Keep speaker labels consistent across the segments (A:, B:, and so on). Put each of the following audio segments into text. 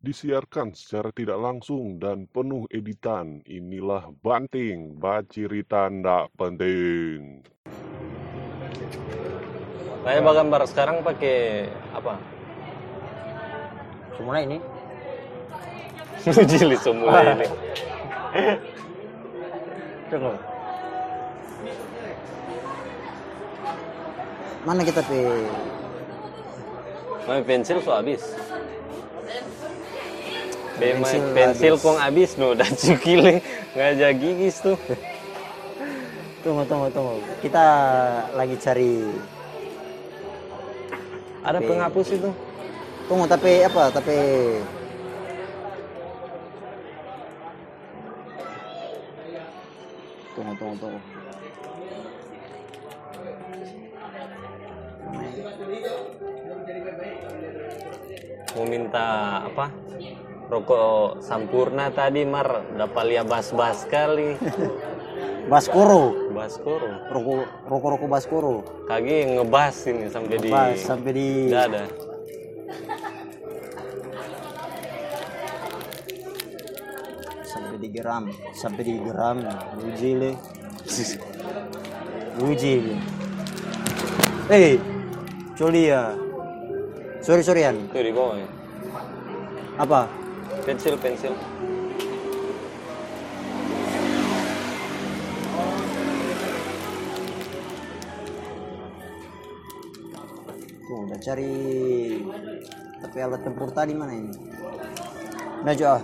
A: disiarkan secara tidak langsung dan penuh editan. Inilah Banting, Bacirita Ndak Penting.
B: Saya gambar sekarang pakai apa?
C: Semua ini Ah.
B: Jilid semula ini.
C: tunggu. Mana kita pi?
B: Main pensil so habis. Be main
C: Pensil
B: pensil
C: habis.
B: kong habis no dan cukile ngajak gigis tuh.
C: Tunggu tunggu tunggu. Kita lagi cari.
B: Ada
C: Be-
B: penghapus itu.
C: Tunggu tapi apa? Tapi tunggu tunggu tunggu.
B: Mau minta apa? Rokok sampurna tadi Mar, dapat lihat bas-bas kali.
C: Baskoro.
B: Baskoro.
C: Roko roko roko baskoro.
B: Kagi ngebas ini sampai di
C: Pas sampai di
B: dada.
C: sampai di geram sampai di geram uji le uji le eh coli ya sorry sorryan
B: Tuh di bawah ya.
C: apa
B: Pensil pensil.
C: tuh udah cari tapi alat tempur tadi mana ini Najwa ah.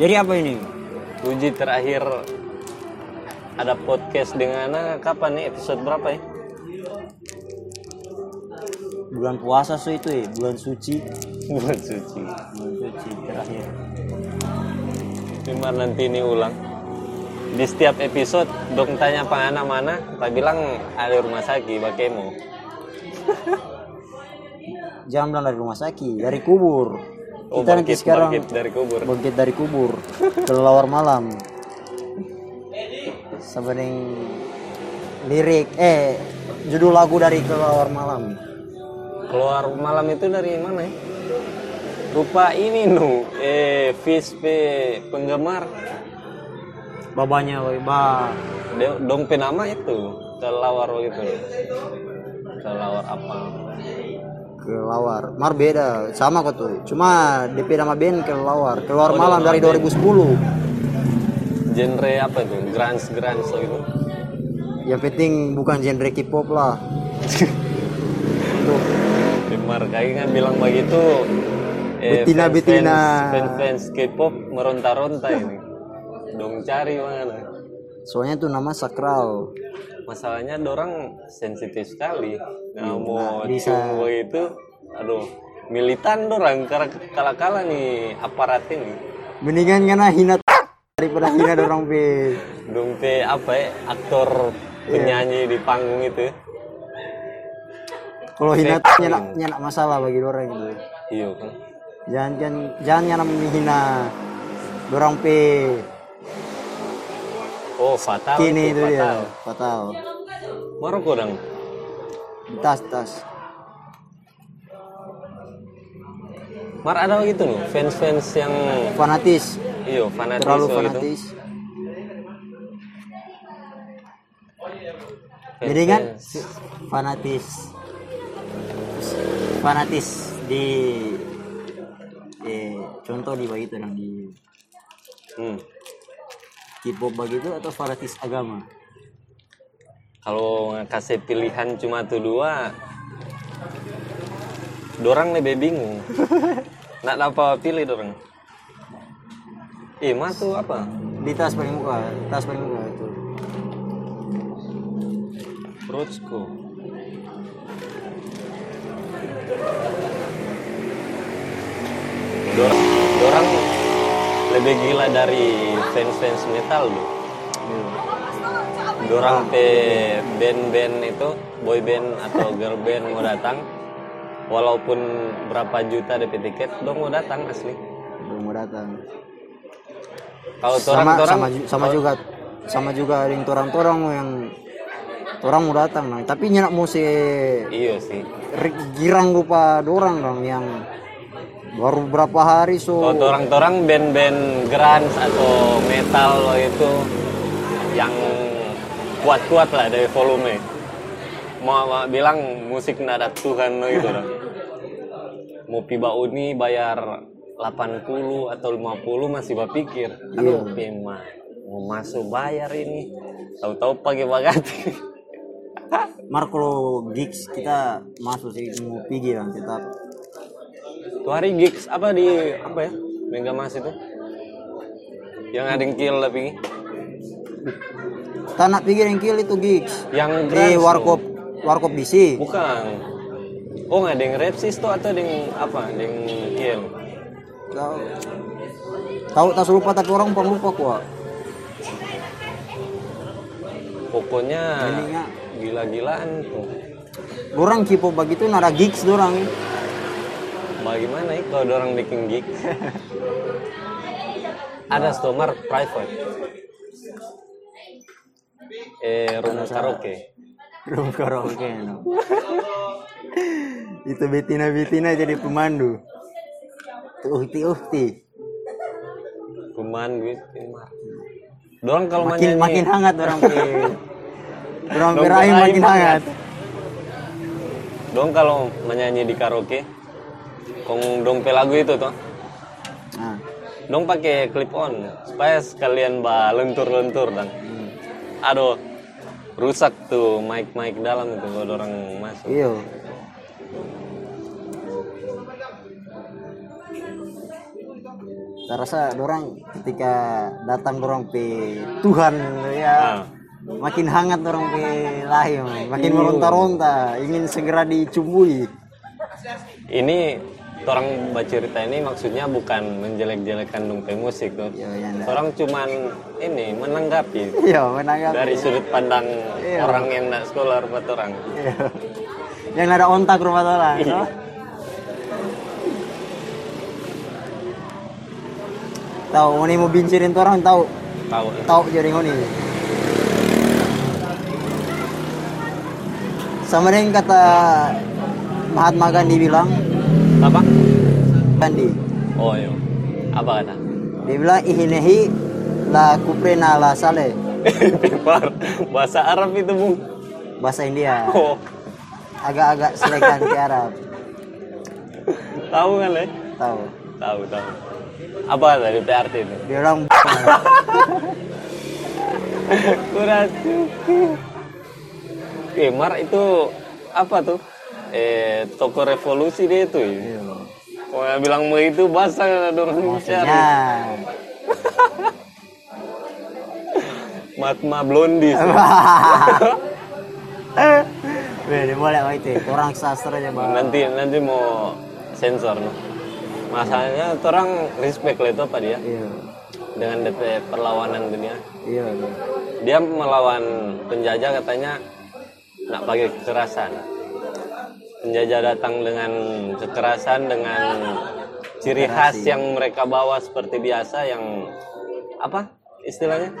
C: jadi apa ini
B: Uji terakhir ada podcast dengan Ana kapan nih episode berapa ya?
C: bulan puasa so itu ya bulan suci
B: Bulan suci.
C: bulan suci terakhir
B: Cuma nanti ini ulang. Di setiap episode dong tanya Pak Ana mana, tak bilang ada rumah sakit bakemo.
C: jangan bilang dari rumah sakit dari kubur
B: Oh,
C: kita
B: bangkit,
C: nanti sekarang
B: bangkit dari kubur.
C: bangkit dari kubur kelelawar malam sebening lirik eh judul lagu dari kelelawar malam
B: Keluar malam itu dari mana ya? Rupa ini nu eh Vispe penggemar
C: babanya woi ba
B: De- dong penama itu kelawar gitu kelawar apa
C: kelelawar mar beda sama kok tuh cuma DP nama band kelelawar kelelawar
B: Oh,
C: malam
B: Kelelawar
C: dari 2010
B: genre apa itu grunge grunge gitu
C: yang penting bukan genre K-pop lah tuh
B: Dimar Kagi kan bilang begitu eh,
C: Betina,
B: fans-
C: betina.
B: fans, fans K-pop meronta-ronta ini dong cari mana
C: soalnya tuh nama sakral
B: masalahnya dorang sensitif sekali nah mau
C: nggak Iya, bisa.
B: cuma itu aduh militan dorang karena kala-kala nih aparat ini
C: mendingan karena hina daripada hina dorong be
B: dong pe apa ya aktor
C: Iya.
B: penyanyi di panggung itu
C: kalau hina
B: Fake.
C: nyana, nyana masalah bagi orang gitu
B: iya kan
C: jangan jangan jangan nyana menghina dorong p
B: oh fatal
C: kini
B: itu
C: itu dia
B: fatal
C: fatal
B: Maroko dong
C: Di tas tas
B: Mar ada gitu loh fans-fans yang
C: fanatis
B: iyo fanatis
C: terlalu
B: oh gitu.
C: fanatis jadi kan
B: Fans-fans.
C: fanatis fanatis di di contoh di bagi itu yang di
B: Hmm.
C: K-pop bagi itu atau fanatis agama
B: Kalau kasih pilihan cuma tuh dua, dorang lebih bingung. Nak apa pilih dorang? Eh, mah tuh apa?
C: di tas paling muka tas paling muka itu
B: Rotsko. Dorang, dorang lebih gila dari fans-fans metal loh. dorang pe band-band itu boy band atau girl band mau datang walaupun berapa juta DP tiket dong mau datang asli
C: belum mau datang
B: kalau
C: sama
B: torang Oh. torang
C: sama, ju- sama juga sama juga ada yang torang-torang yang orang mau datang nang tapi nyenak mau se
B: iya sih
C: ri- girang rupa dorang dong yang baru berapa hari so
B: kalau torang-torang band-band grunge atau metal lo itu yang kuat-kuat lah dari volume mau mau bilang musik nada Tuhan lo gitu loh mau piba uni bayar 80 atau 50 masih berpikir aduh
C: Iya.
B: pima mau masuk bayar ini tahu-tahu pagi bagati
C: Mar kalau gigs kita masuk sih mau pergi bang tetap
B: Tuh hari gigs apa di apa ya? Mega Mas itu. Yang ada yang kill tapi
C: kita nak pergi dengkil itu gigs
B: yang
C: di
B: trans
C: warkop
B: tuh.
C: warkop BC
B: Bukan. Oh nggak ada yang repsis tuh atau ada yang apa? iya. Ada yang kill.
C: tahu tahu tak lupa tapi orang pang lupa kok
B: Pokoknya
C: Jadinya.
B: gila-gilaan tuh.
C: orang kipo begitu nara gigs dorang
B: Bagaimana ya kalau ada orang bikin gig? ada stomar private. Eh rumah karaoke.
C: belum karaoke no. itu betina betina jadi pemandu tuh uhti uhti
B: Cuman gue Timar. Dorang kalau
C: makin
B: manyanyi-
C: makin hangat orang pe- orang
B: Dong,
C: peraih
B: peraih
C: makin hangat
B: Dong kalau menyanyi di karaoke, kong dongpe lagu itu toh,
C: nah,
B: dong pakai clip on supaya sekalian ba lentur-lentur dan, aduh rusak tuh mic mic dalam itu kalau orang masuk.
C: iyo saya rasa orang ketika datang orang pe Tuhan ya
B: Nah,
C: makin hangat orang pe lahir
B: Iya.
C: makin meronta-ronta ingin segera dicumbui
B: ini orang bercerita ini maksudnya bukan menjelek-jelekan dongpe musik tuh.
C: Iya, iya, iya.
B: Orang cuman ini menanggapi
C: Iya, menanggapi.
B: dari sudut pandang
C: Iya.
B: orang yang tidak sekolah buat orang.
C: Iya. Yang ada ontak rumah tolak.
B: Iya.
C: no? Tahu, ini mau bincirin tuh orang tahu,
B: Tahu.
C: tahu jaring ini. Sama dengan kata Mahatma Gandhi bilang,
B: Apa?
C: Gandhi,
B: Oh iya. Apa kata?
C: dia bilang ihinehi la kuprena la sale
B: Pipar, bahasa Arab itu bung.
C: bahasa India
B: Oh,
C: agak-agak selekan ke Arab
B: tahu kan le?
C: tahu
B: Tahu tahu. Apa tadi PRT itu?
C: dia orang
B: Kurang Eh, Mar itu apa tuh? Eh, toko revolusi dia itu. Ya? Kalau yang bilang begitu bahasa dorong
C: maksudnya
B: cari. Matma Blondi.
C: Weh, dia boleh oh, itu orang sastra aja bang
B: nanti nanti mau sensor no. Masalahnya orang respect lah itu apa dia
C: iya
B: dengan DP perlawanan dunia.
C: iya iya.
B: dia melawan penjajah katanya nak pakai kekerasan penjajah datang dengan kekerasan dengan ciri khas yang mereka bawa seperti biasa yang apa istilahnya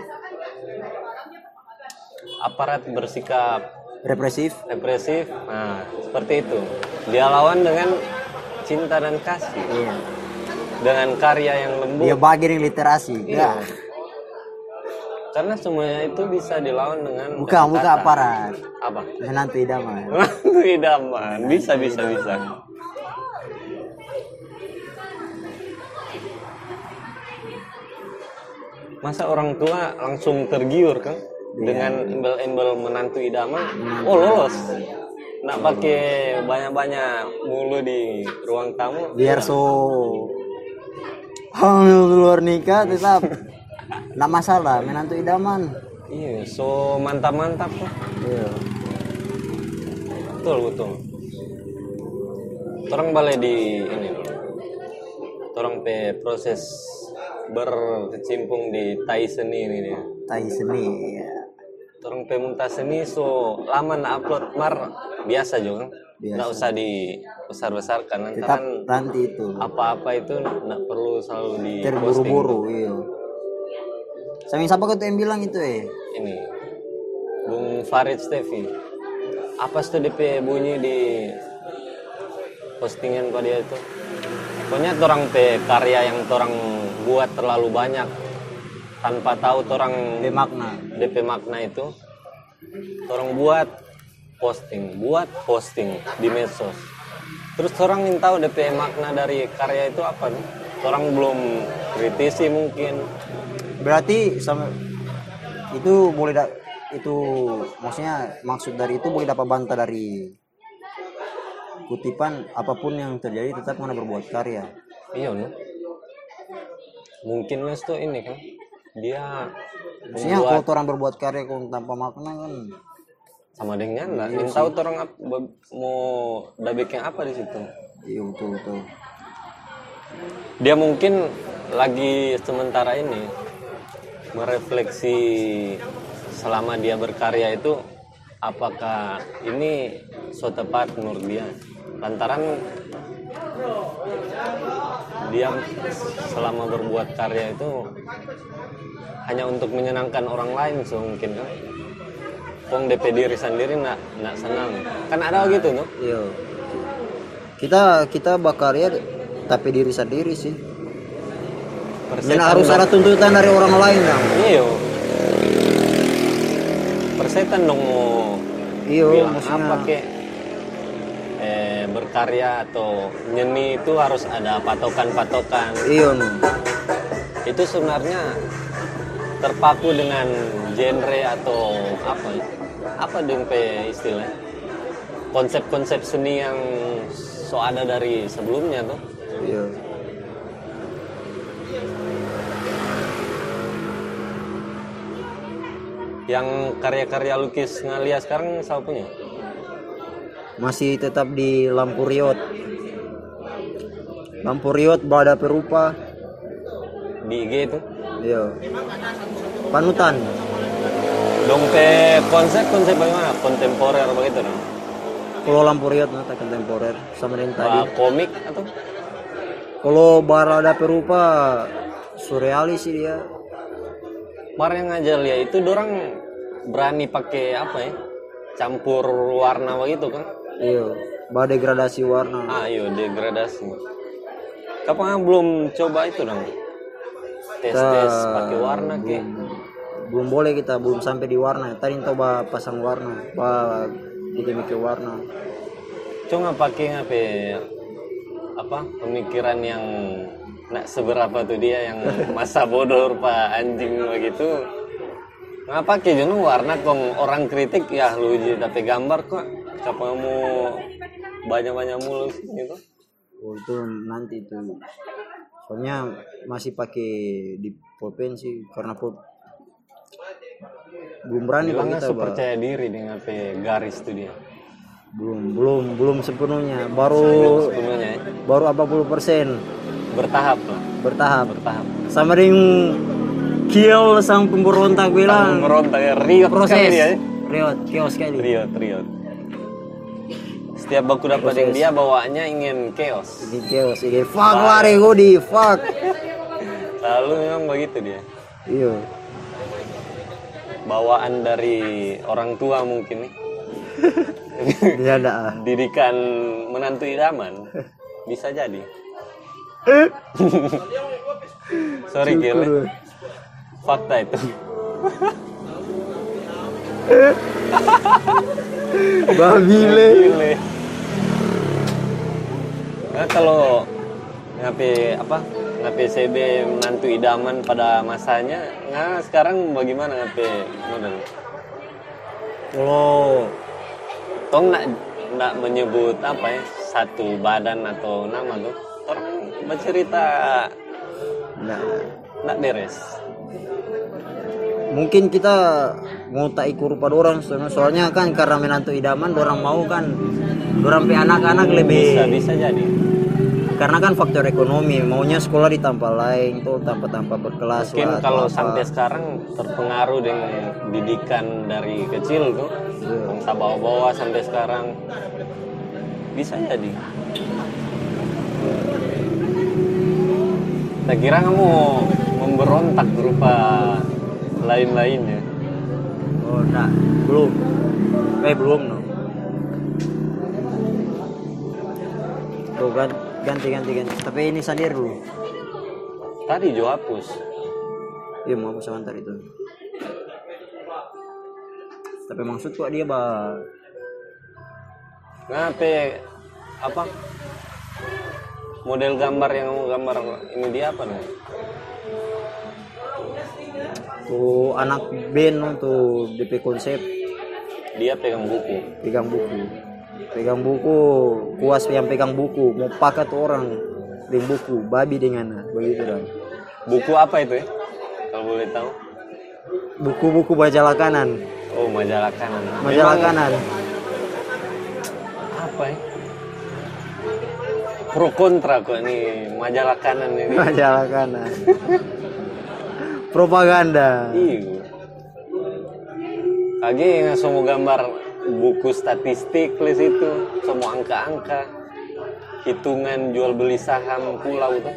B: aparat bersikap
C: represif
B: represif nah seperti itu dia lawan dengan cinta dan kasih
C: iya
B: dengan karya yang lembut
C: dia bagi dengan literasi iya.
B: karena semuanya itu bisa dilawan dengan
C: bukan bukan
B: kata-kata.
C: aparat
B: apa
C: menantu idaman
B: Menantu idaman. Bisa, bisa, bisa. Masa orang tua langsung tergiur kan
C: Iya.
B: dengan embel-embel menantu idaman?
C: Hmm.
B: Oh lolos. Nak pakai banyak-banyak mulu di ruang tamu. Iya.
C: biar so hamil di luar nikah tetap nggak masalah menantu idaman
B: Iya, so mantap-mantap tuh.
C: iya
B: Betul, betul. Orang balai di ini dulu. Orang pe proses berkecimpung di tai seni ini dia.
C: tai seni iya.
B: Orang pe muntah seni so lama nak upload mar biasa juga.
C: Biasa.
B: Nggak usah di besar besarkan.
C: tetap
B: Lantaran
C: nanti itu
B: apa-apa itu nggak perlu selalu di
C: terburu-buru iya sama siapa kau tuh yang bilang itu eh
B: Ini Bung Farid Stevi apa sih tuh dia punya bunyi di postingan kok dia itu pokoknya orang pe karya yang orang buat terlalu banyak tanpa tahu orang
C: Be makna.
B: DP makna itu orang buat posting, buat posting di medsos. Terus orang ingin tahu DP makna dari karya itu apa nih? Orang belum kritisi mungkin.
C: Berarti sama itu boleh da- itu maksudnya maksud dari itu boleh dapat bantah dari kutipan apapun yang terjadi tetap mana berbuat karya.
B: Iya, no? Mungkin les tuh ini kan dia
C: Maksudnya
B: membuat
C: kalau orang berbuat karya kalau tanpa makna kan
B: sama dengan lah. Ingin tahu tuh orang ap- be- mau dabeknya apa di situ.
C: iya betul betul.
B: dia mungkin lagi sementara ini merefleksi selama dia berkarya itu apakah ini so tepat menurut dia lantaran dia selama berbuat karya itu hanya untuk menyenangkan orang lain so mungkin kan Pong DP diri sendiri nak nak senang kan ada gitu tuh
C: Iya. Kita kita berkarya tapi diri sendiri sih. Dan
B: Persetan
C: harus
B: dong.
C: ada tuntutan dari orang lain kan.
B: Iya. Persetan dong mau
C: Iya
B: bilang
C: maksudnya.
B: apa kek. Eh, berkarya atau nyeni itu harus ada patokan-patokan.
C: Iya no.
B: Itu sebenarnya terpaku dengan genre atau apa ya? Apa dong pe istilahnya? Konsep-konsep seni yang so ada dari sebelumnya tuh.
C: Iya.
B: Yang karya-karya lukis ngalia sekarang siapa punya?
C: Masih tetap di lampu riot. Lampu riot berada perupa.
B: Di IG itu?
C: Iya. Panutan.
B: Dongpe konsep konsep bagaimana? Kontemporer begitu dong.
C: Kalau lampu riot nah, tak kontemporer sama dengan tadi.
B: Apa komik atau
C: Kalau barada perupa surrealis sih dia.
B: mar yang ngajar ya itu dorang berani pakai apa ya? Campur warna begitu kan?
C: Iya. Badegradasi warna.
B: Ayo degradasi. Kapan belum coba itu dong? Tes tes pakai warna ke?
C: belum boleh kita belum sampai di warna tadi coba pasang warna bah kita mikir warna
B: Cuma pakai apa? ya? Apa pemikiran yang nak seberapa tuh dia yang masa bodoh pak anjing begitu ngapa ke jenuh warna kong orang kritik ya lu uji tapi gambar kok kamu banyak banyak mulus gitu
C: oh, itu nanti itu soalnya masih pakai di pulpen sih karena pul- belum berani Pak,
B: bilangnya
C: kita Pak.
B: percaya diri dengan apa ya, garis tuh dia
C: belum belum belum sepenuhnya baru
B: sebenarnya ya.
C: baru apa puluh persen
B: bertahap lah
C: bertahap
B: bertahap
C: sama dengan kill sang pemberontak bilang
B: merontak ya riot
C: proses
B: sekali dia ya.
C: riot kill sekali
B: riot riot setiap baku dapat yang dia bawaannya ingin chaos
C: di chaos ini fuck lari gue di fuck
B: Lalu memang begitu dia.
C: iya
B: Bawaan dari orang tua mungkin nih.
C: dia ada
B: Didikan menantu idaman. Bisa jadi. Sorry Gil. Fakta itu.
C: babile
B: Gile. Nah, kalau ngapi apa ngapi CB menantu idaman pada masanya nah sekarang bagaimana ngapi model
C: kalau
B: Tong nak nak menyebut apa ya satu badan atau nama tuh orang bercerita
C: nah,
B: nak beres.
C: mungkin kita mau tak ikut rupa orang soalnya, soalnya kan karena menantu idaman orang mau kan orang pe anak-anak
B: Bisa
C: lebih
B: bisa jadi.
C: karena kan faktor ekonomi maunya sekolah di tanpa lain tuh tanpa tanpa berkelas
B: Mungkin
C: lah,
B: kalau
C: atau apa.
B: sampai sekarang terpengaruh dengan didikan dari kecil tuh,
C: Iya.
B: bangsa bawa-bawa sampai sekarang bisa jadi. Tak ya? kira kamu memberontak berupa lain-lainnya.
D: Oh,
C: nah,
D: enggak. Belum. Eh, belum. No.
C: Tuh, gan- ganti ganti ganti. Tapi ini Sandier dulu.
B: Tadi Jo hapus.
C: Iya mau aku sebentar itu. Tapi maksud kok dia bah
B: Ngape apa? Model gambar yang kamu gambar ini dia apa nih?
C: tuh anak band tuh DP konsep
B: Dia pegang buku.
C: pegang buku pegang buku kuas yang pegang buku mau pakai tuh orang dengan buku babi dengan begitu dong
B: Buku apa itu ya? Kalau boleh tahu.
C: buku-buku majalah kanan
B: Oh, majalah kanan. Memang
C: majalah
B: ya?
C: kanan
B: Apa ya? Pro kontra kok ini majalah kanan ini.
C: majalah kanan propaganda
B: Iya. Lagi yang semua gambar buku statistik les itu, semua angka-angka, hitungan jual beli saham pulau tuh.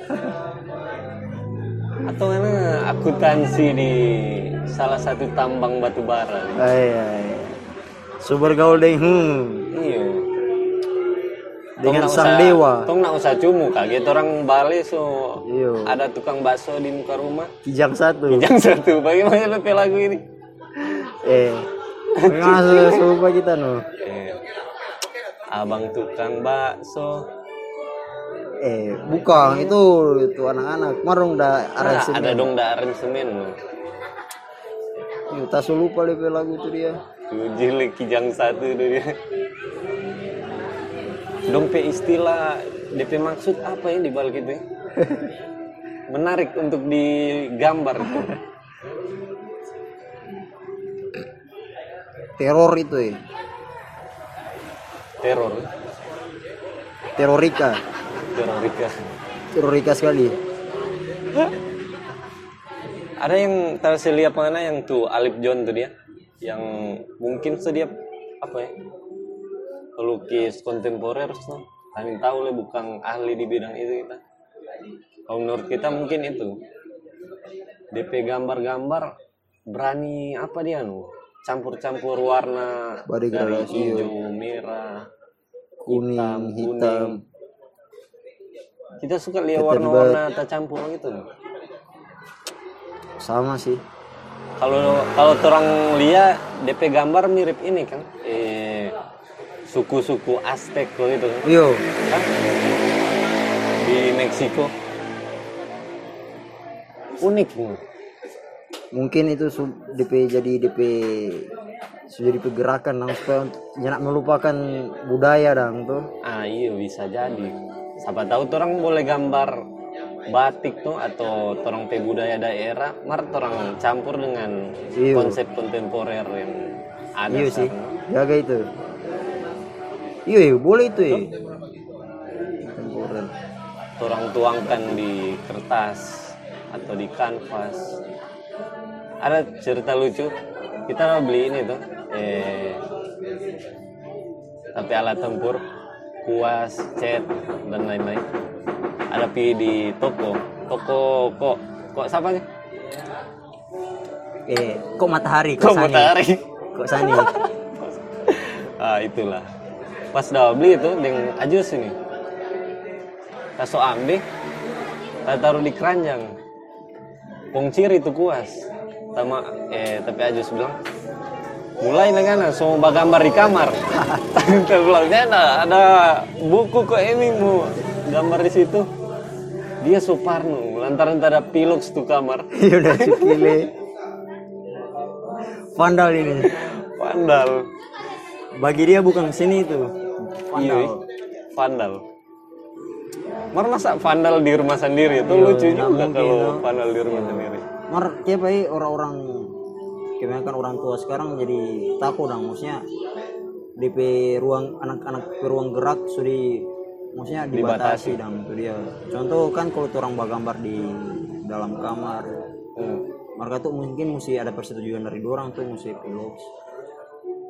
B: Atau mana akuntansi di salah satu tambang batu bara.
C: ay, ay. sumber gaul deh hmm.
B: Iya.
C: Dengan
B: Tong nak
C: sang
B: usah-
C: dewa.
B: Tong nak usah cumu kaget orang Bali so
C: Iya.
B: ada tukang bakso di muka rumah.
C: kijang satu
B: Yang satu bagaimana lebih lagu ini?
C: eh Bagaimana serupa kita no?
B: Eh, abang tukang bakso.
C: Eh, bukan itu itu anak-anak. Marung dah
B: Nah,
C: aransemen.
B: ada dong da aransemen loh.
C: Yuh, tak so lupa lepe lagu itu dia.
B: Tuh Jilik kijang satu tuh dia. Dong pe istilah DP maksud apa ya di balik itu? ya? Menarik untuk digambar tuh.
C: Teror itu eh.
B: Teror,
C: Terorika.
B: terorika.
C: Terorika sekali.
B: Ada yang tahu saya lihat mana yang tuh Alip John tuh dia, yang mungkin tuh dia apa ya pelukis kontemporer tuh. Kami tahu lah bukan ahli di bidang itu kita. Kalau menurut kita mungkin itu DP gambar-gambar berani apa dia nu campur-campur warna
C: Body
B: dari
C: gradasi, iya.
B: hijau merah kuning.
C: Kuning, hitam.
B: Kita suka lihat
C: Ketembat.
B: warna-warna tercampur gitu. loh.
C: Sama sih.
B: Kalau kalau orang lihat DP gambar mirip ini kan, eh, suku-suku Aztec loh itu kan,
C: Yo,
B: Hah? di Meksiko. Unik loh.
C: mungkin itu su- DP jadi DP sudah DP gerakan nang supaya untuk jangan melupakan budaya dang tuh.
B: Ah iya bisa jadi. Siapa tahu orang boleh gambar batik tuh atau orang pe budaya daerah, mar orang campur dengan
C: Iya.
B: konsep kontemporer yang ada
C: Iya sih.
B: sekarang.
C: Jaga itu. Iya, iya, boleh itu ya. Temporer.
B: orang tuangkan di kertas atau di kanvas ada cerita lucu kita beli ini tuh eh tapi alat tempur kuas cat dan lain-lain ada pi di toko toko kok kok siapa sih
C: Eh, kok matahari?
B: kok
C: Kok, sani?
B: matahari
C: Kok sani?
B: ah itulah pas dah beli itu dengan ajus ini tak so ambil tak taruh di keranjang pungcir itu kuas sama eh tapi ajus bilang mulai dengan so gambar di kamar tak bilangnya ada ada buku kok ini mu gambar di situ dia Suparno lantaran tak ada pilux tuh kamar
C: Ya udah cukile. Vandal ini.
B: pandal
C: Bagi dia bukan sini itu.
B: Iya,
C: Vandal.
B: vandal. Mar masa vandal di rumah sendiri itu
C: Iya,
B: lucu
C: nggak
B: juga
C: mungkin,
B: kalau
C: no. Iya.
B: vandal di rumah sendiri.
C: Mar, kayak baik ya orang-orang kebanyakan orang tua sekarang jadi takut dong maksudnya DP ruang anak-anak ruang gerak sudah maksudnya dibatasi, dong itu dia. Contoh kan kalau tuh orang gambar di dalam kamar
B: Hmm.
C: mereka tuh mungkin mesti ada persetujuan dari dua orang tuh mesti peluk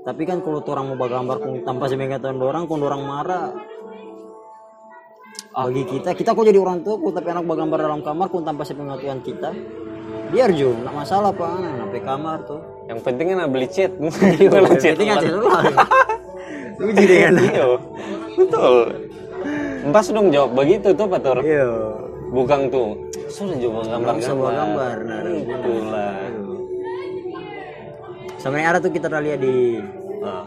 C: tapi kan kalau tuh orang mau gambar kung- tanpa sepengetahuan dua orang kalau dua orang marah bagi kita kita kok jadi orang tua kok tapi anak gambar dalam kamar kok tanpa sepengetahuan kita biar jo nggak masalah pak Nah, sampai kamar tuh
B: Yang penting kan beli chat. Itu lah chat.
C: Iya, penting aja dulu lah
B: Uji
C: kan?
B: dengan. Iya. Betul. Pas dong jawab begitu tuh Pak Tur.
C: iya
B: Bukan tuh. Sudah coba gambar
C: langsung
B: gambar.
C: bawa gambar nah,
B: Itulah.
C: Iya. sama yang ada tuh kita udah lihat di eh,
B: Nah,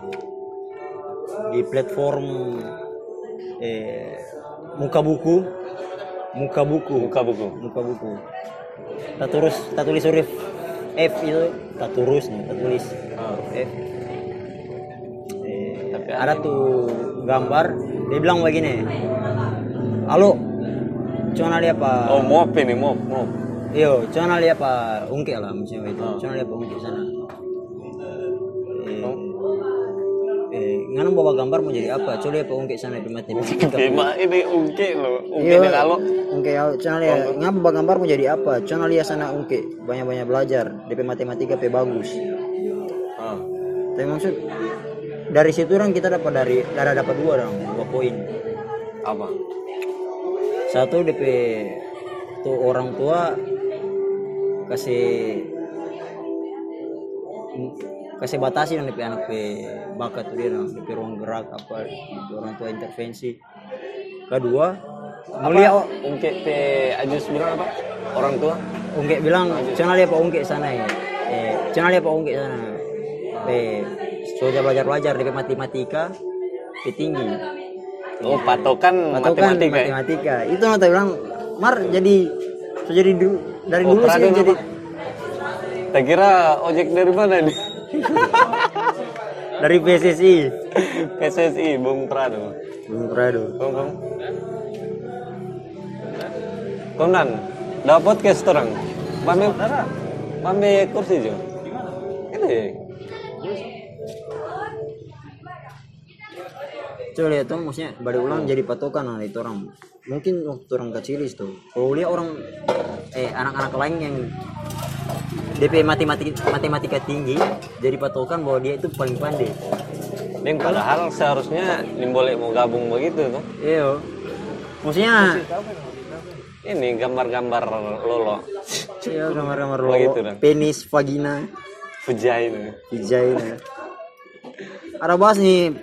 C: di platform eh muka buku muka buku
B: buka buku.
C: muka buku tak terus tak tulis huruf F itu tak terus nih tak tulis
B: Ah.
C: F Eh,
B: Tapi
C: ada tuh gambar dia bilang begini halo cuman lihat apa
B: Oh mop ini mop mop.
C: yo cuman lihat apa ungke lah misalnya itu
B: Ah.
C: cuman lihat apa ungke sana
B: Oh.
C: eh, eh nganu bawa gambar mau jadi apa coba lihat apa ungke sana di mati
B: Gimana ini ungke loh. Ungke
C: Iya,
B: ini kalau
C: Ungke ya, channel ya.
B: Oh.
C: Ngapa gambar mau jadi apa? Channel ya sana Ungke, banyak-banyak belajar. DP matematika P bagus.
B: Ah,
C: Tapi maksud dari situ orang kita dapat dari dari dapat dua orang, dua poin.
B: apa?
C: Satu DP tuh orang tua kasih kasih batasi yang DP anak pe bakat tuh dia orang DP ruang gerak apa DP orang tua intervensi. Kedua, mulia
B: Ungke te Ajus bilang apa? Orang tua?
C: Ungkek bilang, channel ya Pak Ungkek sana ya. Eh, channel ya Pak Ungkek sana. Eh, sudah belajar-belajar di matematika, di tinggi.
B: Oh patokan,
C: Patokan matematika.
B: matematika. ya?
C: matematika. Itu nanti bilang, Mar jadi so jadi du- dari
B: Oh,
C: dulu sih
B: Prado
C: jadi
B: nama. Tak kira ojek dari mana nih?
C: dari PSSI.
B: PSSI, Bung Prado.
C: Bung Prado.
B: Bung, Bung. Konan, dapat ke sekarang? Mami, mami kursi jo. Ini.
C: Coba lihat tuh maksudnya balik ulang jadi patokan lah itu orang. Mungkin waktu orang kecil itu. Kalau lihat orang eh anak-anak lain yang DP matematika matematika tinggi jadi patokan bahwa dia itu paling pandai.
B: Deng, padahal seharusnya nimbolek mau gabung begitu tuh.
C: Iya. Maksudnya
B: Ini gambar-gambar lolo,
C: iya gambar-gambar
B: Oh, gitu,
C: lo
B: Bang.
C: penis vagina
B: fujai ini.
C: vagina. Ada bahas nih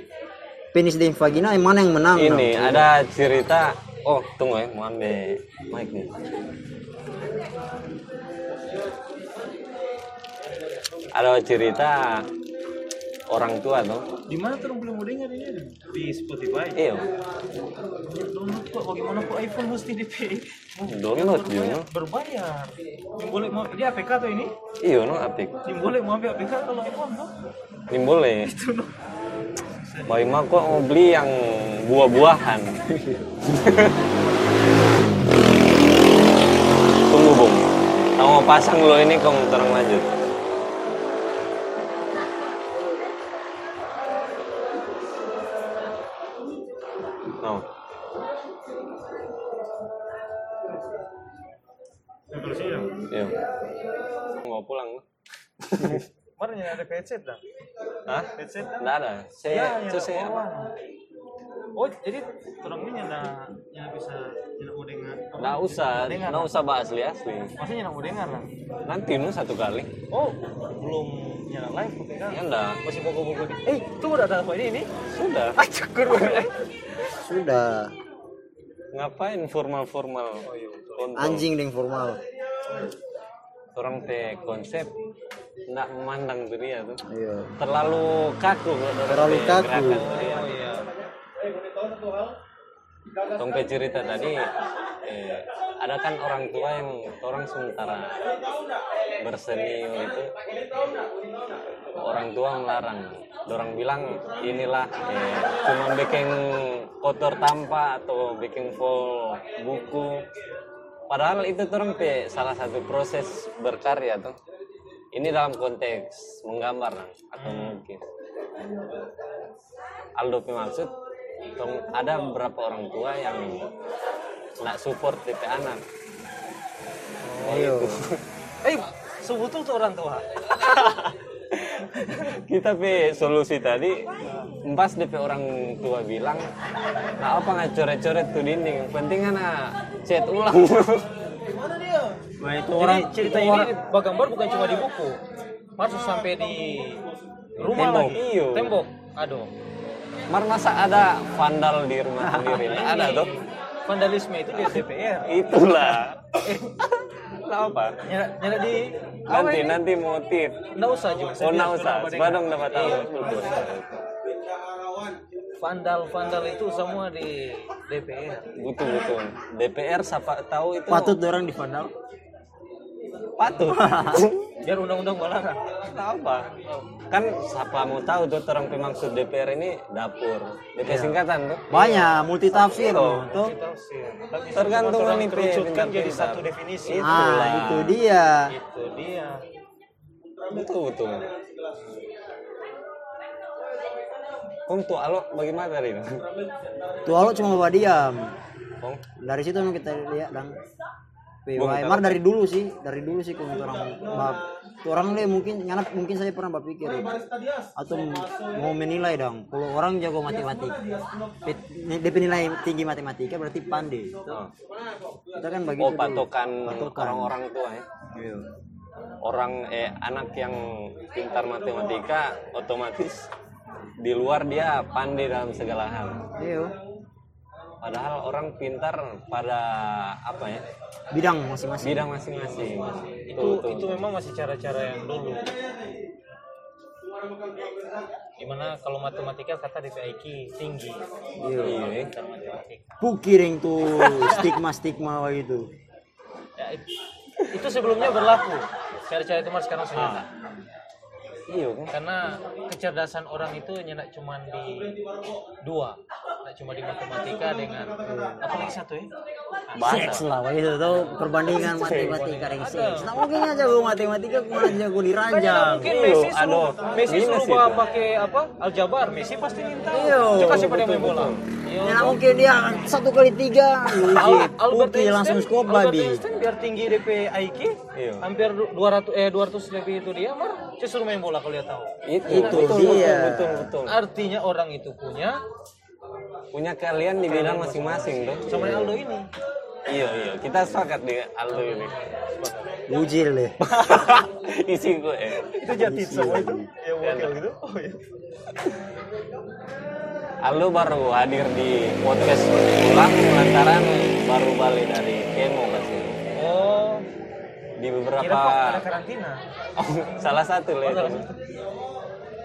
C: penis dan vagina yang mana yang menang?
B: Ini ada cerita. Oh, tunggu ya, mau ambil mic nih. Ada cerita orang tua tuh.
D: Di mana tuh belum udah nyarinya? Di Spotify.
B: Iya,
D: Download kok Eh, bagaimana kok iPhone mesti di
B: download juga.
D: berbayar. Yang boleh mau dia APK tuh ini?
B: Iya, no apik.
D: Yang boleh mau ambil APK kalau iPhone tuh.
B: Ini boleh. Bagaimana kok mau beli yang buah-buahan? Tunggu, Bung. Tahu mau pasang lo ini kok mau terang lanjut. No.
D: Terus ya.
B: Iya. Mau pulang? lo?
D: Kemarin yang ada headset dah.
B: Hah?
D: Headset dah.
B: Nggak ada. Saya
D: Ya,
B: Eh, itu
D: ya,
B: saya
D: orang. Oh, jadi terang ini ada yang bisa yang mau dengar. apa?
B: nggak usah,
D: Dengar.
B: nggak usah bahas asli asli.
D: Maksudnya yang mau dengar lah.
B: Nanti nu satu kali.
D: Oh, belum nyala live oke kan?
B: Ya enggak.
D: Masih bogo-bogo di. Eh, itu udah ada apa ini ini?
B: Sudah.
D: Ah, cukur.
C: Sudah
B: Ngapain formal-formal? Oh, iya, Kontol.
C: anjing dan formal.
B: Orang teh konsep nggak memandang tuh dia tuh.
C: Iya.
B: Terlalu kaku. kalau orang
C: Terlalu
B: teh
C: kaku.
B: gerakan tuh dia. Tong pe cerita tadi eh, ada kan orang tua yang orang sementara berseni itu orang tua melarang. Orang bilang inilah eh, cuma bikin kotor tanpa atau bikin full buku. Padahal itu tuh pe salah satu proses berkarya tuh. Ini dalam konteks menggambar atau mengukir. Aldo maksud tong- ada beberapa orang tua yang nak support DP anak
C: Iya.
D: Eh, sebutu tuh orang tua.
B: kita pe solusi tadi empas DP orang tua bilang kan nah apa nggak coret-coret tuh dinding yang penting anak cat ulang
D: Mana dia?
C: Nah, itu
E: Jadi
C: orang
E: cerita
C: itu
E: ini
C: orang-
E: Bagambar bukan cuma di buku, harus sampai di rumah
B: Tembok. Iya.
E: lagi.
B: Iyo.
E: Tembok. Aduh.
B: Mar masa ada vandal di rumah sendiri? Nggak ada
E: Ini
B: dok.
E: Vandalisme itu di DPR.
B: Itulah. Nah, apa?
E: Nyala, nyala di
B: Nanti nanti motif.
E: Nggak usah juga. Iya.
B: Oh, nggak usah. Sebadong dapat tahu. Betul.
E: Vandal vandal itu semua di DPR.
B: Betul betul. DPR siapa tahu itu
C: patut orang dipandang
B: patut.
E: Biar undang-undang melarang.
B: apa? Kan siapa mau tahu tuh orang pemaksud DPR ini dapur. DPR
C: Iya.
B: singkatan tuh.
C: banyak multi tafsir
B: Tuh.
C: tuh
B: Tergantung
E: orang
B: nih
E: kerucutkan kan jadi
B: pintar-pintar.
E: satu definisi.
C: ah
B: Itulah.
C: itu dia
E: Itu dia.
B: Betul betul. Kong tuh alok bagaimana tadi?
C: Tua lo cuma bawa diam.
B: Kong
C: Dari situ memang kita lihat dan
B: Bung,
C: PYMR dari dulu sih, dari dulu sih kalau orang bab orang deh mungkin nyana mungkin saya pernah berpikir ya. atau mau menilai dong kalau orang jago matematika Pe- dia penilai tinggi matematika berarti pandai kita kan bagi
B: oh
C: itu dulu.
B: patokan
C: Patokan.
B: orang-orang tua ya.
C: Iya.
B: Orang eh anak yang pintar matematika otomatis di luar dia pandai dalam segala hal.
C: Iya.
B: Padahal orang pintar pada apa ya?
C: bidang masing-masing
B: Bidang masing-masing.
E: itu itu memang masih cara-cara yang dulu gimana kalau matematika kata DPIQ tinggi
C: Iya.
B: Iya.
E: Pintar matematika
C: pukiring tuh stigma-stigma gitu
E: Ya, it- itu sebelumnya berlaku cara-cara itu mas sekarang sudah
B: Ah.
E: tak.
B: Iya,
E: kan?
B: Kong.
E: karena kecerdasan orang itu hanya cuma di dua nggak cuma di matematika dengan apalagi satu
B: eh?
E: ya
B: bahasa.
C: seks lah wah itu tuh perbandingan matematika dengan seks nah mungkin aja gue matematika kemana aja gue diranjang
E: Nah, mungkin
B: Iya,
E: Messi suruh
B: aduh.
E: Messi
B: Gini
E: suruh
B: sih
E: bawa
B: itu.
E: pakai apa aljabar Messi pasti minta
C: Iya.
E: itu kasih pada main bola Iya.
C: Ya, nah, mungkin dia satu kali tiga,
E: Al-
C: mungkin Iya, Oke,
E: Albert Einstein,
C: langsung skop
E: Albert
C: lagi.
E: Einstein biar tinggi DP IQ,
B: Iya.
E: hampir du- 200 eh 200 lebih itu dia, mar dia suruh main bola kalau dia tahu.
B: Itu,
C: Itu
B: betul,
E: iya.
C: dia.
B: betul, betul, betul.
E: Artinya orang itu punya
B: Punya kalian di bidang masing-masing tuh.
E: sama yang Aldo ini.
B: Iya iya, kita sepakat di Aldo ini.
C: Bujil deh.
B: Isi gue. eh.
E: Itu
C: Iya.
E: jatit semua itu. Ya wakil gitu. Oh iya.
B: Aldo baru hadir di podcast ulang lantaran baru balik dari kemo kasih.
E: Oh,
B: Di
E: kira kok
B: beberapa
E: ada karantina.
B: Oh, salah satu lah itu.
E: salah satu.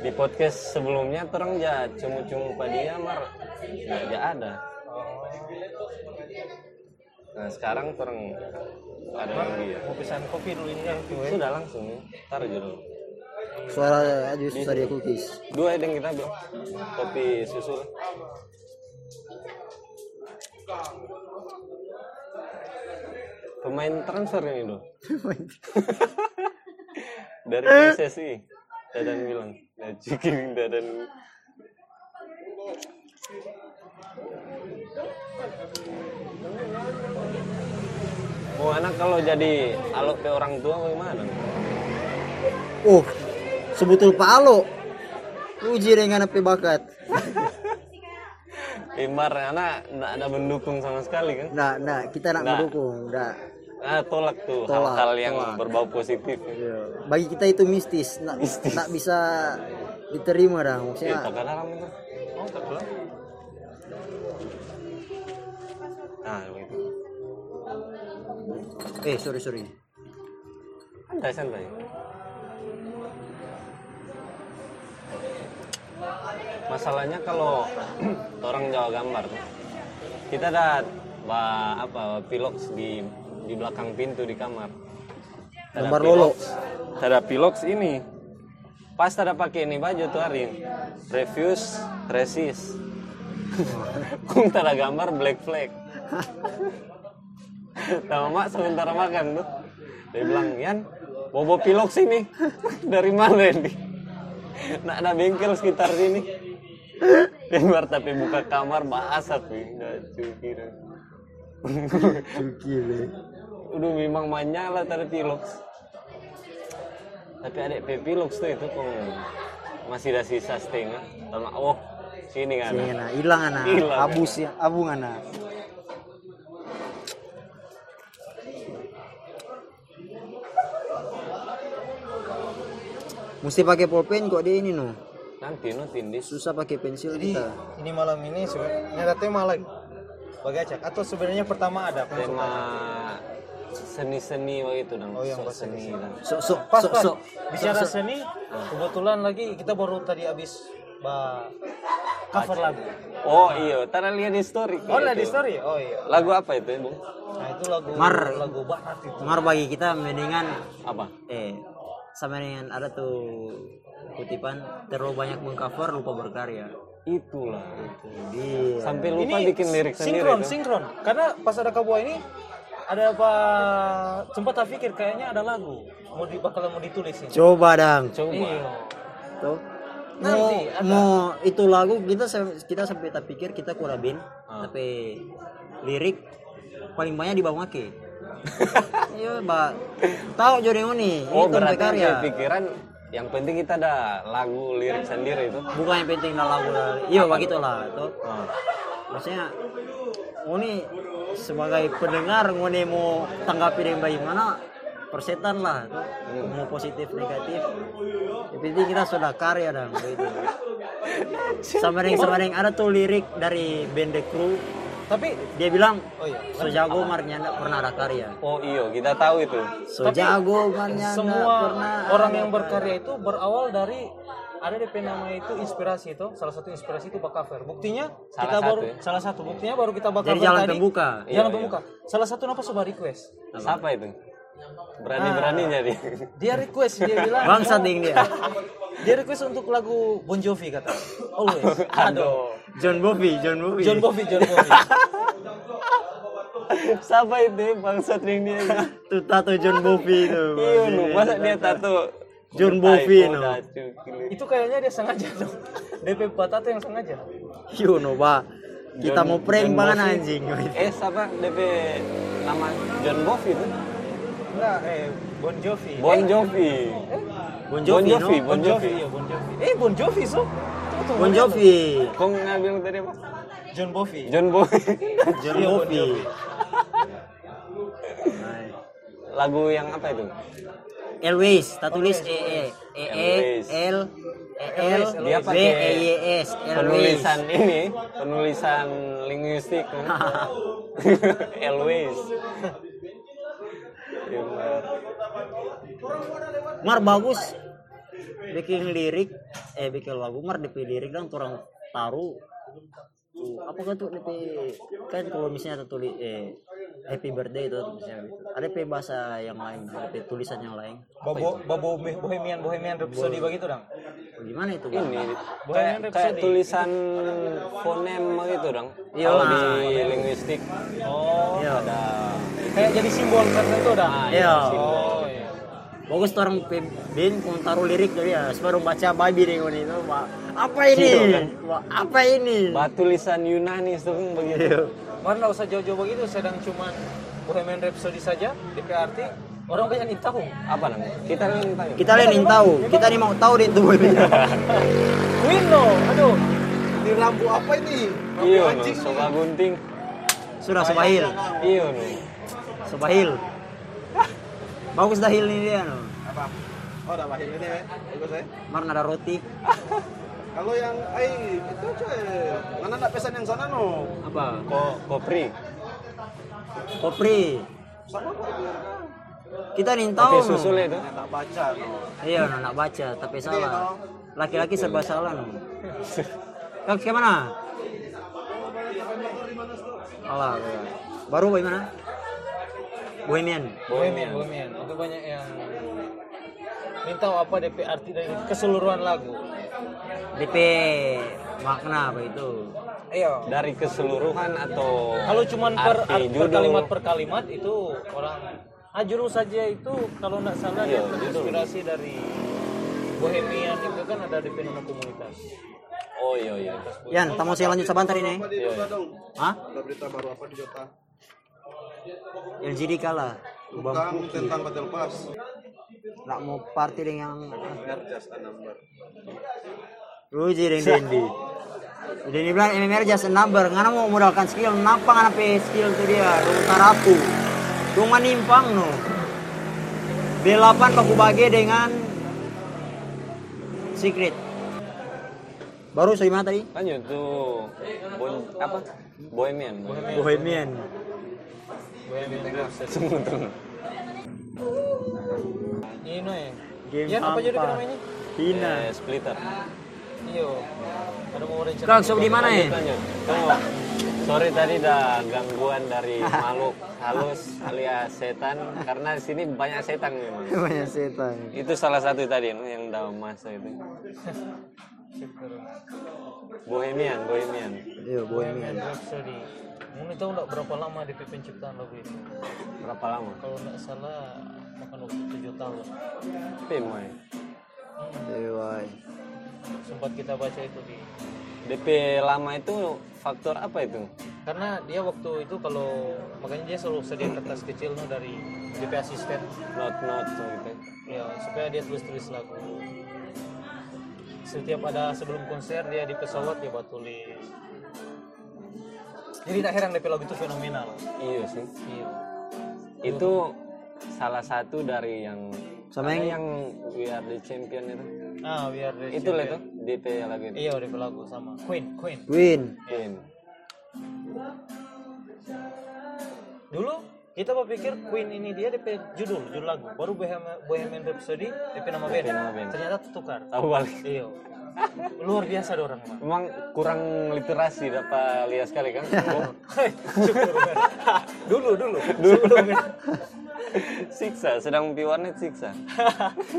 B: Di podcast sebelumnya terang ja cemu-cemu pada dia mar nggak ja ada. Nah sekarang terang ada lagi ya.
E: Mau pesan kopi dulu ini ya. cuy.
B: Sudah langsung ya. Ntar aja dulu.
C: Suara aja susah dia cookies.
B: Dua yang kita bilang kopi susu. lah. Pemain transfer ini loh. Dari PSSI. Dadan bilang. Nah, cikin Dadan. Mau anak kalau jadi alok ke orang tua bagaimana?
C: Oh, sebutul Pak Alo. Uji dengan apa bakat.
B: Imar anak nggak ada mendukung sama sekali kan?
C: Nah, nah, kita nak
B: Nah.
C: mendukung. Nah,
B: Ah, tolak tuh
C: Tolak,
B: hal-hal yang
C: tolak.
B: berbau positif.
C: Iya. bagi kita itu mistis. Nak, nak bisa diterima dah. Maksudnya,
E: Iya,
B: Kita dalam itu.
E: Oh, kedua.
B: Nah, begitu.
C: eh sorry sorry.
B: Santai, santai. Masalahnya kalau orang Jawa gambar tuh, kita ada ba, apa pilox di di belakang pintu di kamar. Ada
C: Gambar
B: pilox.
C: lolo.
B: Ada pilox ini. Pas ada pakai ini baju tuh hari. Refuse, resist. Kung ada gambar black flag. Sama mak sebentar makan tuh. Dia bilang, Yan, bobo pilok sini. Dari mana ini? Nak ada bengkel sekitar sini. Keluar tapi buka kamar bahasa tuh. Nggak cukiran.
C: Cukil deh.
B: Udah memang manyala tadi pilok. Tapi adik pe pilok tuh itu kok masih ada sisa setengah. Tama, oh sini kan.
C: Jangan nah, hilang anak.
B: Hilang.
C: Abus ya, abung anak. mesti pakai pulpen kok dia ini no
B: nanti no tindis
C: susah pakai pensil
E: Jadi
C: kita
E: ini malam ini sebenarnya ada tema lagi bagacak atau sebenarnya pertama ada
B: tema
E: konsultasi.
B: seni-seni waktu itu dan
E: Oh, yang
B: sok
E: bahasa
B: seni kan?
E: Indonesia.
B: dan
C: sok sok
E: Pas,
C: sok
E: pas.
C: sok
E: bicara seni kebetulan lagi kita baru tadi habis bah, cover lagu
B: oh iya tara lihat di story
E: oh
B: itu.
E: di story oh iya
B: lagu apa itu bu
E: nah itu lagu
C: Mar.
E: lagu banget itu
C: mar bagi kita mendingan
B: apa
C: eh sama dengan ada tuh kutipan terlalu banyak mengcover lupa berkarya Gitu. Iya.
B: itulah
C: jadi
B: sampai lupa bikin lirik sendiri
E: sinkron
B: tuh.
E: sinkron karena pas ada kabua ini ada apa sempat tak pikir kayaknya ada lagu mau di bakal mau ditulis ini
C: coba dang
B: coba
E: Iya.
C: tuh Gitu. mau,
E: Nanti ada.
C: mau itu lagu kita sam- kita sampai tak pikir kita kurang bin
B: Ah.
C: tapi lirik paling banyak di bawah ke iya mbak tahu jadi
B: oh
C: ini ini tempe
B: berarti
C: karya
B: ada pikiran yang penting kita ada lagu lirik sendiri itu
C: bukan yang penting lah lagu lah. iya begitulah tuh
B: Ah.
C: maksudnya ini sebagai pendengar ini mau tanggapi dengan bagaimana persetan lah tuh.
E: Hmm.
C: mau positif negatif yang penting kita sudah karya dan begitu sama dengan sama dengan ada tuh lirik dari band The Crew
E: tapi
C: dia bilang
E: oh iya
C: so jago marnya nggak pernah ada karya
B: oh iya kita tahu itu
C: so jago marnya nggak
E: semua
C: pernah
E: orang yang berkarya itu berawal dari ada DP nama itu inspirasi itu salah satu inspirasi itu bak cover buktinya
B: Salah
E: kita
B: satu
E: baru
B: ya?
E: salah satu buktinya baru kita bak
C: dari
E: cover
C: jalan
E: tadi.
C: terbuka
E: jalan
B: Iya,
E: pembuka salah satu apa coba request
B: siapa itu berani-berani jadi
E: dia request dia bilang
C: bangsa ding dia
E: dia request untuk lagu Bon Jovi kata always
B: aduh
C: John Bobby John Bobby
E: John Bovi John Bovi
B: siapa itu bangsat yang dia itu?
C: tuh tato John Bobby itu
B: Iya, lu masa dia tato
C: John
B: Tai,
C: Bovino.
B: Koda, cukili.
E: itu kayaknya dia sengaja dong DP Batato yang sengaja
C: Yo Iya, no ba. Kita
B: John-
C: mau prank
B: John
C: banget
B: Bovi.
C: anjing.
B: Eh, siapa DP nama John Bovi itu?
E: enggak eh Bon Jovi Eh,
B: Bon Jovi.
C: Bon
B: Bon
C: Jovi.
B: Jovi,
C: no?
B: Bon Jovi.
E: iya Bon Jovi eh Bon Jovi so Tuh, tuh,
C: Bon
E: mana?
C: Jovi.
B: Kok nggak bilang tadi apa?
E: John Bovi
B: John Bovi.
C: John
E: Iya, Bon
C: Bovi.
E: Jovi.
B: Lagu yang apa itu?
C: Elwes, tak tulis E E E
B: Elwes.
C: E L E L
B: Dia
C: B
B: pakai
C: E Y S Elwes.
B: Penulisan ini, penulisan linguistik. Elwes. Iya, Mar.
C: Mar bagus. Bikin lirik, eh bikin lagu Mar DP lirik dan orang taruh Tuh, apa kan tuh DP kan kalau misalnya ada tulis eh happy birthday itu misalnya gitu. ada DP bahasa yang lain DP tulisan yang lain
E: Bobo, Bobo Bohemian Bohemian Rhapsody begitu dong.
C: gimana itu Bang?
B: Ini
E: Bohemian
B: kayak, kayak
E: Rhapsody.
B: tulisan fonem gitu dong.
C: Iya,
B: Kalau
C: Mas.
B: di linguistik
E: Oh,
C: Iya.
E: kayak jadi simbol kan, karena itu dong.
C: Iya.
E: Oh, iya.
C: Bagus tuh orang pimpin mau taruh lirik jadi ya sebelum baca babi nih gua nih tuh, Pak. Apa ini?
B: Gitu kan?
C: Pak, Apa ini?
B: Bah, tulisan Nah, Yunani itu kan begitu.
C: Iya.
E: Mana nggak usah jauh-jauh begitu, sedang cuman Bohemian Rhapsody saja di PRT orang banyak yang tahu.
B: Apa namanya? Kita minta ya.
C: Kita lihat nih tahu, kita nih mau tahu nih tuh.
E: Queen loh, aduh.
F: Ini rambu apa ini? Rambu
B: Iya, no.
F: anjing.
B: Soba gunting.
C: Sudah Subahil,
B: Iya, no.
C: Subahil. Bagus dahil nih dia no.
F: Apa? Oh, udah bahil ini ya. Bagus ya.
C: Mar ada roti.
F: Kalau yang ai itu cuy. Mana nak pesan yang sana no?
C: Apa?
B: Ko kopri.
C: Kopri.
F: Sama kok.
C: Kita nih
B: Pakai
C: tahu. no.
B: susul ya. itu.
F: Yang tak baca no.
C: Iya, no, nak baca tapi salah.
F: no.
C: Laki-laki serba salah no. Kau gimana? Alah, gua. baru bagaimana? Bohemian.
E: Bohemian, Bohemian. Itu banyak yang minta apa DP arti dari keseluruhan lagu.
C: DP makna apa itu?
E: Iya.
B: Dari keseluruhan atau
E: Kalau cuman per,
B: arti
E: arti, per
B: judul?
E: kalimat per kalimat itu orang Ah judul saja itu kalau nggak salah
B: Iya,
E: dia terinspirasi dari Bohemian itu kan ada DP nama komunitas.
B: Oh, iya, iya.
C: Yan, tamu saya lanjut sebentar ini.
F: Apa di Jota dong?
C: Hah?
F: Ada berita baru apa di Jota?
C: LGD kalah.
F: Bukan
C: Bang Puki.
F: tentang battle pass.
C: Nak mau party dengan yang
F: Benar just a number.
C: Ruji dengan Dendi. Dendi bilang MMR just a number, ngana mau modalkan skill, kenapa ngana pe skill tuh dia, dong tarapu. Dong nimpang no. B8 baku bagi dengan Secret. Baru saya mana tadi?
B: Lanjut tuh. Bon- apa? Bohemian. Bohemian.
C: Bohemian.
B: Semua tuh.
E: Ini no ya.
C: Game
E: Yan, apa jadi
C: sampah.
E: nama ini?
C: Hina.
B: Eh, splitter.
E: Iyo. Ada mau ada cerita.
C: Kang, sob di mana ya?
E: Iya.
B: Lanjut. Tunggu. Sorry tadi ada gangguan dari makhluk halus alias setan karena di sini banyak setan memang.
C: Banyak setan.
B: Itu salah satu tadi yang udah masuk itu. Bohemian, Bohemian.
C: Iya, Bohemian.
E: Rhapsody. Mungkin tahu nggak berapa lama DP penciptaan lagu itu?
B: Berapa lama?
E: Kalau nggak salah makan waktu tujuh tahun.
B: Pim, woy.
C: Iya, woy.
E: Sempat kita baca itu di.
B: DP lama itu faktor apa itu?
E: Karena dia waktu itu kalau makanya dia selalu sedia kertas kecil no, dari DP asisten.
B: Not not gitu.
E: Ya supaya dia tulis tulis lagu. Setiap ada sebelum konser dia di pesawat dia buat tulis. Jadi tak heran DP lagu itu fenomenal.
B: Iya sih.
E: Iya.
B: Itu salah satu dari yang ada
C: Sama yang-
B: yang We Are the Champion itu.
E: Ah, biar
B: Itu lah itu DP lagi itu.
E: Iya, DP lagu sama Queen, Queen.
C: Queen.
B: Pim.
E: Dulu kita berpikir Queen ini dia DP judul, judul lagu. Baru Bohemian, Bohemian Rhapsody DP nama band.
B: nama band.
E: Ternyata tukar.
B: Tahu balik.
E: Iya. Luar biasa ada orang mah.
B: Memang kurang literasi dapat lihat sekali kan?
E: Dulu, dulu.
B: Dulu. siksa, sedang piwarnet siksa.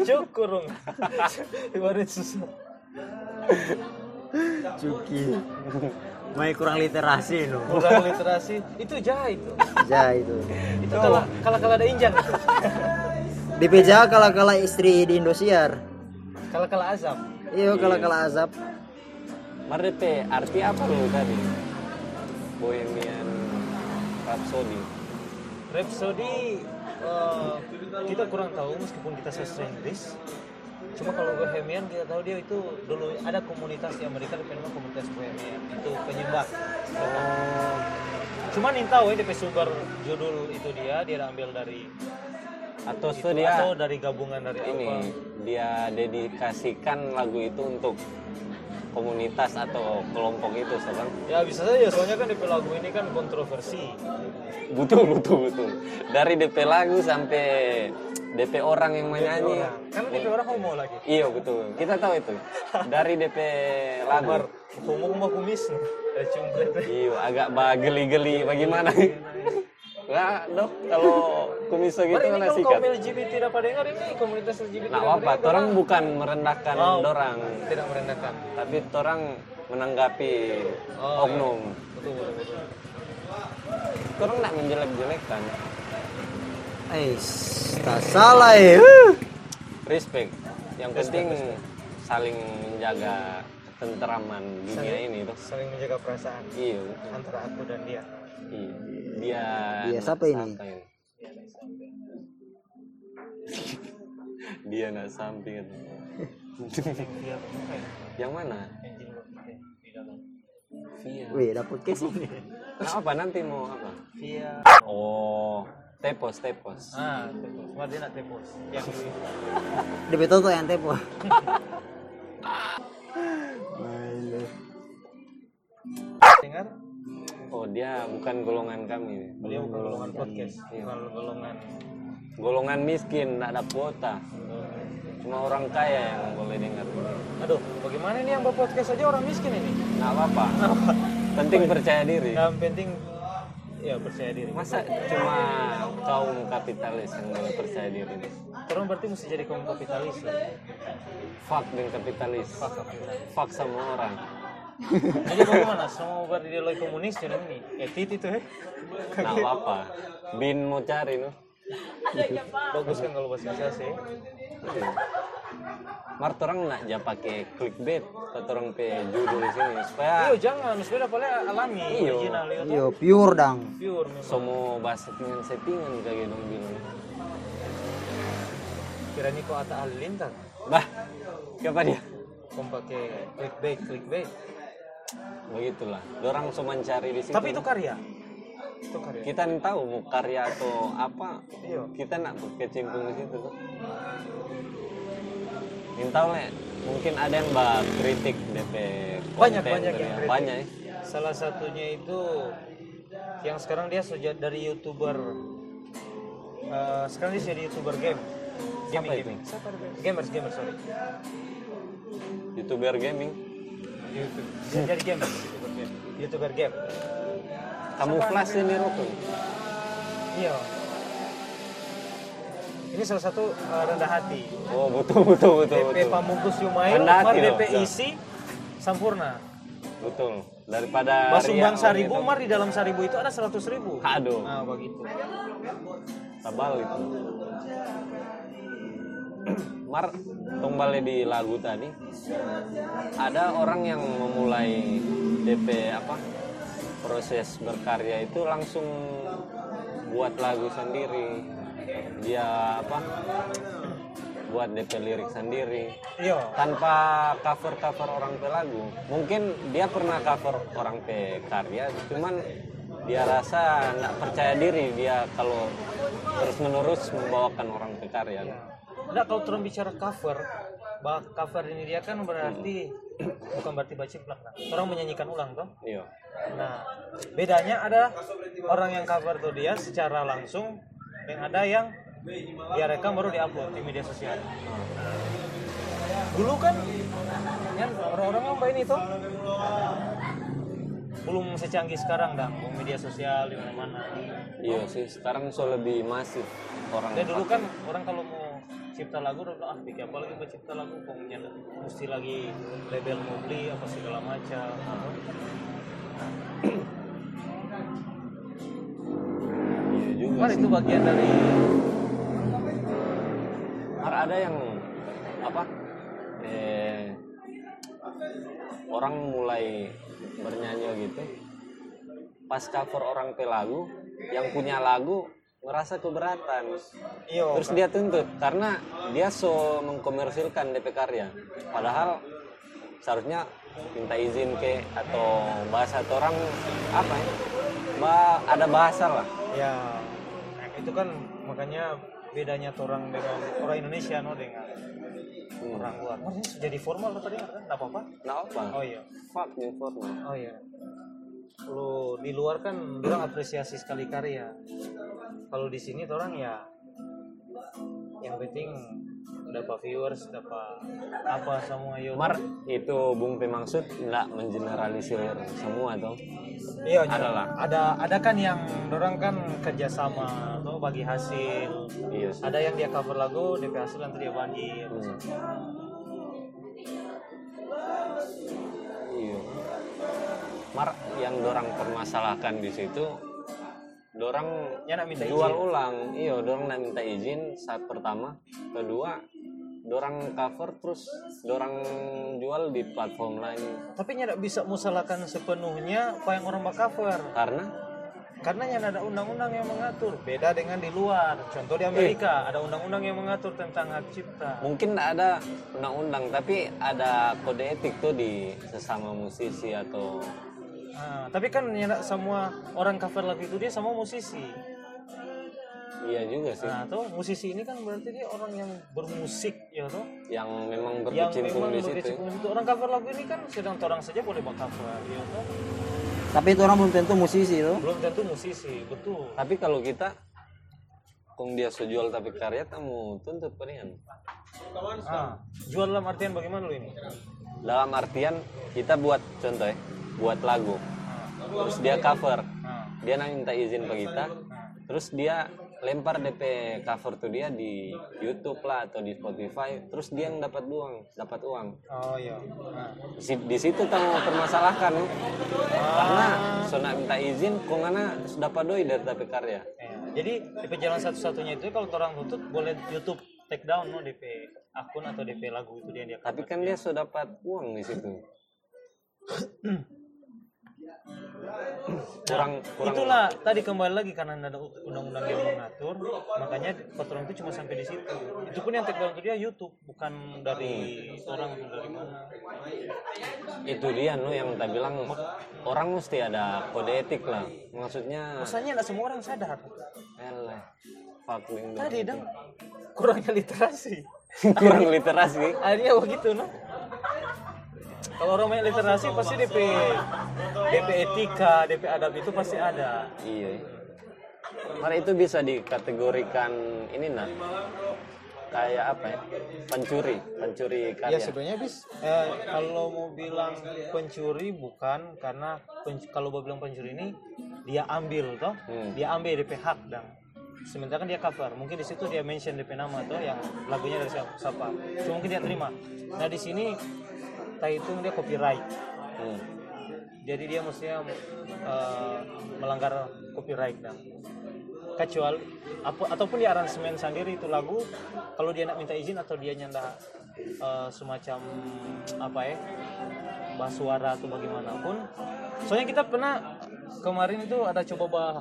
E: Syukur, Rung. Ibarat susah.
C: Cuki. Mai kurang literasi no.
E: Kurang literasi. Itu jahat itu.
C: Ja itu.
E: Itu kalau kalau kalau ada injang itu.
C: DP Ja kala-kala istri di Indosiar.
E: Kalau kalau azab.
C: Iya, kala-kala azab.
B: Mardepe, eh, arti apa lu tadi? Bohemian Rhapsody.
E: Rhapsody eh, kita kurang tahu meskipun kita sastra Inggris. Cuma kalau Bohemian kita tahu dia itu dulu ada komunitas di Amerika di namanya komunitas Bohemian itu penyembah. Oh. Cuman intau ya DP Sugar judul itu dia dia ambil dari
B: Atau
E: itu,
B: dia
E: atau dari gabungan dari
B: ini
E: apa?
B: dia dedikasikan lagu itu untuk komunitas atau kelompok itu sekarang
E: Ya bisa saja soalnya kan DP lagu ini kan kontroversi.
B: butuh butuh butuh dari DP lagu sampai DP orang yang menyanyi
E: Iya. Karena DP orang homo lagi.
B: iya betul kita tahu itu dari DP lagu
E: Homo homo kumis nih. Ya, cumpret.
B: iya agak bageli-geli bagaimana Nah, dok, kalau komisi gitu
E: Mari ini
B: mana
E: kalau
B: sikat?
E: kaum LGBT dapat dengar ini komunitas LGBT
B: Nah,
E: dapat
B: apa?
E: dengar.
B: Torang bukan merendahkan
E: Oh.
B: dorang,
E: tidak merendahkan
B: tapi torang menanggapi
E: Oh,
B: oknum.
E: betul betul, betul.
B: Torang nak kan? menjelek-jelekkan.
C: Eh, tak salah ya. Huh.
B: Respect. Yang penting saling menjaga tenteraman dunia ini tuh.
E: saling menjaga perasaan
B: Iya, betul.
E: antara aku dan dia
B: Iya. Dia
C: Dia
B: nak
C: siapa ini?
B: Dia nak samping. Yang mana? Via.
C: Wih, dapet kes ini.
B: Nah, apa nanti mau apa?
E: via
B: Oh, tepos tepos.
E: ah tepos cuma dia nak tepos yang
C: DP Toto yang tepo. Malu.
E: dengar
B: Oh, dia bukan golongan kami.
E: dia bukan golongan podcast
B: Iya.
E: bukan golongan
B: Golongan miskin, tidak ada kuota. Cuma orang kaya yang boleh dengar.
E: eh, aduh bagaimana ini yang buat podcast aja orang miskin ini
B: Nggak apa-apa.
E: Iya.
B: Penting percaya diri.
E: yang penting ya percaya diri
B: Masa cuma kaum kapitalis yang boleh percaya diri?
E: orang berarti mesti jadi kaum kapitalis lah
B: Fuck dengan kapitalis. Fuck, sama orang.
E: jadi bagaimana semua berideologi komunis jadi ini etit itu ya
B: Nggak apa-apa. Bin mau cari no.
E: bagus kan kalau bahasa Indonesia sih
B: Mar orang nak ja pakai clickbait atau orang pe judul sini supaya
E: Iyo Iya, jangan, sepeda paling alami,
B: Iyo.
E: original iyo toh.
C: Yo, Iya, pure dang.
E: Pure memang.
B: semua bahasa dengan settingan kayak gitu, dong bilang.
E: Kiranya kok ata ahli lintar,
B: Bah, siapa dia?
E: kau pakai clickbait, clickbait.
B: Begitulah. Orang cuma cari di situ.
E: Tapi itu karya. Itu karya.
B: kita nih tahu mau karya atau apa
E: Iya.
B: kita nak berkecimpung di situ tuh minta oleh mungkin ada yang bah kritik DP konten
E: Banyak, banyak
B: dari-
E: yang kritik.
B: banyak ya.
E: Salah satunya itu yang sekarang dia sejak dari youtuber eh, sekarang dia jadi youtuber game. Gaming,
B: itu?
E: gaming. Gamers, gamers, sorry.
B: youtuber gaming
E: YouTube. Dia jadi gamers, youtuber game. Youtuber game.
B: kamuflase ini rokok
E: Iya. Ini salah satu eh, rendah hati.
B: oh betul betul betul
E: DP
B: betul Nah.
E: Pamungkus Yumail,
B: Rendah
E: Umar
B: hati loh,
E: DP
B: betul.
E: isi sempurna.
B: betul daripada
E: Basumbang
B: Ria,
E: seribu,
B: begitu.
E: Umar di dalam seribu itu ada seratus ribu.
B: aduh
E: Nah, begitu.
B: tabal itu Mar kembali di lagu tadi ada orang yang memulai DP apa proses berkarya itu langsung buat lagu sendiri dia apa buat DP lirik sendiri
E: Iya.
B: tanpa cover cover orang pe lagu mungkin dia pernah cover orang pe karya cuman dia rasa nggak percaya diri dia kalau terus menerus membawakan orang pe karya
E: Nah, kalau turun bicara cover, bah cover ini dia kan berarti
B: Hmm.
E: bukan berarti baca plak nah. Orang menyanyikan ulang toh.
B: iya
E: Nah, bedanya ada orang yang cover tuh dia secara langsung dan ada yang dia rekam baru diupload di media sosial. Dulu kan yang orang-orang yang main itu belum secanggih sekarang dong media sosial di mana-mana.
B: iya sih sekarang so lebih masif orang
E: Dan dulu kan orang kalau mau cipta lagu udah bilang, ah pikir apa lagi buat cipta lagu kok nyana- mesti lagi label mau beli apa segala macam.
B: iya juga
E: Kan
B: sih.
E: itu bagian dari
B: Mar ada yang apa? Eh, orang mulai bernyanyi gitu. Pas cover orang ke lagu, yang punya lagu merasa keberatan. Terus dia tuntut karena dia so mengkomersilkan DP karya. Padahal seharusnya minta izin ke atau bahasa atau orang apa ya? Ba- ada bahasa lah.
E: ya itu kan makanya bedanya tuh orang dengan orang Indonesia no dengan orang luar. Oh, ini jadi formal lo tadi kan? Enggak apa-apa.
B: Nah apa?
E: Oh iya.
B: Fuck informal.
E: Oh iya. Kalau di luar kan orang apresiasi sekali karya. Kalau di sini tuh orang ya yang penting dapat viewers, dapat apa semua yuk.
B: Mar itu Bung P maksud nggak mengeneralisir semua dong.
E: iya,
B: ada
E: ada
B: lah.
E: Ada ada kan yang orang kan kerjasama atau bagi hasil.
B: Iya sih.
E: Ada yang dia cover lagu, dia hasil nanti dia bagi.
B: Hmm. Iya. Mar yang dorang permasalahkan di situ dorang
E: Ya nak minta
B: jual
E: izin.
B: ulang. Iya, dorang nak minta izin saat pertama, kedua dorang cover terus dorang jual di platform lain
E: Tapi nyana bisa musalahkan sepenuhnya apa yang orang bak cover.
B: karena
E: Karena yang ada undang-undang yang mengatur, beda dengan di luar. Contoh di Amerika,
B: Eh.
E: ada undang-undang yang mengatur tentang hak cipta.
B: mungkin nggak ada undang-undang tapi ada kode etik tuh di sesama musisi atau
E: Ah, tapi kan yang ada semua orang cover lagu itu dia sama musisi.
B: iya juga sih
E: Nah, tuh musisi ini kan berarti dia orang yang bermusik, ya toh.
B: yang memang
E: Yang
B: berkecimpung
E: memang
B: di situ ya.
E: berkecimpung itu orang cover lagu ini kan sedang orang saja boleh buat cover, ya toh.
C: tapi itu orang belum tentu musisi itu
E: Belum tentu musisi, betul.
B: Tapi kalau kita kong dia sejual tapi karya tamu tuntut palingan.
E: Ah, jual dalam artian bagaimana lu ini?
B: Dalam artian kita buat contoh ya, buat lagu. Terus dia cover. Dia nang minta izin ke kita. Terus dia lempar DP cover tuh dia di YouTube lah atau di Spotify. Terus dia yang dapat uang, dapat uang.
E: Oh iya. Nah.
B: Di si- Di situ tamu permasalahkan. ya. Karena sona minta izin kong ana dapat doi dari tapi karya.
E: Ya, jadi DP jalan satu-satunya itu kalau orang tutup boleh YouTube take down no DP akun atau DP lagu itu dia dia
B: Tapi kan dia sudah dapat uang di situ. kurang kurang
E: Itulah tadi kembali lagi karena ada undang-undang yang mengatur, makanya peraturan itu cuma sampai di situ. Itu pun yang take down itu dia YouTube, bukan dari orang atau dari mana.
B: itu dia nu yang tak bilang orang mesti ada kode etik lah. Maksudnya
E: Rasanya tidak semua orang sadar.
B: elah, fuck, lingkungan.
E: Tadi dong kurangnya literasi.
B: kurang literasi.
E: Akhirnya begitu no. Kalau orang banyak literasi pasti DP DP etika, DP adab itu pasti ada.
B: Iya. Karena itu bisa dikategorikan ini nah kayak apa ya? Pencuri, pencuri
E: Ya
B: karya.
E: sebenarnya bis eh, kalau mau bilang pencuri bukan karena penc- kalau mau bilang pencuri ini dia ambil toh,
B: Hmm.
E: dia ambil DP hak dan sementara kan dia cover. Mungkin di situ dia mention DP nama toh yang lagunya dari siapa, siapa. Cuma mungkin dia terima. Nah di sini kita hitung dia copyright.
B: Hmm.
E: Jadi dia mestinya eh, melanggar copyright dan kecuali apa ataupun di aransemen sendiri itu lagu kalau dia nak minta izin atau dia nyanda eh, semacam apa ya bah suara atau bagaimanapun soalnya kita pernah kemarin itu ada coba bah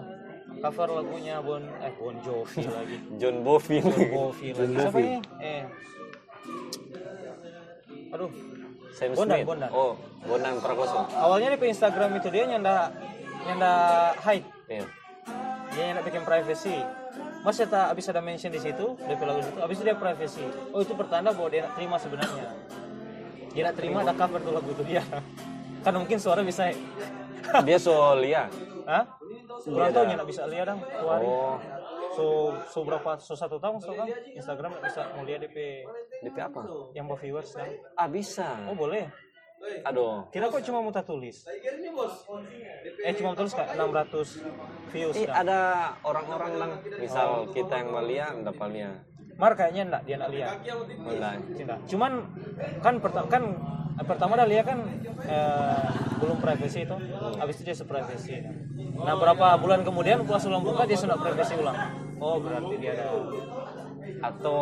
E: cover lagunya Bon eh Bon Jovi lagi
B: John Bovi.
E: Bon Jovi lagi siapa ini eh aduh
B: Sam
E: ya? Bondan,
B: Smith.
E: Bondan.
B: Oh, Bondan Prakoso.
E: awalnya di Instagram itu dia nyanda nyanda hide
B: Iya.
E: dia yang nak bikin privacy Mas tak habis ada mention di situ, DP lagu di situ, habis itu dia privacy. Oh itu pertanda bahwa dia nak terima sebenarnya. Dia nak terima ada cover tuh lagu itu dia. Karena mungkin suara bisa,
B: Dia Solia.
E: Hah? Kurang tahu nak bisa lihat dong, tuh hari.
B: Oh,
E: So, so berapa, so satu tahun, so kan Instagram nak bisa mulia DP
B: DP apa?
E: yang buat viewers kan?
B: Ah, bisa.
E: Oh boleh.
B: Aduh.
E: Kira kok cuma muta tulis? Eh cuma muta tulis kayak 600 views
B: Ini Eh,
E: kan?
B: ada orang-orang lang, misal kita yang Malia, enggak Malia.
E: Mar kayaknya enggak dia nak lihat.
B: Mulai.
E: Cinta. Cuman kan pertama kan eh, pertama dah Lia kan eh, belum privacy itu, habis itu dia seprivacy. Nah berapa bulan kemudian pas ulang buka dia sudah privacy ulang. Oh berarti dia ada. Oh,
B: Atau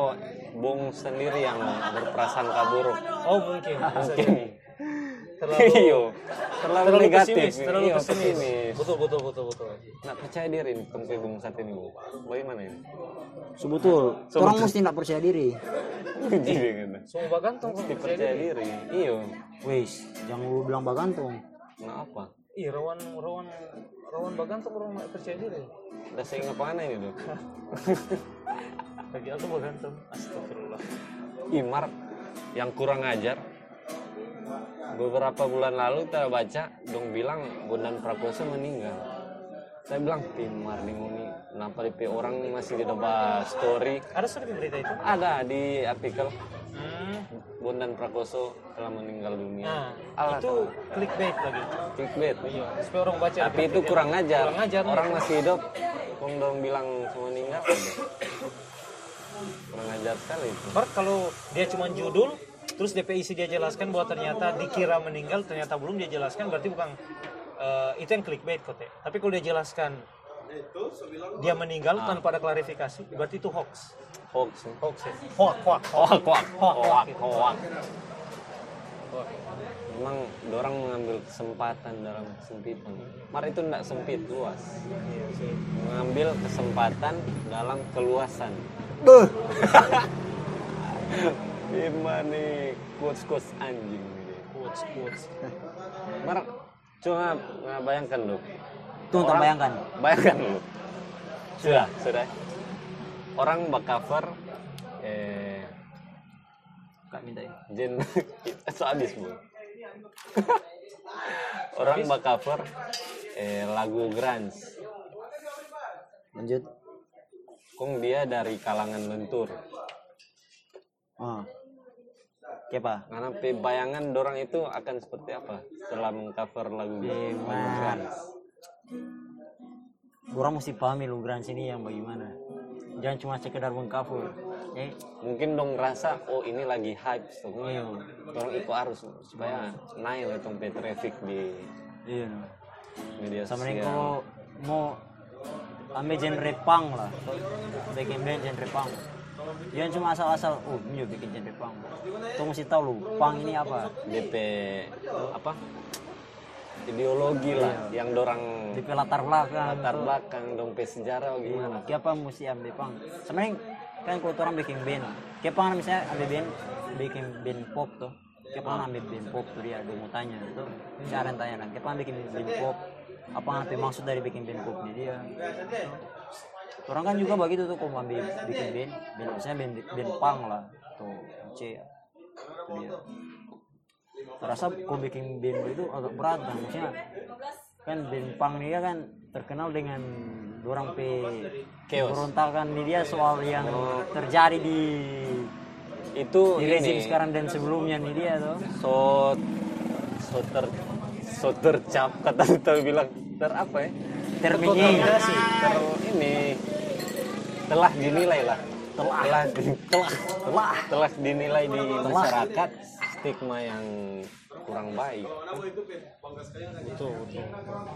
B: Bung sendiri yang berprasangka buruk.
E: Oh mungkin.
B: Mungkin.
E: Terlalu-
B: Iyo. Iya. terlalu,
E: terlalu
B: negatif.
E: pesimis, terlalu
B: Iyo,
E: pesimis.
B: pesimis.
E: Betul betul betul betul.
B: Nah, percaya diri nih, Tom Bung saat ini. Bung. Bagaimana ini?
C: Sebetul. Orang mesti tidak percaya diri.
B: Uji dengan.
E: Semua bagantung
B: Mesti percaya diri. Iya. Iyo.
C: Wis, jangan lu bilang bagantung.
B: Kenapa?
E: Ih rawan rawan rawan bagantung orang nggak percaya diri.
B: Udah saya ingat mana ini tuh?
E: Bagi aku bagantung. Astagfirullah.
B: Imar yang kurang ajar beberapa bulan lalu kita baca dong bilang Bondan Prakoso meninggal saya bilang Imar Minguni kenapa DP orang masih di depan story
E: Ada sudah berita itu.
B: ada di artikel
E: Hmm.
B: Bondan Prakoso telah meninggal dunia
E: Nah
B: Alah,
E: itu clickbait lagi.
B: clickbait
E: Iya. Supaya orang baca.
B: tapi itu kurang ajar
E: Kurang ajar.
B: orang masih hidup dong dong bilang semua meninggal aduh. kurang ajar sekali itu
E: Bar kalau dia cuma judul terus DPIC dia jelaskan bahwa ternyata dikira meninggal ternyata belum dia jelaskan berarti bukan eh, itu yang clickbait kote. Tapi kalau dia jelaskan dia meninggal
B: Ah.
E: tanpa ada klarifikasi berarti itu hoax.
B: hoax nih.
E: Hoax ya. Hoax, hoax, hoax.
B: hoax hoax
E: Hoax,
B: hoax
E: hoax.
B: hoax memang dorang mengambil kesempatan dalam kesempitan mar itu tidak sempit luas mengambil kesempatan dalam keluasan
C: Beuh.
B: gimana quotes quotes anjing ini
E: Quotes, quotes.
B: mar cuma nah, bayangkan lu
C: Tuh, tak bayangkan.
B: bayangkan lu sudah sudah orang bak cover eh
C: Kak minta ya.
B: Jen so abis bu. Orang bak cover eh, lagu grunge.
C: Lanjut.
B: Kong dia dari kalangan lentur.
C: Ah. Kepa.
B: Karena pe- bayangan dorang itu akan seperti apa setelah mengcover lagu lagu
C: Mas.
B: grunge.
C: Orang mesti pahami lu Grans ini yang bagaimana. Jangan cuma sekedar mengkafur. Ya,
B: Mungkin dong rasa oh ini lagi hype tuh.
C: Iya.
B: Dorang ikut arus supaya naik itu pe traffic di
C: iya.
B: media
C: Sama
B: sosial.
C: kau mau ambil genre punk lah. Bikin band genre punk. Jangan cuma asal-asal, oh ini juga bikin genre punk. Kau mesti tahu lu, punk ini apa.
B: DP apa ideologi
C: Iya.
B: lah yang dorang
C: Di latar belakang.
B: latar belakang dong pe sejarah oh, gimana
C: Siapa Iya. mesti ambil pang? Sebenarnya kan kalau orang bikin band, kayak pang misalnya ambil band, bikin band pop tuh. Kayak pang ambil band pop tuh dia ada mau tanya tuh. Misalnya ada yang tanya kan, kayak pang bikin band pop. Apa ngerti maksud dari bikin band popnya dia? Orang kan juga begitu tuh kalau mau ambil bikin band, band misalnya band band punk lah tuh, C. Itu dia. terasa kok Iya. bikin band itu agak berat dan maksudnya kan band punk ini kan terkenal dengan dorang pe Oh.
B: Chaos.
C: berontakan di kan, dia soal yang terjadi di
B: Itu
C: Iya. di
B: ini
C: rezim sekarang dan sebelumnya nih dia tuh
B: so so ter so tercap kata kita bilang ter apa ya?
C: terminyi
B: Ter ini telah dinilai lah telah telah di- telah telah, telah dinilai di masyarakat stigma yang kurang baik itu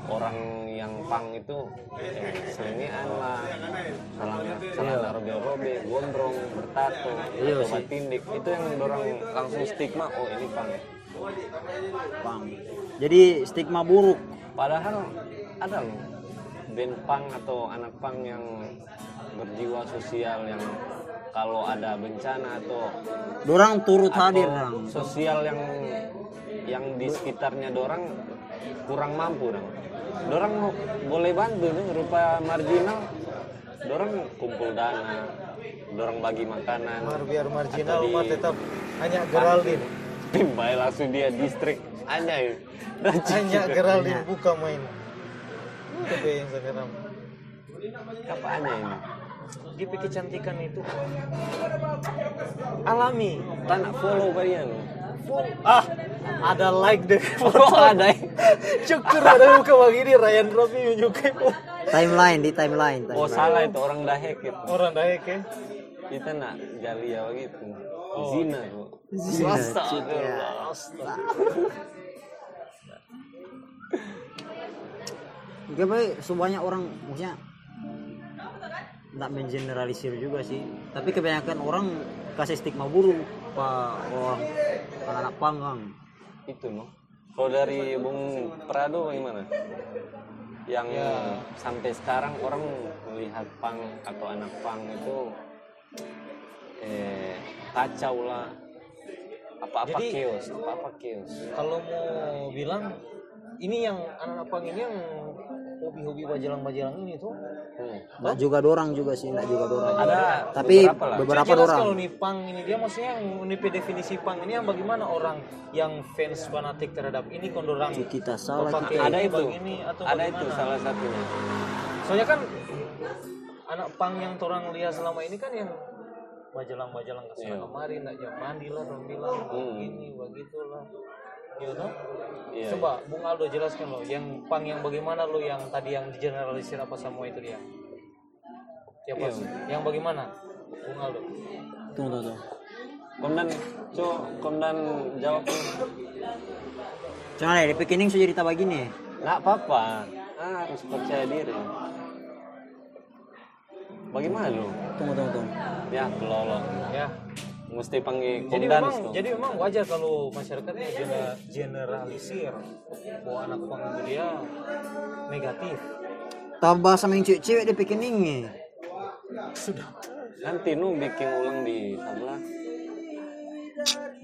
B: orang yang pang itu eh, selengean lah salah salah robe-robe gondrong bertato obat tindik itu yang orang langsung stigma oh ini pang ya
C: Pang. jadi stigma buruk
B: Padahal ada loh band punk atau anak punk yang berjiwa sosial yang kalau ada bencana atau
C: dorang turut
B: atau
C: hadir dong
B: sosial yang yang di sekitarnya dorang kurang mampu dong. Dorang mau- boleh bantu dong rupa marginal. Dorang kumpul dana, dorang bagi makanan.
E: biar marginal
B: Atau di-
E: mah tetap hanya Geraldine
B: Timbai langsung dia distrik ya? anjay.
E: hanya
B: Iya.
E: Geraldine buka main tapi Instagram
B: Apa ya, anjay ini?
G: Dia pikir cantikan itu alami.
B: Tak nak follow kalian.
E: ah ada like deh
B: Oh ada
E: syukur ada buka begini Ryan Robi menyukai
C: timeline di timeline,
B: Oh
C: timeline.
B: salah itu orang dahek itu.
E: orang daek ya
B: Kita nak gali apa gitu. Zina bu.
C: Oh. Zina, cik, ya. Gak baik, sebanyak orang maksudnya tidak mengeneralisir juga sih. Tapi kebanyakan orang kasih stigma buruk pak orang anak panggang.
B: Itu no. Kalau dari Bung Prado gimana? Yang
E: Ya.
B: sampai sekarang orang melihat pang atau anak pang itu eh kacau lah apa-apa
E: Jadi-
B: chaos, apa-apa chaos.
E: kalau mau bilang ini yang anak-anak pang ini yang hobi-hobi bajelang-bajelang ini tuh
B: Hmm.
C: Nggak juga dorang juga sih, nggak juga dorang.
B: Ada
C: Tapi
B: beberapa lah.
C: beberapa,
E: Jadi jelas
C: dorang.
E: kalau nih pang ini dia maksudnya yang unipe definisi pang ini yang bagaimana orang yang fans fanatik terhadap ini kondorang
B: Iya,
C: Kita salah.
E: Otak.
C: kita-
E: Oke,
B: Ada
E: ini
B: itu,
E: bang ini atau
B: ada itu
E: bagaimana?
B: salah satunya.
E: soalnya kan anak pang yang orang lihat selama ini kan yang majalang-majalang ke sana
B: Iya. Hmm.
E: kemari nak jam mandi lah orang bilang begini begitu lah you know?
B: Iya,
E: coba Bung Aldo jelaskan lo yang pang yang bagaimana lo yang tadi yang digeneralisir apa semua itu dia Siapa?
B: Iya.
E: yang bagaimana Bung Aldo
C: Tunggu, tunggu, tunggu.
B: Komdan, co, komdan jawab. dulu.
C: Cuman ya, di beginning sudah cerita begini.
B: Nggak apa-apa, Ah, harus percaya diri. Bagaimana lu?
C: Tunggu, tunggu, tunggu.
B: Ya, pelolok.
E: ya
B: Mesti panggil
E: jadi
B: komdan
E: memang
B: tuh.
E: jadi memang wajar kalau masyarakat gener- generalisir bahwa anak pang itu dia negatif
B: Iya.
C: Tambah sama yang cewek-cewek di beginning ya. nih.
B: Nanti nu bikin ulang di sana.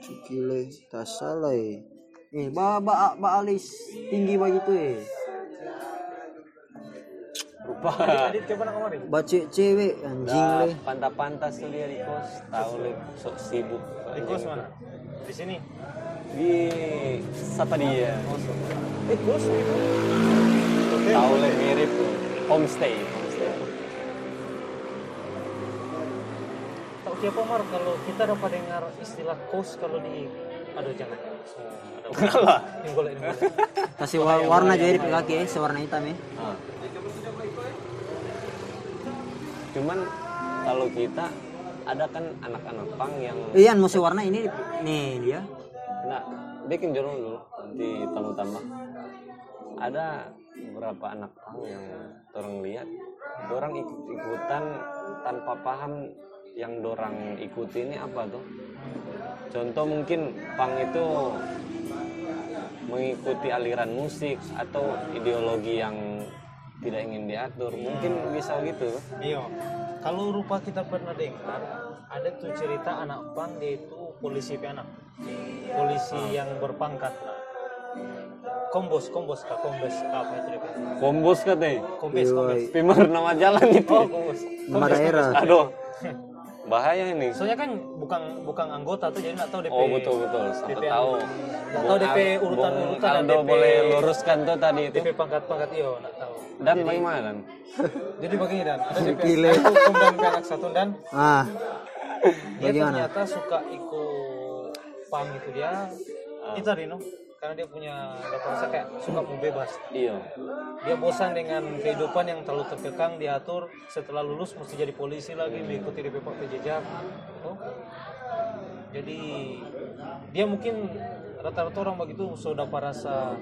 C: Cikile, tak salah eh. Eh, ba ba ba alis tinggi begitu eh.
B: Rupa
C: Ba cewek cewek anjing
B: Nah,
C: le.
B: pantas-pantas tuh dia di kos. Tahu lu sok sibuk.
E: Di kos mana? Di sini.
B: Di siapa dia?
E: Eh, kos.
B: Tahu lu mirip lu. homestay. homestay.
E: Tahu siapa Mar kalau kita dapat dengar istilah kos kalau di aduh jangan.
B: Kalah.
E: Ini boleh ini. boleh.
C: Kasih wa- warna jadi di kaki eh, sewarna hitam eh.
B: Ah. Cuman kalau kita ada kan anak-anak pang yang
C: Iyan musuh warna ini nih dia.
B: Nah, bikin jorong dulu di tamu tambah. Ada beberapa anak pang yang orang lihat, orang ikut-ikutan tanpa paham yang dorang ikuti ini apa tuh. Contoh mungkin pang itu mengikuti aliran musik atau ideologi yang tidak ingin diatur, mungkin bisa gitu.
E: Iya. Kalau rupa kita pernah dengar ada tuh cerita anak pang dia itu polisi penak. Polisi yang berpangkat. Kombos, kombos, kak, kombes, kak, apa itu? dia?
B: Kombos katanya,
E: Kombes, kombes.
B: pimar nama jalan itu.
E: Oh, kombes.
C: Nama daerah.
B: Aduh, bahaya ini
E: Soalnya kan bukan bukan anggota tuh jadi nggak tahu DP.
B: oh betul betul aku
E: DP
B: tahu
E: Iya. Nggak tahu DP urutan-urutan dan
B: Aldo
E: DP
B: boleh luruskan tuh tadi itu
E: DP pangkat-pangkat iya nggak tahu.
B: dan bagaimana
E: Jadi begini dan ada DP
C: Gile.
E: satu kemudian ke anak satu dan
C: ah
E: dia
C: Bagaimana?
E: ternyata suka ikut pam itu dia. Itu tadi no karena dia punya nggak merasa kayak suka mau bebas.
B: iya
E: Dia bosan dengan kehidupan yang terlalu terkekang diatur. Setelah lulus mesti jadi polisi lagi mengikuti DP partai jejak. Tuh. Jadi dia mungkin rata-rata orang begitu sudah dapat rasa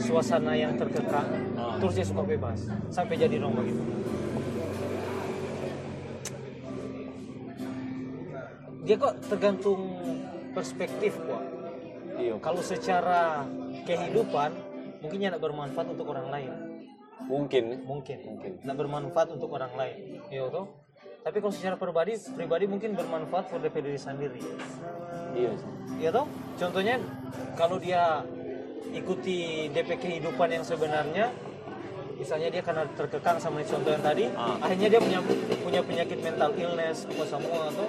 E: suasana yang terkekang terus dia suka bebas sampai jadi orang begitu dia kok tergantung perspektif kok
B: iya
E: kalau secara kehidupan mungkin tidak bermanfaat untuk orang lain
B: mungkin
E: mungkin
B: Mungkin.
E: tidak bermanfaat untuk orang lain ya toh tapi kalau secara pribadi pribadi mungkin bermanfaat untuk diri sendiri
B: iya sih.
E: ya toh contohnya kalau dia ikuti DP kehidupan yang sebenarnya misalnya dia karena terkekang sama contoh yang tadi
B: Ah.
E: akhirnya dia punya punya penyakit mental illness apa semua atau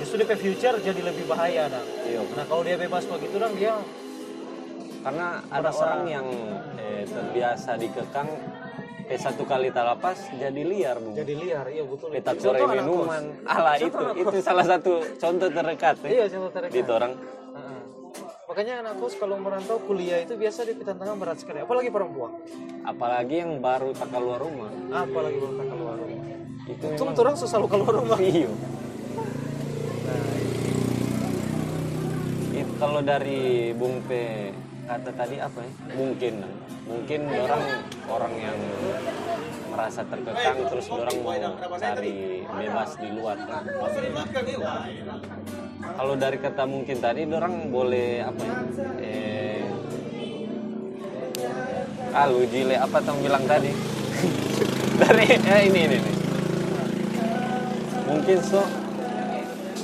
E: justru DP future jadi lebih bahaya dah
B: iya
E: nah kalau dia bebas begitu dong dia
B: karena ada
E: Merasa-
B: orang yang eh, terbiasa dikekang eh satu kali tak lepas jadi liar bu
E: jadi liar iya betul
B: kita cerai
E: Contoh anak
B: minuman
E: kos.
B: ala
E: Contoh
B: itu
E: anak
B: itu salah satu contoh terdekat ya.
E: iya contoh terdekat
B: gitu orang
E: Heeh. makanya anak kos kalau merantau kuliah itu biasa di tantangan berat sekali apalagi perempuan
B: apalagi yang baru tak keluar rumah
E: apalagi perempuan keluar rumah
B: itu
E: untung
B: memang
E: orang susah lu keluar rumah
B: Iya. It- Nah, kalau dari Bung P kata tadi apa ya? Mungkin, Nang. mungkin orang orang yang merasa terkekang terus orang mau cari bebas di luar. Nang. Kalau dari kata mungkin tadi, orang boleh apa ya? Eh, kalau jile apa tong bilang tadi? dari eh, ini ini. ini mungkin so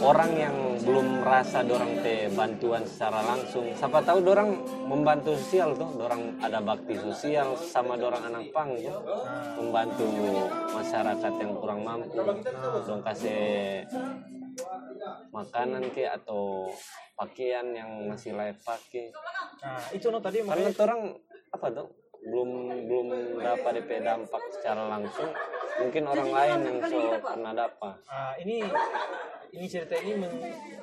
B: orang yang belum merasa dorang teh bantuan secara langsung siapa tahu dorang membantu sosial tuh dorang ada bakti sosial sama dorang anak pang tuh membantu masyarakat yang kurang mampu dong kasih makanan ke atau pakaian yang masih layak pakai
E: Nah, itu no tadi
B: karena
E: makanya
B: tuh orang apa tuh belum belum dapat DP dampak secara langsung mungkin orang lain yang so pernah dapat
E: ah, ini ini cerita ini men,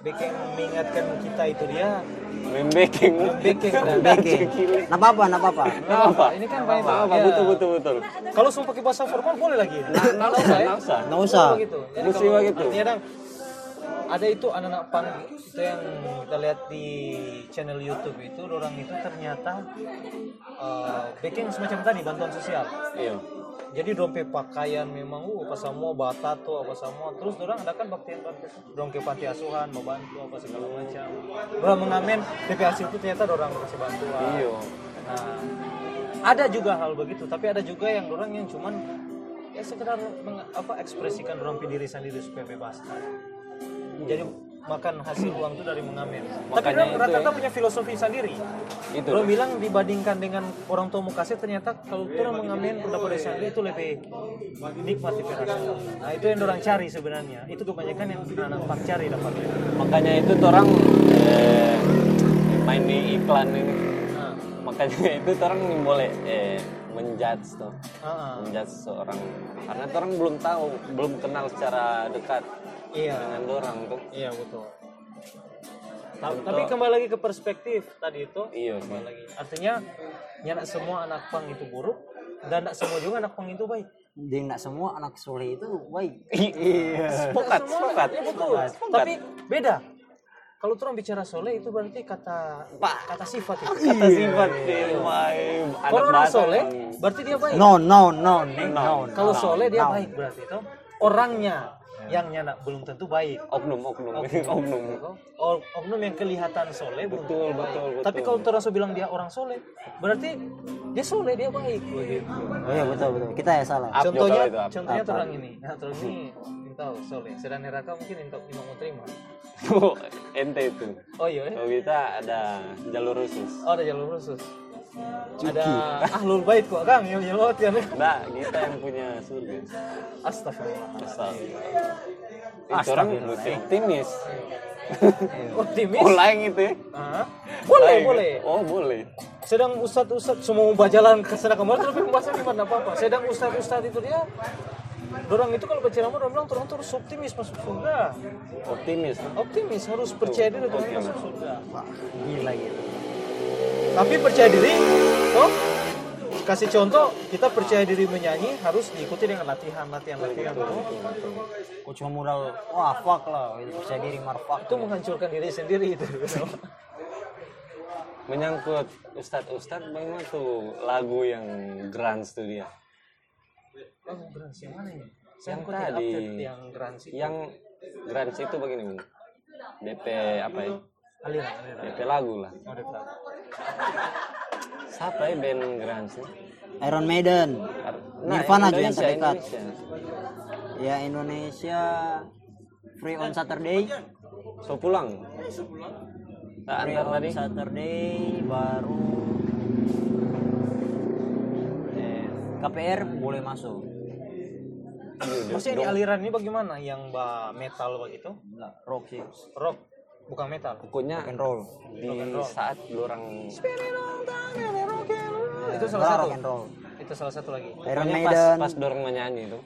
E: bikin mengingatkan kita itu dia
B: Membeking.
E: bikin dan
C: beke nggak apa-apa nggak apa-apa
B: Nah, apa?
E: ini kan banyak
B: Apa, apa?
E: ya.
B: Betul, betul, betul.
E: kalau semua pakai bahasa formal boleh lagi
B: Nah, nah, usah, nah, usah.
C: nggak usah
E: Oh, gitu jadi
B: Mesti
E: kalau
B: begitu.
E: artinya dang ada itu anak-anak pang itu yang kita lihat di channel YouTube itu orang itu ternyata eh, bikin semacam tadi bantuan sosial
B: Iya.
E: jadi dompet pakaian memang uh apa semua bata tuh apa semua terus orang ada kan bakti dompet panti asuhan membantu apa segala macam orang mengamen DP hasil itu ternyata orang kasih bantuan
B: Iya.
E: nah ada juga hal begitu tapi ada juga yang orang yang cuman ya sekedar meng- apa ekspresikan orang punya diri sendiri supaya bebas jadi makan hasil uang itu dari mengamen tapi
B: Makanya
E: orang
B: itu
E: rata-rata
B: ya.
E: punya filosofi sendiri
B: Itu.
E: Orang bilang dibandingkan dengan orang tua mau kasih ternyata kalau orang mengamen pendapat dari sendiri itu lebih nikmat di perasaan. Nah itu yang orang cari sebenarnya. Itu kebanyakan yang anak pak cari dapatnya.
B: Makanya itu tuh orang eh, main di iklan ini.
E: Nah,
B: Makanya itu tuh orang yang boleh eh, menjudge tuh.
E: ah, ah.
B: Menjudge seorang. Karena tuh orang belum tahu, belum kenal secara dekat
E: iya,
B: dengan orang tuh.
E: iya betul. Ta- Tapi kembali lagi ke perspektif tadi itu.
B: Iya sih.
E: Kembali lagi. Artinya nyanak semua anak pang itu buruk dan tidak semua juga anak pang itu baik.
C: jadi nggak semua anak soleh itu baik
B: Spokat, spokat.
E: Betul. Tapi beda. Kalau orang bicara soleh itu berarti kata kata sifat itu.
B: kata sifat eh, main. Anak
E: Kalau orang
B: bahasa
E: soleh
B: kan.
E: berarti dia baik.
C: no no no no, no.
E: Kalau soleh dia baik berarti itu orangnya yang nyana belum tentu baik.
B: oknum oknum oknum
E: Or- Oknum yang kelihatan soleh belum
B: Betul,
E: tentu baik.
B: betul, betul.
E: Tapi kalau terasa bilang dia orang soleh, berarti dia soleh dia baik. begitu.
C: oh iya betul betul kita ya salah
B: Up juga
E: Contohnya,
B: itu, up.
E: contohnya
C: Up, up.
E: orang ini. Nah, orang ini intau soleh. Sedang neraka mungkin intau imam mau terima.
B: Tuh, ente itu
E: Oh iya. eh.
B: kalau kita ada jalur khusus
E: Oh ada jalur khusus. ada ahlul bait kok kang yang nyelot ya
B: Enggak, kita yang punya surga.
E: astagfirullah
B: Astagfirullah. Ih, orang mesti optimis.
E: Iya. optimis
B: Mulai gitu ya.
E: Hah? boleh
B: Lain.
E: boleh
B: Oh, boleh.
E: sedang ustad ustad semua ubah jalan ke sana kemarin tapi pembahasan di mana apa apa sedang ustad ustad itu dia orang itu kalau berceramah orang bilang orang tuh harus optimis masuk surga
B: Optimis.
E: optimis harus percaya diri untuk
B: Optimis.
E: masuk surga
C: gila gitu
E: tapi percaya diri toh kasih contoh kita percaya diri menyanyi harus diikuti dengan latihan latihan latihan
C: kok cuma modal wah fuck lah gitu. percaya diri marfak
E: itu menghancurkan diri sendiri itu
B: Menyangkut ustad-ustad banyak tuh lagu yang grand tuh dia.
E: Oh, Grans yang mana ini? Saya
B: Yang
E: yang tadi
B: tadi.
E: update yang Grans itu.
B: Yang grand itu begini, Bung. DP apa ya?
E: aliran aliran.
B: DP lagu lah.
E: Oh, dia tahu.
B: Siapa ya band grand sih?
C: Iron Maiden Nirvana aja yang
B: Indonesia,
C: terdekat
B: Indonesia.
C: ya Indonesia free on Saturday
B: So pulang. Tak
C: free
B: antar
C: on
B: tadi.
C: Saturday baru eh, KPR boleh masuk
B: Iya,
E: Maksudnya ini aliran ini bagaimana? Yang bah metal begitu?
C: Enggak, rock sih
E: Rock, bukan metal.
B: Pokoknya
C: rock and roll
B: di saat orang
E: itu
C: Enggak,
E: salah satu.
C: rock and roll
E: Itu salah satu lagi.
C: Iron
B: Pokoknya pas
C: Maiden
B: pas dorong menyanyi itu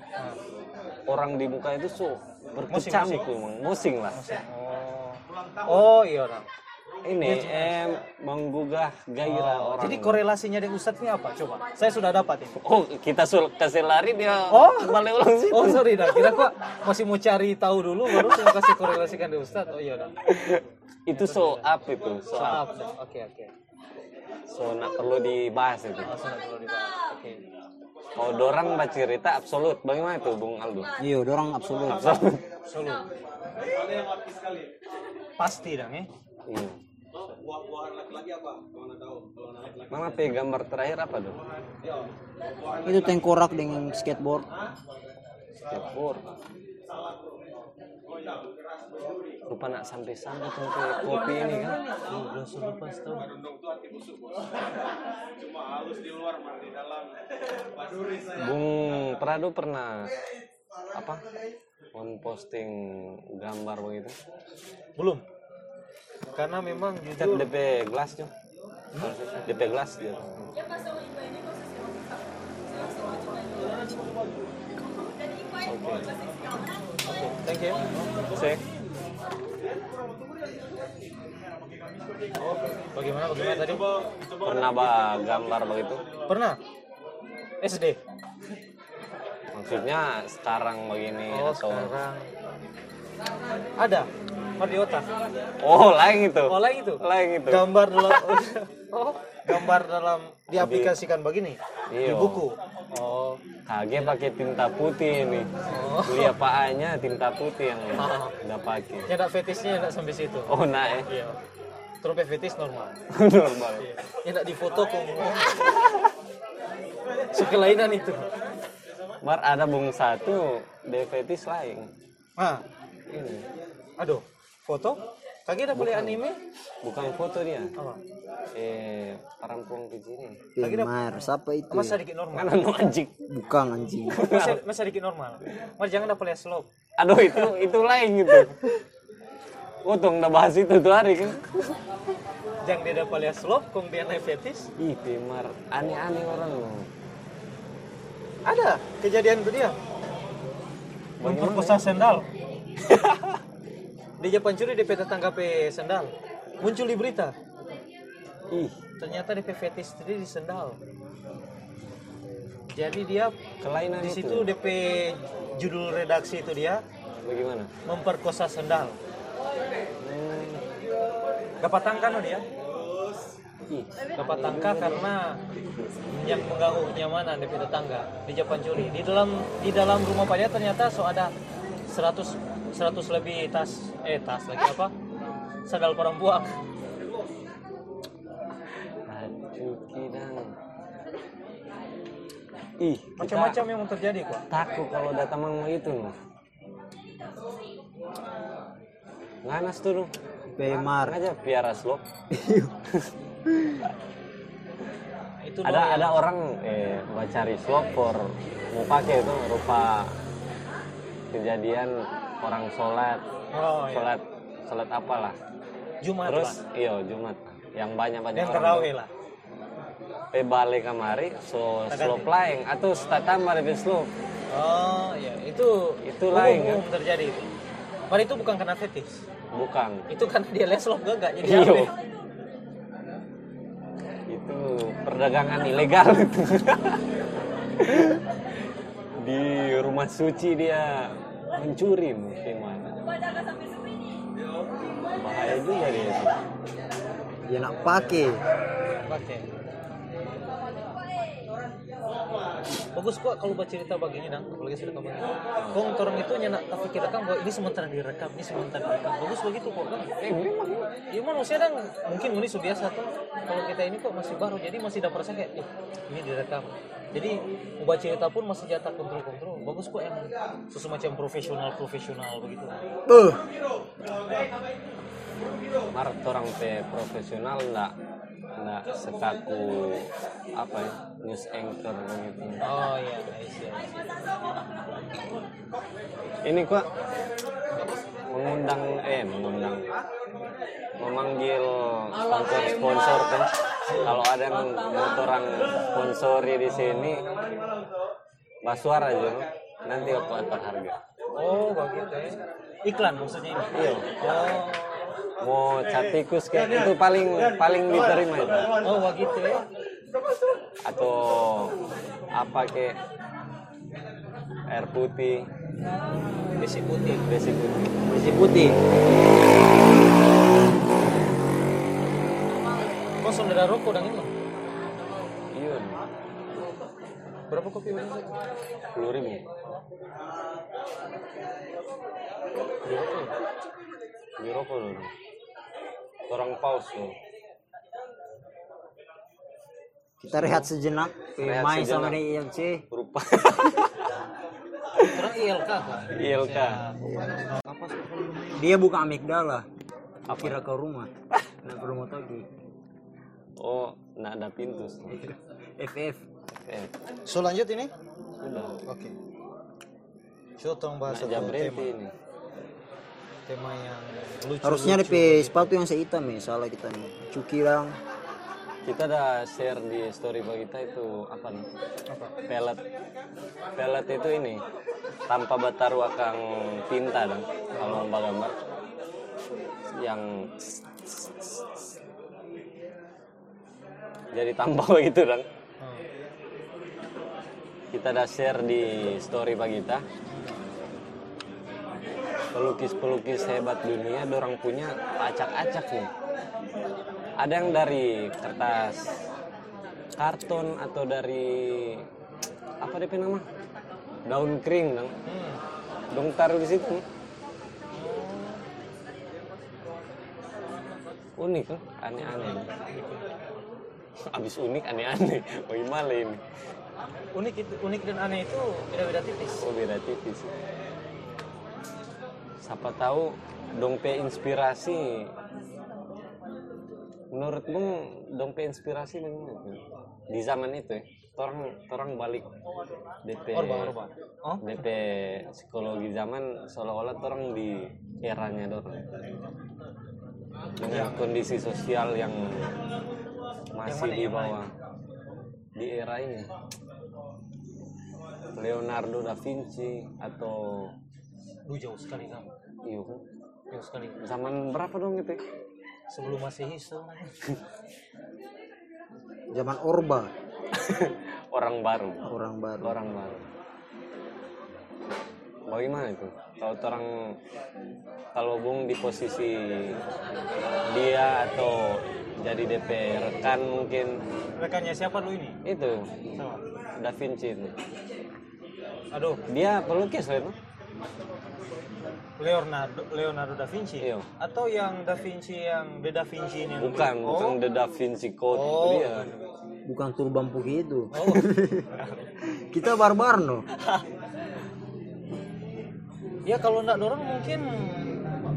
B: orang di muka itu so berkecamuk memang musing lah
E: Oh, iya orang.
B: ini em menggugah gairah Iya, orang
E: Oh, Jadi korelasinya dengan Ustadz ini apa? Coba. Saya sudah dapat ini.
B: oh kita suruh kasih lari dia
E: Oh.
B: kembali ulang sih
E: Oh sorry dah, kira kok masih mau cari tahu dulu baru saya kasih korelasikan di Ustadz. Oh iya dah.
B: itu so up itu so up
E: Maaf. Oke oke.
B: so nak perlu dibahas itu
E: Langsung aja dulu dibahas. Oke.
B: kalau dorang baca cerita absolut bagaimana itu bung Aldo
E: Nah.
C: iya dorong absolut
B: absolut
E: Solo. Pasti dong ya.
B: iya. Mana pe gambar terakhir apa dong?
C: itu tengkorak dengan skateboard
B: Singapura. Rupa nak sampai-sampai tuh ke kopi ini kan. Bung Prado pernah apa? memposting gambar begitu.
E: Belum. Karena memang
B: Cat
E: jujur
B: DP gelas tuh. DP gelas dia.
E: Thank you.
B: Cek.
E: Bagaimana bagaimana tadi?
B: Pernah bah gambar begitu?
E: Pernah? SD.
B: Maksudnya sekarang begini
E: Oh,
B: atau
E: sekarang ada gambar di otak.
B: Oh, lain itu.
E: Oh, lain itu.
B: Lain itu.
E: Gambar dalam oh, gambar dalam diaplikasikan begini di
B: Iya.
E: buku. Oh.
B: KG pakai tinta putih ini. Beli apaannya tinta putih yang
E: Ah.
B: udah pakai.
E: Ya enggak fetisnya enggak sampai situ.
B: Oh, nah eh.
E: Iya. Terus fetis normal.
B: Normal.
E: Ya enggak difoto kok. Sekelainan itu.
B: Mar ada bung satu, defetis lain.
E: Ah,
B: Ini.
E: aduh. Foto? Kaki udah boleh anime?
B: Bukan foto dia.
E: Apa?
B: Eh, perempuan ke sini.
C: Timar, siapa itu?
E: Mas
C: ya?
E: sedikit normal.
B: Kan anu anjing.
C: Bukan anjing.
E: Mas, mas sedikit normal. Mas jangan dapat lihat slope.
B: Aduh itu itu lain gitu. Oh, tong udah bahas itu tuh hari kan.
E: Jangan dia dapat lihat slope, kong dia naik fetis.
B: Ih, Timar, aneh-aneh orang loh.
E: Ada kejadian itu dia. Memperkosa sendal. di Jepang curi DP tetangga pe sendal. Muncul di berita.
B: Ih,
E: Ternyata DP fetis itu di sendal. Jadi dia
B: kelainan
E: di
B: itu.
E: situ DP judul redaksi itu dia
B: Bagaimana?
E: memperkosa sendal. Hmm. Dapat tangka no dia?
B: Ih,
E: Dapat tangka karena yang mengganggu kenyamanan dari tetangga di Jepang curi. Di dalam di dalam rumah Pak dia ternyata so ada 100 100 lebih tas eh tas lagi apa? Sandal perempuan.
B: Acuki dang. Ih, kita
E: Macam-macam yang terjadi kok.
B: takut kalau datang mau itu noh. Nganas tuh noh.
C: Bemar.
B: Ngan aja piara slop.
E: itu
B: ada ada orang eh, mencari slop for mau pakai itu rupa kejadian orang sholat
E: Oh, iya.
B: sholat sholat apalah
E: Jumat
B: terus
E: Pak.
B: iya jumat yang banyak banyak
E: yang terawih lah
B: pe balik kamari so
E: Tagati.
B: slop lain atau statan mari pe slop
E: oh iya itu
B: Itu
E: umum-
B: lain, kan?
E: umum terjadi itu Padahal itu bukan karena fetish
B: bukan
E: itu karena dia leslop gagak jadi ya?
B: Iya.
E: aneh.
B: itu perdagangan ilegal itu di rumah suci dia mencuri mungkin mana bahaya juga dia itu
C: dia nak pakai
E: pakai bagus kok kalau buat cerita begini dang apalagi cerita begini kong torong itu nyenak tapi kita kan bahwa ini sementara direkam ini sementara direkam bagus begitu kok kan
B: eh memang
E: ya manusia dang mungkin ini biasa tuh kalau kita ini kok masih baru jadi masih ada perasaan kayak "Ih, ini direkam jadi mau baca cerita pun masih jatah kontrol kontrol bagus kok yang sesuatu macam profesional profesional begitu
C: tuh
B: Maret orang pe profesional ndak ndak sekaku apa ya news anchor gitu. begitu
E: oh iya I see, I see.
B: ini kok mengundang eh mengundang memanggil sponsor-sponsor kan kalau ada yang mau orang sponsori di sini basuar aja no? nanti aku atur harga
E: oh begitu ya iklan maksudnya ini
B: iya
E: oh
B: mau cat tikus kayak itu paling paling diterima itu
E: Oh, wah gitu ya.
B: atau apa kayak air putih
E: Besi putih.
B: besi putih
C: masih putih
E: Kok saudara rokok dan ini?
B: iya
E: Berapa kopi udah?
B: puluh ribu beli rokok dulu orang paus ya? loh
C: kita rehat sejenak
B: Rehat
C: main sama
B: sejenak.
C: di IMC
B: berupa
E: Kurang ILK kan?
B: ILK
C: dia bukan amigdala kira ke rumah nah ke rumah tadi
B: oh nggak ada pintu so.
C: FF
B: eh
G: So lanjut ini?
B: sudah
G: Oke. So tong bahas satu
B: nggak Nah, jam
G: tema,
B: berhenti ini
G: tema yang lucu.
C: harusnya
G: lucu.
C: DP sepatu yang saya hitam ya salah kita nih cuki lang
B: kita udah share di story bagi kita itu apa nih pelet pelet itu ini tanpa bataru akan tinta dong kalau lomba gambar yang jadi tambah begitu dong kita udah share di story bagi kita pelukis-pelukis hebat dunia dorang punya acak-acak nih ada yang dari kertas karton atau dari apa DP nama daun kering dong dong taruh di situ unik kan aneh-aneh abis unik aneh-aneh bagaimana ini
E: Unik itu, unik dan aneh itu beda-beda tipis.
B: oh beda tipis siapa tahu dongpe inspirasi menurut bung dongpe inspirasi bagaimana Bung? di zaman itu ya orang orang balik DP
E: Orba, orba. Oh,
B: DP psikologi zaman seolah-olah orang di eranya dorong dengan kondisi sosial yang masih di bawah di era ini Leonardo da Vinci atau
E: lu jauh sekali kamu.
B: iya kan
E: Jauh sekali.
B: zaman berapa dong itu ya?
E: Sebelum masih isu.
C: zaman orba
B: orang baru
C: orang baru
B: orang baru bagaimana itu kalau orang kalau bung di posisi dia atau jadi DP rekan mungkin
E: Rekannya siapa lu ini?
B: itu
E: Sama.
B: Da Vinci itu
E: Aduh,
B: dia pelukis loh itu
E: Leonardo Leonardo da Vinci.
B: Iya.
E: Atau yang da Vinci yang The Da Vinci ini. yang-
B: bukan bukan
E: Oh.
B: The Da Vinci Code itu
E: Oh.
B: dia
C: bukan turban putih itu
E: Oh.
C: kita barbar no
E: Ya kalau enggak dorong mungkin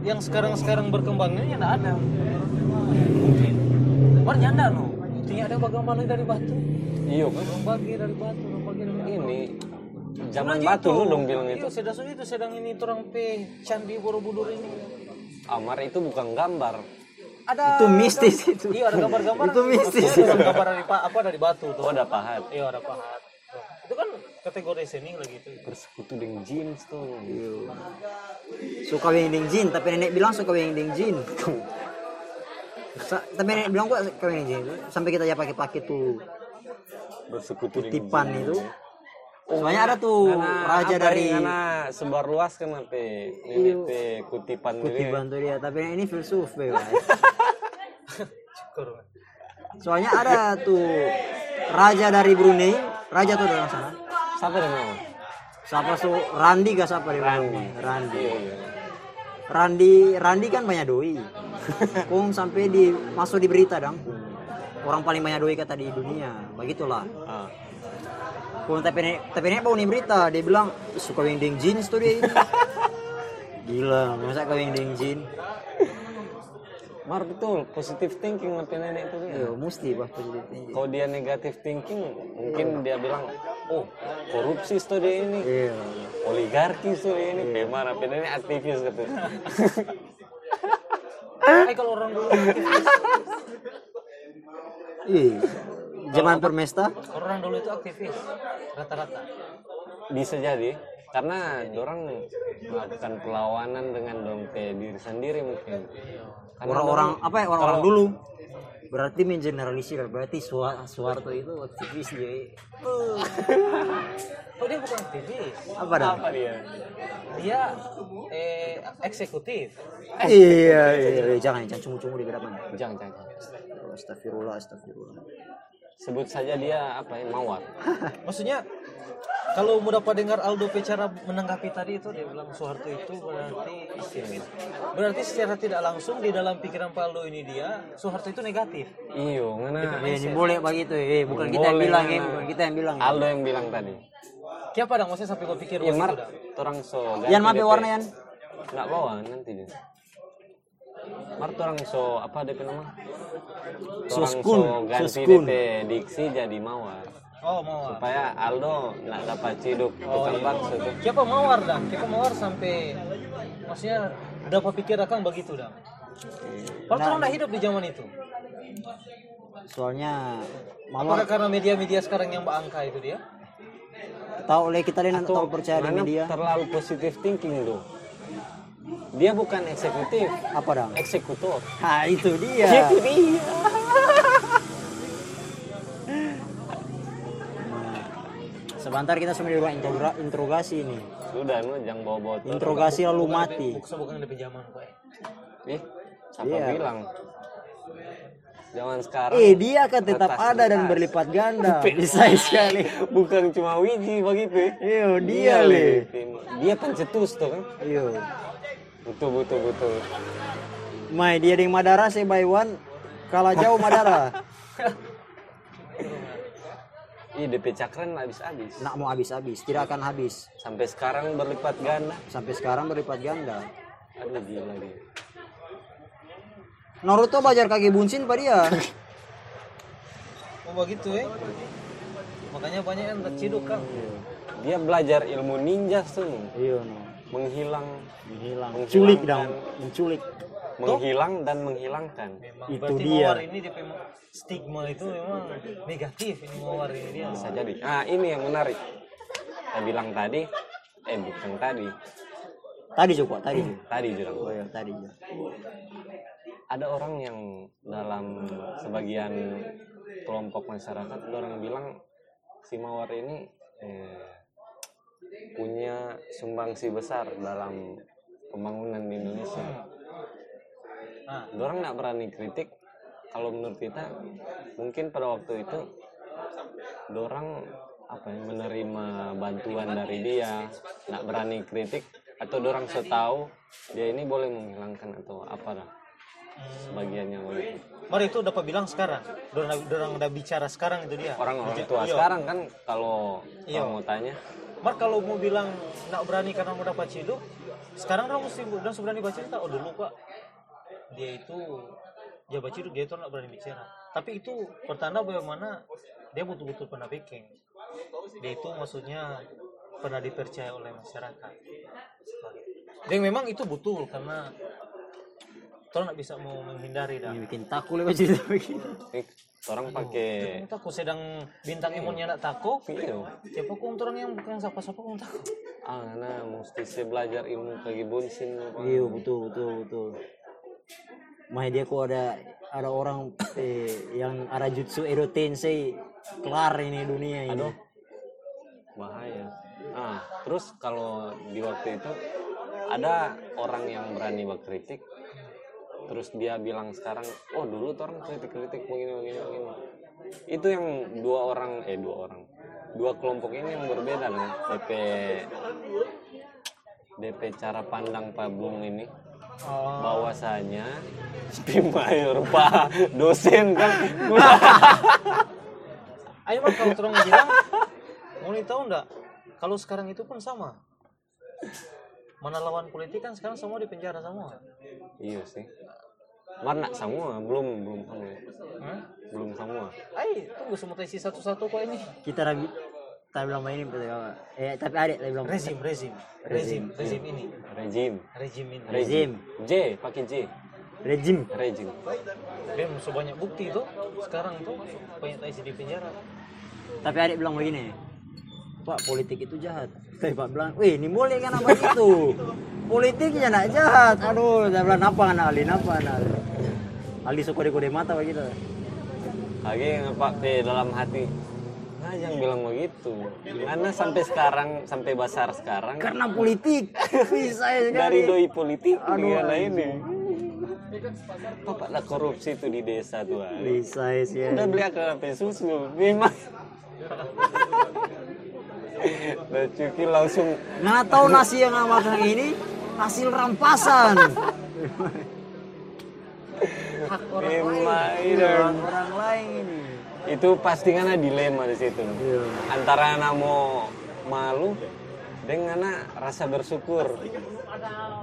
E: yang sekarang-sekarang berkembangnya enggak ada. Mungkin. Bar nyanda no. batunya ada bagang balik dari batu
B: Iya,
E: bagang bagi dari batu bagang bagi dari batu
B: ini zaman batu lu dong bilang itu.
E: Iya, sedang itu sedang ini terang pe candi Borobudur ini.
B: Amar itu bukan gambar.
E: Ada
C: Itu mistis itu.
E: Iya, ada gambar-gambar.
C: Itu mistis.
E: Maksudnya ada gambar dari pa- apa dari batu tuh.
B: Oh, ada pahat.
E: Iya, ada pahat. Tuh. Itu kan kategori seni lagi itu.
B: Bersekutu dengan jin tuh.
C: suka wingding jin tapi nenek bilang suka wingding jin Sa- tapi nenek bilang kok suka wingding jin sampai kita ya pakai-pakai tuh
B: Bersekutu dengan
C: Kutipan
B: jin.
C: itu. Soalnya ada tuh raja dari
B: Nah,
C: Iya.
B: karena sebar luas kan pe ini pe kutipan
C: kutipan tuh dia tapi nenek ini filsuf Bang.
E: Syukur.
C: soalnya ada tuh raja dari Brunei raja tuh dari sana
B: Siapa yang mau?
C: siapa tuh Randi gak siapa dia
B: Randi.
C: Randi
B: Iya, iya.
C: Randi Randi kan banyak doi. Kung sampai di masuk di berita dong. Orang paling banyak doi kata di dunia. Begitulah.
B: Ah.
C: Kung tapi nenek, tapi nenek bawa nih berita dia bilang suka wingding jeans tuh dia. ini." Gila, masa kau wingding jeans?
B: Mar betul, positive thinking lah pe nenek itu dia.
C: Yo, Eh, mesti bah positif thinking.
B: Kalau dia negative thinking, mungkin dia bilang, oh korupsi tuh dia ini,
C: Iya.
B: oligarki tuh dia ini, bagaimana? Pe nenek aktivis gitu.
E: Eh kalau orang dulu
C: Ih.
B: Iya.
C: Zaman permesta?
E: orang dulu itu aktivis rata-rata.
B: Bisa jadi, karena orang melakukan perlawanan dengan dompet diri sendiri mungkin. Karena
C: Orang-orang
B: dorang-
C: apa ya orang-orang
B: kalau-
C: dulu? Berarti mengeneralisir berarti Suar- Suharto itu aktivis dia.
E: Oh dia bukan aktivis,
C: Apa dah?
B: apa dia?
E: dia eh, eksekutif.
C: Iya, iya, iya, jangan jangan cungu-cungu di hadapan.
B: Jangan, jangan, jangan.
C: Astagfirullah, astagfirullah.
B: Sebut saja dia apa ya, mawar.
E: Maksudnya kalau mau dapat dengar Aldo bicara menanggapi tadi itu dia bilang Soeharto itu berarti aktivis. Berarti secara tidak langsung di dalam pikiran Pak Aldo ini dia Soeharto itu negatif.
B: Iyo, ngana.
C: Eh, ini boleh begitu. Eh, bukan kita yang
B: Iya, Boleh,
C: bilang,
B: nah,
C: eh,
B: nah.
C: bukan kita yang bilang.
B: Aldo yang bilang tadi.
E: Kenapa dong maksudnya sampai gue pikir
B: Iya,
E: "Wah,
B: Mar,
E: sudah."
B: orang so. ganti
C: Yan, maaf ya
B: DP.
C: warna Yan.
B: Nggak bawa nanti dia. Mar orang so apa DP nama?
C: Soskun,
B: so ganti
C: soskun.
B: DP diksi jadi mawar.
E: Oh mawar.
B: Supaya Aldo nggak dapat ciduk
C: Oh,
B: tukang
C: iya.
B: bakso tuh.
E: Oh, iya. Siapa mawar dah? Siapa mawar sampai maksudnya dapat pikir akan begitu dah. Padahal
B: Nah,
E: orang dah hidup di zaman itu.
C: Soalnya
E: Apakah
C: mawar
E: karena media-media sekarang yang angka itu dia?
C: tahu oleh kita ini
B: Atau
C: tahu Kan percaya dengan
B: ngana
C: dia.
B: Terlalu positive thinking tuh. Dia bukan eksekutif,
C: Apa dong?
B: eksekutor.
C: Nah, itu dia.
B: Itu dia.
C: Nah, Sebentar kita semua di ruang integra- interogasi ini.
B: Sudah, nu jangan bawa-bawa terus.
C: Interogasi lalu mati.
E: Bukan bukan lebih zaman eh. gue.
B: Ih, siapa
C: Iya.
B: bilang? Zaman sekarang.
C: Eh, dia akan tetap
B: kertas
C: ada dan
B: kertas.
C: berlipat ganda. Bisa sekali.
B: Bukan cuma wiji begitu.
C: Iyo, Iya, dia le.
B: Dia pencetus tuh kan.
C: Iyo.
B: Betul, betul, betul.
C: Mai dia dengan Madara saya by one kalah jauh Madara.
B: Ih, DP cakran habis-habis.
C: Nak mau habis-habis, tidak akan habis.
B: Sampai sekarang berlipat ganda.
C: Sampai sekarang berlipat ganda.
B: Aduh, gila dia.
C: Naruto belajar kaki bunsin pak dia.
E: Oh begitu eh. Makanya banyak yang terciduk kan.
B: Iya. Dia belajar ilmu ninja tuh.
C: Iya, no.
B: Menghilang,
C: Menghilang.
B: Menghilangkan.
C: Culik dong, menculik.
B: menghilang dan menghilangkan.
E: Memang.
C: Itu
E: Berarti
C: dia.
E: mawar ini dia memang stigma itu memang negatif ini mawar ini dia.
B: Bisa jadi. Nah, ini yang menarik. Saya bilang tadi, eh bukan tadi,
C: Tadi juga, tadi juga.
B: tadi bilang.
C: Oh iya, tadi juga.
B: ada orang yang dalam sebagian kelompok masyarakat orang bilang si mawar ini eh, punya sumbangsi besar dalam pembangunan di Indonesia.
E: Nah.
B: Orang nggak berani kritik kalau menurut kita mungkin pada waktu itu orang apa ya, menerima bantuan dari dia nggak berani kritik atau orang setahu dia ini boleh menghilangkan atau apa lah sebagiannya begitu.
E: Mari itu dapat bilang sekarang. Dorang dorang udah bicara sekarang itu dia.
B: orang orang
E: Bicara-
B: tua
E: iya.
B: sekarang kan kalau
E: Iya.
B: kalau mau tanya
E: Mar kalau mau bilang nak berani karena mau dapat ciduk, sekarang kamu mesti udah berani baca cerita. Oh dulu pak, dia itu dia baca ciduk dia itu nak berani bicara. tapi itu pertanda bagaimana dia betul-betul pernah bikin dia itu maksudnya pernah dipercaya oleh masyarakat dan memang itu betul karena Tolong nggak bisa mau menghindari dah.
C: Ini bikin takut lewat cerita begini.
B: Ini
E: Iya.
B: orang pakai
E: Aku takut sedang bintang imunnya nak takut.
B: Iya.
E: Siapa kau orang yang bukan siapa-siapa kau takut.
B: ah nah mesti saya belajar ilmu kaki bonsin apa.
C: Iya betul betul betul. Mah dia kok ada ada orang eh, yang ada jutsu Edo Tensei kelar ini dunia ini.
B: Aduh. bahaya ah terus kalau di waktu itu ada orang yang berani berkritik terus dia bilang sekarang oh dulu tuh orang kritik kritik begini begini begini itu yang dua orang eh dua orang dua kelompok ini yang berbeda dengan DP DP cara pandang Pak Bung ini bahwasanya Spimayor Pak dosen kan
E: Ayo mah kalau terang bilang, mau nih tahu ndak? Kalau sekarang itu pun sama. Mana lawan politik kan sekarang semua di penjara semua.
B: iya sih warna semua belum belum semua belum semua
E: Ay, Hmm? tunggu semua isi satu-satu kok ini.
C: Kita rabi tak bilang main ini betul ya. Eh tapi ada tak bilang
E: Rezim, rezim, rezim, rezim
B: iya.
E: ini,
B: rejim
E: rezim ini.
C: Rezim.
B: J pakai J
C: Rezim.
B: rejim
E: Dia musuh banyak bukti tuh. Sekarang tuh banyak isi di penjara.
C: Tapi adik bilang begini, Pak politik itu jahat. Tapi Pak bilang, wih ini boleh kan apa itu? Politiknya nak jahat. Aduh, saya bilang apa anak Ali, apa anak Ali? Ali suka kode-kode mata begitu.
B: lagi ngepak di dalam hati nah yang bilang begitu gimana sampai sekarang sampai basar sekarang
C: Karena politik, bisa
B: dari
C: sekali.
B: doi politik
C: Aduh,
B: gimana ini Bapak lah korupsi itu di desa tuh ah.
C: Bisa sih.
B: udah beli akar api susu memang Nah, Cuki langsung
C: Nggak tahu nasi yang nggak makan ini hasil rampasan. Hak orang
B: Dimai
C: lain.
B: dong.
C: Hak orang lain ini.
B: itu pasti kan ada dilema di situ
C: Iya.
B: antara anak mau malu dengan anak rasa bersyukur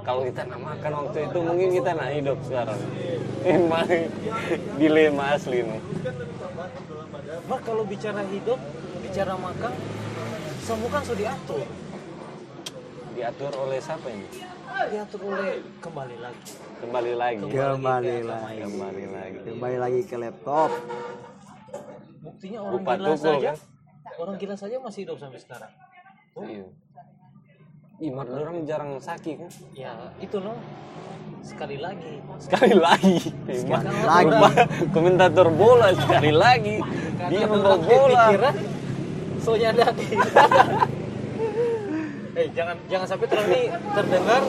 B: kalau kita nak makan waktu itu mungkin kita nak hidup sekarang
C: Iya.
B: emang dilema asli nih
E: Mak kalau bicara hidup, bicara makan, semua kan sudah diatur.
B: diatur oleh siapa ini
E: Diatur oleh kembali lagi.
B: kembali lagi
C: Kembali lagi.
B: kembali lagi
C: Kembali lagi ke laptop.
E: Buktinya orang
B: Lupa
E: gila
B: tukul,
E: saja,
B: kan?
E: orang gila saja masih hidup sampai sekarang.
B: iya Imar orang jarang sakit kan
E: Ya itu loh. Sekali lagi,
B: sekali lagi Imar
C: lagi.
B: berubah- komentator bola sekali lagi dia membawa bola
E: pikiran, soalnya ada di. eh jangan jangan sampai terus ini terdengar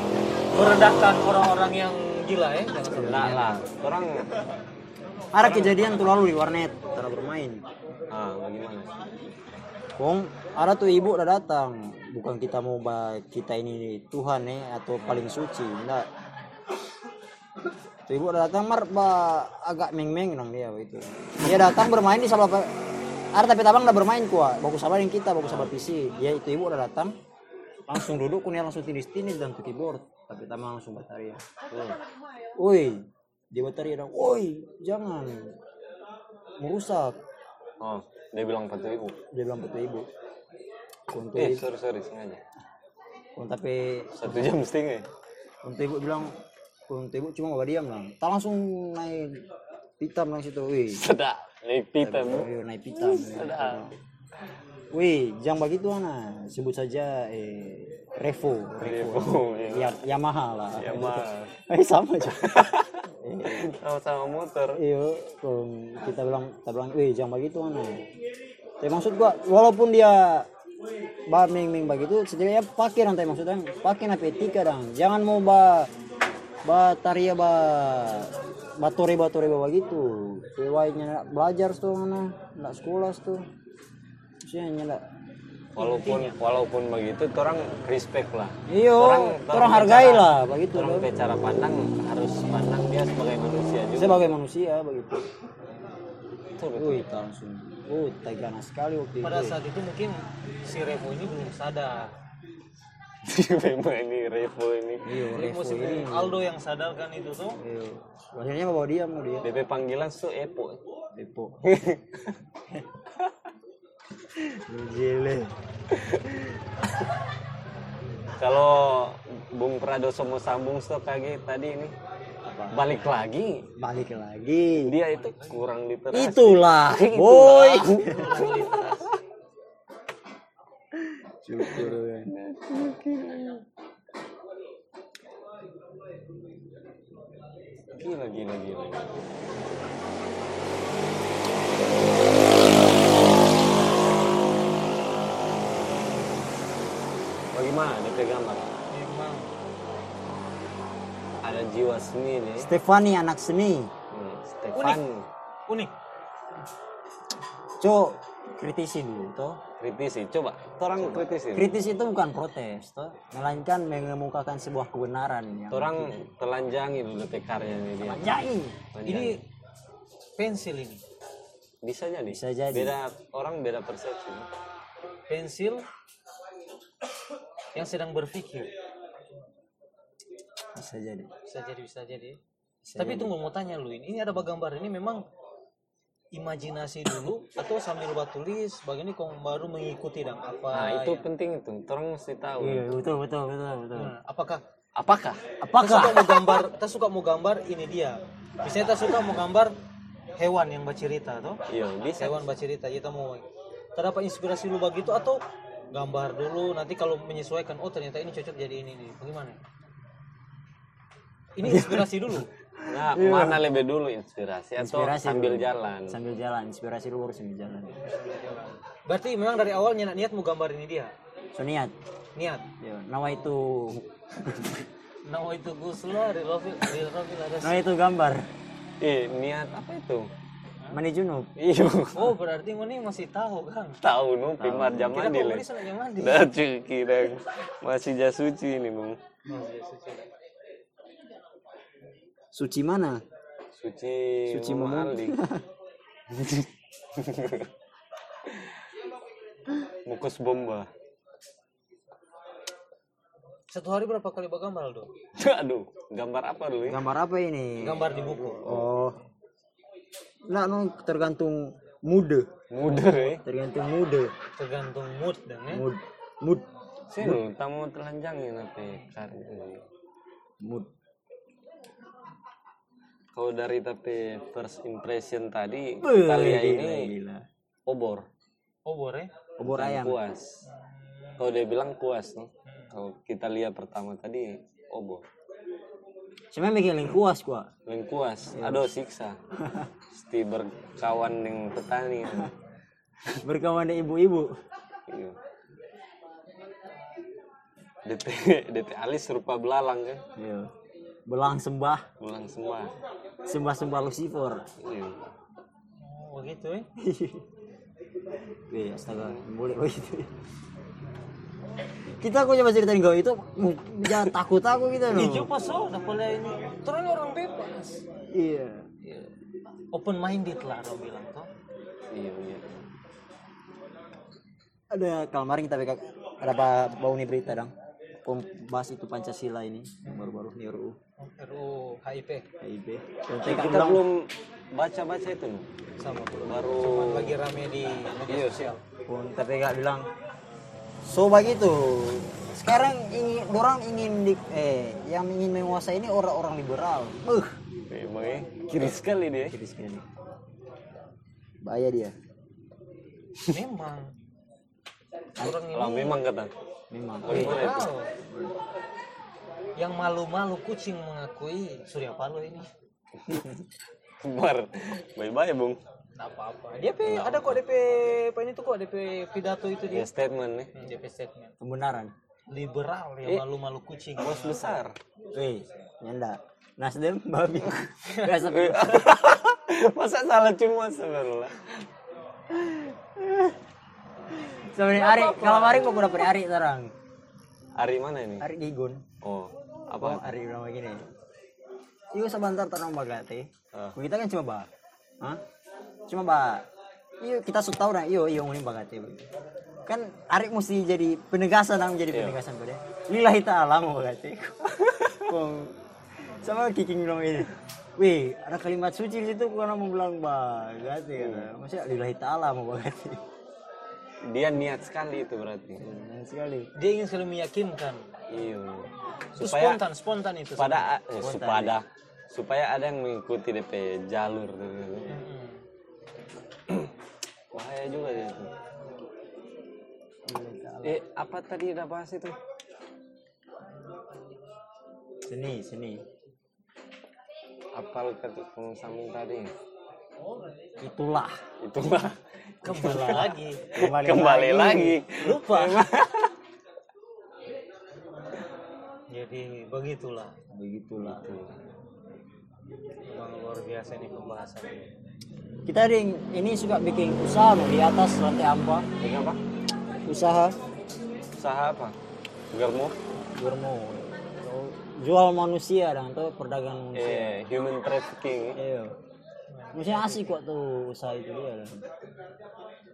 E: merendahkan orang-orang yang gila ya. Jangan sampai.
B: enggak lah orang
C: Ada kejadian tuh lalu di warnet, cara bermain.
B: ah bagaimana
C: Wong, ada tuh ibu udah datang. Bukan kita mau bah kita ini Tuhan nih atau paling suci, enggak. Tuh ibu udah datang mar bah agak meng-meng nang dia begitu. Dia datang bermain di salah ada tapi tabang udah bermain kuah. Bagus sama yang kita, bagus sama PC. Dia itu ibu udah datang langsung duduk kunia langsung tinis-tinis dan ke keyboard tapi tamang langsung bataria. Woi, dia bataria dong. Woi, jangan merusak.
B: Oh, dia bilang patu ibu.
C: Dia bilang betul ibu. Untuk
B: Eh,
C: ibu.
B: sorry sorry sengaja.
C: Kun, tapi
B: Satu jam setengah. ya?
C: untuk ibu bilang untuk ibu cuma nggak diam lah tak langsung naik pitam langsung situ wih
B: Sedak. Nih pita bu.
C: Ayo, naik pitam wih jangan begitu ana sebut saja eh revo revo
B: Revo,
C: ya, Yamaha lah
B: Ya mah.
C: eh sama aja
B: Iya. Sama-sama motor.
C: iyo kun, Iya, kita bilang kita bilang wih jangan begitu ana tapi maksud gua walaupun dia bah ming ming begitu setidaknya pakai rantai maksudnya pakai nape etika dang jangan mau bah bah taria bah batore batore bah begitu sewainya belajar tuh mana nggak sekolah tuh sih nyala
B: Walaupun walaupun begitu, orang respect lah.
C: iyo
B: Torang- Iya, torang
C: orang hargai
B: bicara-
C: lah begitu
B: Orang
C: loh
B: ke cara pandang harus pandang dia sebagai manusia juga.
C: sebagai manusia begitu
B: Betul, betul.
C: wih langsung oh tegana sekali waktu
E: Pada
C: itu
E: saat itu mungkin si Revo ini belum sadar.
B: Memang ini Revo ini.
C: iyo
E: Jadi
C: revo
E: mesti
C: ini
E: Aldo yang sadarkan kan itu tuh.
C: iyo akhirnya Iya. bawa dia mau dia
B: DP panggilan tuh Epo.
C: Epo. Jele.
B: Kalau Bung Pradoso mau sambung stop lagi tadi ini balik lagi
C: Balik lagi.
B: dia itu kurang literasi.
C: Itulah,
B: Itulah.
C: boy. Syukur kan.
B: Gila gila gila. Bagaimana DP gambar?
E: memang
B: Ada jiwa seni nih.
C: Stefani anak seni.
B: Hmm, Stefan
E: unik
C: Cok, kritisi dulu toh.
B: kritisi coba. Orang kritisi.
C: Kritis itu bukan protes toh, melainkan mengemukakan sebuah kebenaran yang
B: Orang telanjangi dulu DP karyanya dia.
C: jai.
B: Ini
E: ini pensil ini
B: bisa jadi.
C: Bisa jadi.
B: Beda orang beda persepsi. Nah,
E: pensil yang sedang berpikir
C: Bisa jadi.
E: bisa jadi bisa jadi
C: Bisa
E: tapi
C: jadi.
E: tunggu mau tanya lu ini ini ada gambar ini memang imajinasi dulu atau sambil buat tulis begini kau baru mengikuti dan apa Iya.
B: Nah, itu
E: yang-
B: penting itu. Orang mesti tahu.
C: Ah, Iya, betul betul betul betul.
E: Nah, apakah
B: Apakah?
E: kita suka
C: Apakah
E: mau gambar kita suka mau gambar ini dia misalnya kita suka mau gambar hewan yang bercerita toh
B: Iya, bisa.
E: hewan bercerita kita mau terdapat inspirasi lu begitu atau gambar dulu nanti kalau menyesuaikan oh ternyata ini cocok jadi ini nih bagaimana ini inspirasi dulu
B: Nah, mana lebih dulu inspirasi,
C: inspirasi
B: atau Iya, sambil
C: dulu.
B: jalan? Iya.
C: Sambil jalan, inspirasi dulu baru sambil jalan.
E: berarti memang dari awal niat niat mau gambar ini dia
C: So niat,
E: niat
C: ya, nawa itu
E: Nah itu gusla dari Rofi dari Rofi ada
C: nawa itu gambar.
B: Eh, niat apa itu?
C: Mani junub.
B: Iya,
E: oh berarti ini masih tahu kan
B: tahu nu pimar
E: kita
B: jamadi
E: kok
B: leh.
E: beli sana yang mandi
B: Dah cuci dah. Nah, Masih jas suci ini, Bung.
C: Suci mana?
B: Suci
C: Suci
B: Mama
C: Momo.
B: Ali. Mukus bomba.
E: satu hari berapa kali bergambar Aldo
B: Aduh, gambar apa dulu ya?
C: Gambar apa ini?
E: gambar di buku
C: Oh. Nah, no, tergantung mood,
B: Muda ya.
C: tergantung mood,
E: tergantung mood dan ya
C: mood, mood,
B: Sini, tamu telanjangin nanti karya ini.
C: mood.
B: Kalau dari tapi first impression tadi,
C: Wih,
B: Italia
C: gila,
B: ini
C: gila.
B: obor.
E: oh boleh
C: Obor
B: Bukan
C: ayam.
B: Kuas. Kalau dia bilang kuas, no? kalau kita lihat pertama tadi oh, obor,
C: Cuma bikin lingkuas gua.
B: lengkuas, aduh siksa. Mesti berkawan dengan petani. no?
C: Berkawan dengan ibu-ibu.
B: Iya. DT, DT alis rupa belalang kan,
C: Iya. Belang sembah,
B: belang semua.
C: sembah-sembah Lucifer.
B: Iya.
E: oh begitu ya
C: Wih, astaga, boleh begitu. Kita kok coba ceritain kau itu uh, jangan takut aku gitu loh.
E: Hijau pas oh, dah boleh ini. Terus ini orang bebas.
C: Iya.
E: Open minded lah orang bilang toh.
B: Iya, iya.
C: Ada kalmarin kita bekak ada apa bau nih berita dong. Bahas itu Pancasila ini yang baru-baru nih RUU
E: RU HIP
C: KIB.
B: Kita belum baca-baca itu, no?
E: sama belum.
B: baru
E: Lagi rame di media
B: Iya,
E: sosial.
C: pun tapi gak bilang so begitu sekarang ingin orang ingin di- eh yang ingin menguasai ini orang-orang liberal uh
B: Memang ya, kiri sekali dia. eh.
C: kiri sekali bahaya dia
E: Memang orang ini
B: Kalau memang kata,
C: memang
B: bagaimana itu?
E: tahu. Yang malu-malu kucing mengakui Surya Paloh ini.
B: Bar, bye-bye bung.
E: Nggak apa-apa. Dia pe, ada kok DP apa ini tuh kok DP pidato itu
B: Ya
E: dia.
B: statement nih.
E: Hmm, DP statement. Eh.
C: pembenaran
E: Liberal yang malu-malu kucing.
B: Bos besar.
C: weh Eh, nyanda Nasdem babi Gak
B: Eh,
C: sepi.
B: ah. Masa salah cuma sebenarnya.
C: sebenarnya Ari kalau Ari kok udah Ari sekarang
B: Hari mana ini?
C: Ari Gigun
B: Oh,
C: oh
B: apa?
C: Ari udah begini Iyo sebentar tanam bagate
B: Ah.
C: kita kan cuma bah Hah? cuma bah iyo kita sudah tahu dah iyo iyo Iya, ngomongin bagate kan Arik mesti jadi penegasan nang
B: Iya.
C: jadi penegasan pada lillahi ta'ala mau bagate Kong sama kiking dong ini Wih, ada kalimat suci di situ karena mau bilang bagati ya.
B: Hmm.
C: Maksudnya lillahi ta'ala mau bagati.
B: Dia niat sekali itu berarti.
C: Keren sekali.
E: Dia ingin selalu meyakinkan.
B: Iya.
E: Itu
B: Supaya
E: spontan, spontan itu.
B: pada eh, supada supaya ada yang mengikuti DP jalur gitu. Bahaya juga ya itu. Eh, apa tadi udah bahas itu?
C: Seni, seni.
B: Apa lu kata Kang Samin tadi?
C: Itulah.
B: Itulah.
E: Kembali lagi.
B: Kembali, lagi.
E: Lupa. Jadi begitulah.
C: Begitulah.
E: Memang luar biasa ini pembahasan ini.
C: Kita ding ini suka bikin usaha loh di atas lantai apa?
B: Ini apa?
C: Usaha
B: Usaha apa? Germo?
C: Gurmo. Jual manusia dan tuh perdagangan manusia.
B: Eh, human trafficking.
C: Iya. Maksudnya asik kok tuh usaha itu dia. Dan.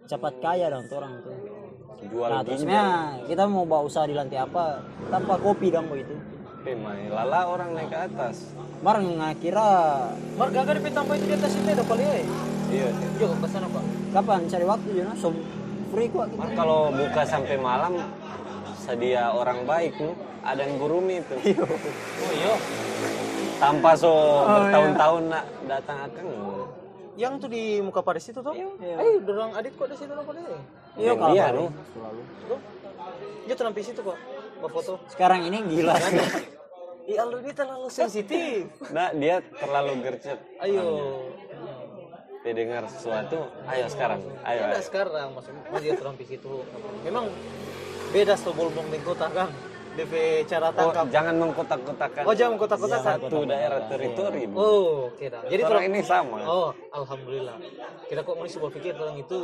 C: Cepat kaya dong tuh orang tuh.
B: Jual
C: Nah, terusnya
B: ginjal.
C: kita mau bawa usaha di lantai apa tanpa kopi dong begitu.
B: Eh, main lala orang naik ke atas.
C: Barang kira
E: Mar, gagal di tambah itu di atas itu ada kali ya.
B: Iya. sih.
E: Jauh ke sana, Pak.
C: kapan cari waktu Jono? Som free kok kita.
B: Mar kalau buka sampai malam sedia orang baik lu ada yang gurumi itu
E: Oh iya. Oh,
B: tanpa so bertahun-tahun nak datang akang
E: Yang tuh di muka Paris itu tuh.
C: Iya.
E: Eh, dorong adit kok di situ eh? lah Paris.
C: Iya,
B: Yang
C: kalau
B: dia
C: Paris,
B: lu.
C: selalu.
E: Tuh. Dia tuh nampi situ, Pak. Buat foto.
C: Sekarang ini gila sih.
E: Ih, Aldo ini terlalu sensitif.
B: nah dia terlalu gercep
E: Ayo.
B: dia dengar sesuatu ayo sekarang ayo,
E: Ya
B: ayo.
E: udah sekarang maksudnya dia terampi situ. Memang beda Stokholm dan kota kan. DP cara
B: Oh,
E: tangkap.
B: jangan mengkotak-kotakan Iya,
E: Oh, jangan mengkotak-kotakan.
B: satu daerah teritori Bu.
E: Oh, oke dah. Jadi
B: orang
E: terang-
B: ini sama
E: Oh, alhamdulillah. Kita kok manusia berpikir orang itu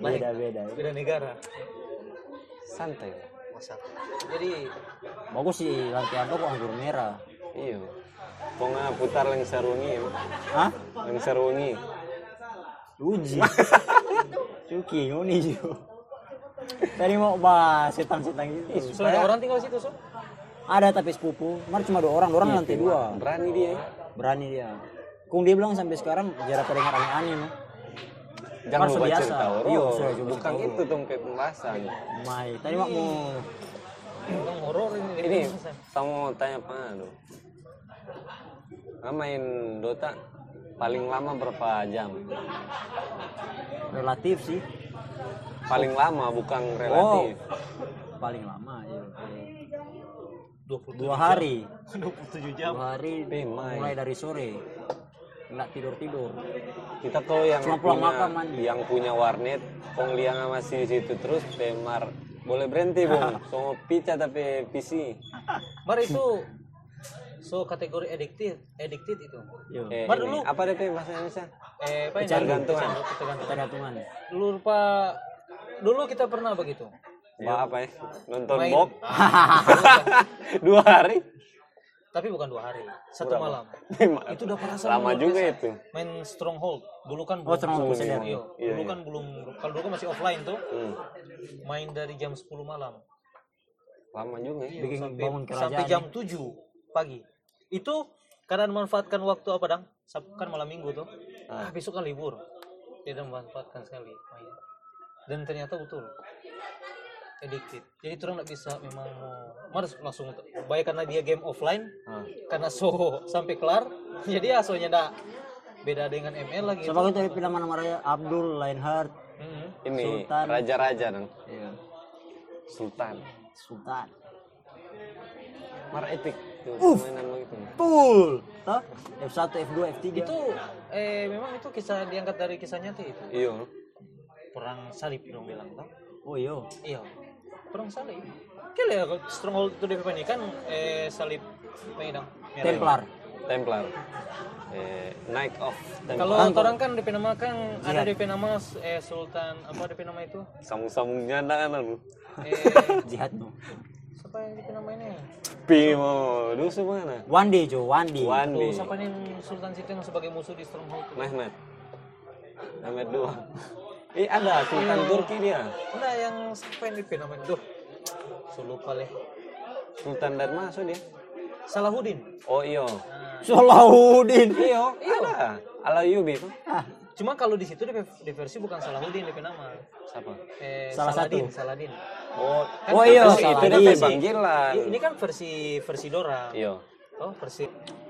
E: baik,
C: Beda-beda. ya.
E: beda negara.
B: santai
E: Masa. Jadi
C: Bagus sih lantai apa kok anggur merah.
B: iya Ponga putar lengser wengi Bu.
C: Hah?
B: lengser wengi
C: Uji. Cuki ngoni juga. Tadi mau bahas setan-setan gitu.
E: sudah ada orang tinggal di situ, so.
C: Ada tapi sepupu, mar cuma dua orang, dua orang lantai dua.
B: berani dia ya.
C: Berani dia. Kung dia bilang sampai sekarang jarang terdengar aneh-aneh. no.
B: jangan
C: Mar
B: lupa
C: biasa.
B: cerita
C: Iya,
B: orang
C: sudah coba
B: bukan itu dompet pembahasan
C: Iya, Mai, tadi mak mau
E: Orang horor ini.
C: iya,
B: ini kamu tanya apa lu Nah, main Dota paling lama berapa jam
C: relatif sih.
B: paling lama bukan relatif
C: Oh. Paling lama ya. Dua hari. 27 jam. Dua hari
B: Eh, Mai.
C: mulai dari sore. Nggak tidur-tidur.
B: kita tuh yang
C: Cuma pulang
B: punya
C: makan, mandi.
B: yang punya warnet pengliangan masih di situ terus temar boleh berhenti bung semua pica tapi PC
E: Mar itu so kategori addicted, addicted itu.
C: Yo.
B: eh,
E: Mar,
B: ini,
E: dulu.
B: apa deh Pe, bahasa Indonesia
E: Eh, apa ini?
B: Ketergantungan.
E: Ketergantungan.
C: Kita datungan.
E: Dulu lupa dulu kita pernah begitu.
C: Iya.
B: Bah, apa ya nonton
E: Main.
B: bob dua hari
E: Tapi bukan dua hari, satu malam. Itu udah pernah sama
B: lama
E: luar
B: juga
E: biasa.
B: itu
E: Main stronghold. Dulu kan
C: Oh, Stronghold,
E: belum-
C: sadar.
E: Iya,
B: Iya,
E: dulu
B: iya.
E: kan belum kalau dulu kan masih offline tuh.
B: Hmm,
E: Main dari jam 10 malam.
B: lama juga ya.
C: Bikin
E: sampai,
C: bangun kerajaan.
E: sampai jam 7 pagi. Itu karena manfaatkan waktu apa dang? Sab- Kan malam minggu tuh. Ah, besok kan libur. Tidak memanfaatkan sekali. main. Dan ternyata betul. Addicted. Jadi orang nggak bisa memang mau harus langsung baik karena dia game offline
B: Ah.
E: karena so sampai kelar jadi ya soalnya ndak beda dengan ML lagi itu.
C: Coba kita pilih nama raya Abdul Lainhard
E: Mm-mm.
B: ini
C: Sultan.
B: raja-raja dong sultan
C: Sultan.
B: mar epic tuh gitu. mainan begitu
C: Betul. Tah? F1, F2, F3.
E: itu eh memang itu kisah diangkat dari kisah nyata itu
B: iya
E: perang salib dong bilang toh
C: Oh yo.
E: iya perang salib kira ya stronghold itu dia ini kan eh salib medan
C: Templar.
B: templar eh, knight of templar
E: kalau
C: Angkor.
E: orang kan DP nama kan ada DP nama eh Sultan apa DP nama itu
B: sambung-sambungnya nah nah, lu
E: eh
C: Jihad no.
E: siapa yang DP nama ini
B: pimo lu mana
C: One day Jo, one day.
E: tuh
B: wandi
E: Iya. Oh, siapa nih Sultan situ yang sebagai musuh di stronghold tuh
B: mehmet mehmet dua eh ada sultan turki dia
E: Nah yang siapa yang DP namanya tuh so lupa leh
B: sultan darmaso dia
E: Salahuddin
B: oh iyo
E: nah,
C: Salahuddin.
E: Iya, iya.
B: Ada. Ala Yubi.
E: Cuma kalau di situ di, di versi bukan Salahuddin DP nama.
B: Siapa?
E: Eh,
C: Salah
E: Saladin,
C: satu.
E: Saladin.
B: Oh,
E: Kan
C: Oh,
E: kan
C: iya,
E: versi-
B: itu
C: Saladin.
E: kan
B: dia
E: versi-
B: panggilan.
E: i- Ini kan versi versi Dora.
B: Iya.
E: Oh, versi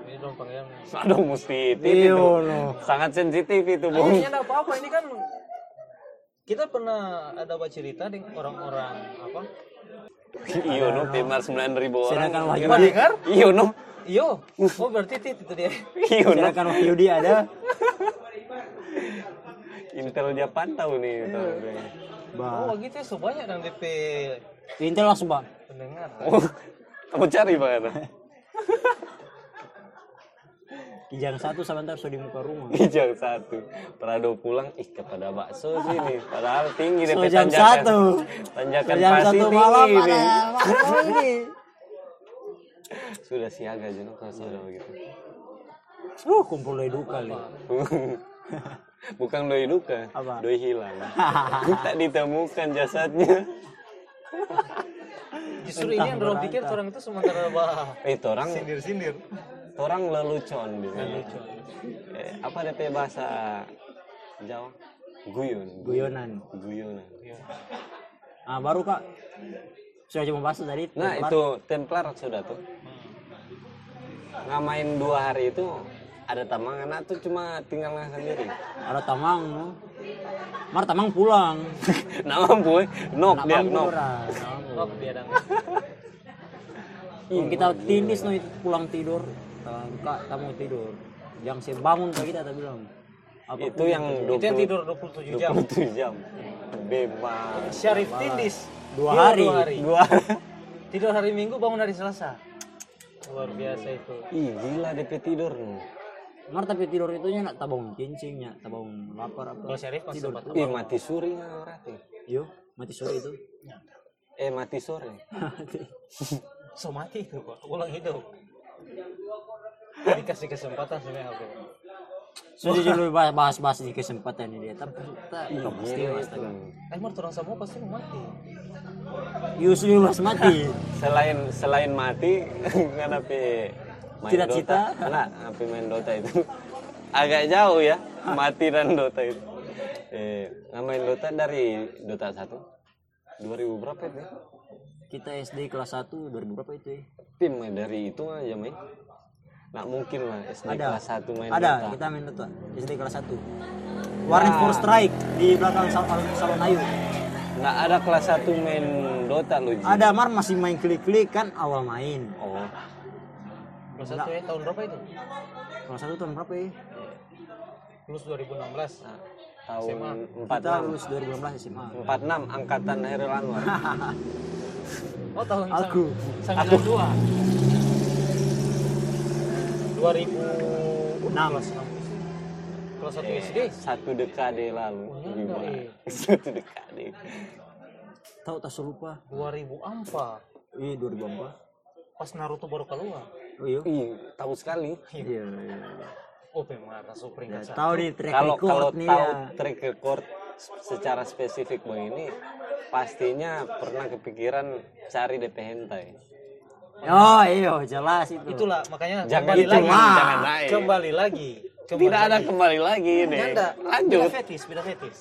E: ini dong panggilan.
B: Aduh, mesti itu.
C: Iya,
B: itu.
C: no.
B: Sangat sensitif itu, Bung.
E: Kayaknya enggak apa-apa, ini kan kita pernah ada baca cerita dengan orang-orang apa?
B: Iya, no, pemar 9000 orang.
C: Sedangkan
B: Iya,
C: Wahyu
B: no. Iya, no.
E: Yo, oh berarti tit itu dia.
B: Iya, no.
C: Sedangkan Wahyudi ada
B: Intel Japan tahu nih.
C: Iya.
B: itu.
C: Bah.
E: Oh, gitu ya, so banyak yang DP
C: Intel langsung, Bang.
E: pendengar.
B: Oh, kamu cari ya, banget.
C: Kijang satu sebentar sudah di muka rumah.
B: Kijang satu. Prado pulang, ih kepada bakso sih nih. Padahal tinggi deh.
C: So,
B: pe,
C: jam
B: tanjakan.
C: satu.
B: Tanjakan
C: Kijang
B: pasti
C: satu malam
B: tinggi
C: ada
B: nih.
C: bakso ini.
B: Sudah siaga Juno kalau sudah begitu.
C: Uh, kumpul dari duka nih.
B: Bukan doi duka,
C: Apa?
B: doi hilang. tak ditemukan jasadnya.
E: Justru ini yang dorong pikir orang itu sementara bah
B: Eh, orang
E: sindir-sindir.
B: orang lelucon di sana. Eh, apa DP bahasa Jawa? Guyon.
C: Guyonan.
B: Guyonan.
C: Ah, baru Kak. Sudah cuma bahasa tadi.
B: Nah
C: tempat.
B: itu Templar sudah tuh. Ngamain dua hari itu ada tamang anak tuh cuma tinggalnya sendiri.
C: ada tamang. no. Mar tamang pulang.
B: Nama boy, nok dia
C: Tamang
B: nok.
C: orang.
E: Rob dia dang.
C: Yang Iya, kita tindis no itu pulang tidur. Tamang Kak, tamu tidur. Yang saya bangun ke kita tak bilang. Apa
B: Itu yang
E: Itu yang
B: 20,
E: tidur 27 jam.
B: 27 jam. Bebas.
E: Syarif Tindis Iya,
C: Dua
E: Tidur
C: hari.
B: Dua.
E: Tidur hari Minggu bangun hari Selasa. Luar biasa itu.
B: Ih gila DP tidur.
C: Mar tapi tidur itunya nak tabung cincingnya, tabung lapar apa?
E: Kalau Syarif masih sempat
B: Ih mati suri nggak berarti.
C: Yo, mati sore itu.
B: Eh mati sore.
E: so mati itu kok. Ulang hidup. Dikasih kesempatan sama aku.
C: Sudah dulu bahas-bahas di kesempatan ini dia. Tapi kita
B: Ih
C: Yo, pasti
B: gila
C: mas.
B: Iya, itu.
E: Eh, mau orang semua pasti mau mati.
C: Yo, sudah mas mati.
B: Selain selain mati nggak tapi main
C: Cita-cita?
B: Dota. Nggak tapi main Dota itu agak jauh ya mati dan Dota itu. Eh, nggak main Dota dari Dota 1 2000 berapa itu? ya?
C: Kita SD kelas 1 2000 berapa itu ya?
B: Tim eh, dari itu aja main. Nah mungkin lah SD
C: Ada.
B: kelas 1 main
C: Ada,
B: Dota.
C: kita main Dota. SD kelas 1. Warning
B: Ah.
C: for strike di belakang sal alun salon ayu.
B: Nggak ada kelas 1 main Dota lu. Ji.
C: Ada Mar masih main klik-klik kan awal main.
B: Oh,
E: Kelas satu ya, tahun berapa itu?
C: Kelas 1 tahun berapa ya?
E: Lulus 2016.
B: nah, tahun
C: Kita
B: 46.
C: lulus 2016 SMA.
B: 46 angkatan Hairil Anwar.
E: Oh, tahun
C: Aku.
E: 92.
C: Nah,
E: 2006 kelas 1 SD.
B: satu dekade lalu
E: Wah,
B: Gimana?
E: iya.
B: satu dekade
C: Tahu tak serupa?
E: 2004
C: Ih, 2004.
E: pas Naruto baru keluar.
C: Oh, iya.
B: Ih, tahu sekali
C: Iya, iya.
E: Oh, memang masuk
C: Ya,
E: peringkat satu.
C: tahu nih track
B: kalau kalau
C: record nih
B: tahu
C: ya.
B: track record secara spesifik begini pastinya pernah kepikiran cari DP hentai
C: Oh, iya, jelas itu.
E: Itulah makanya
B: Hmm. jangan
E: kembali lagi.
B: jangan, jangan naik
E: Kembali lagi. Kembali
B: tidak ada
E: lagi.
B: kembali lagi deh
E: Anda
B: lanjut
E: Beda fetis, beda fetis.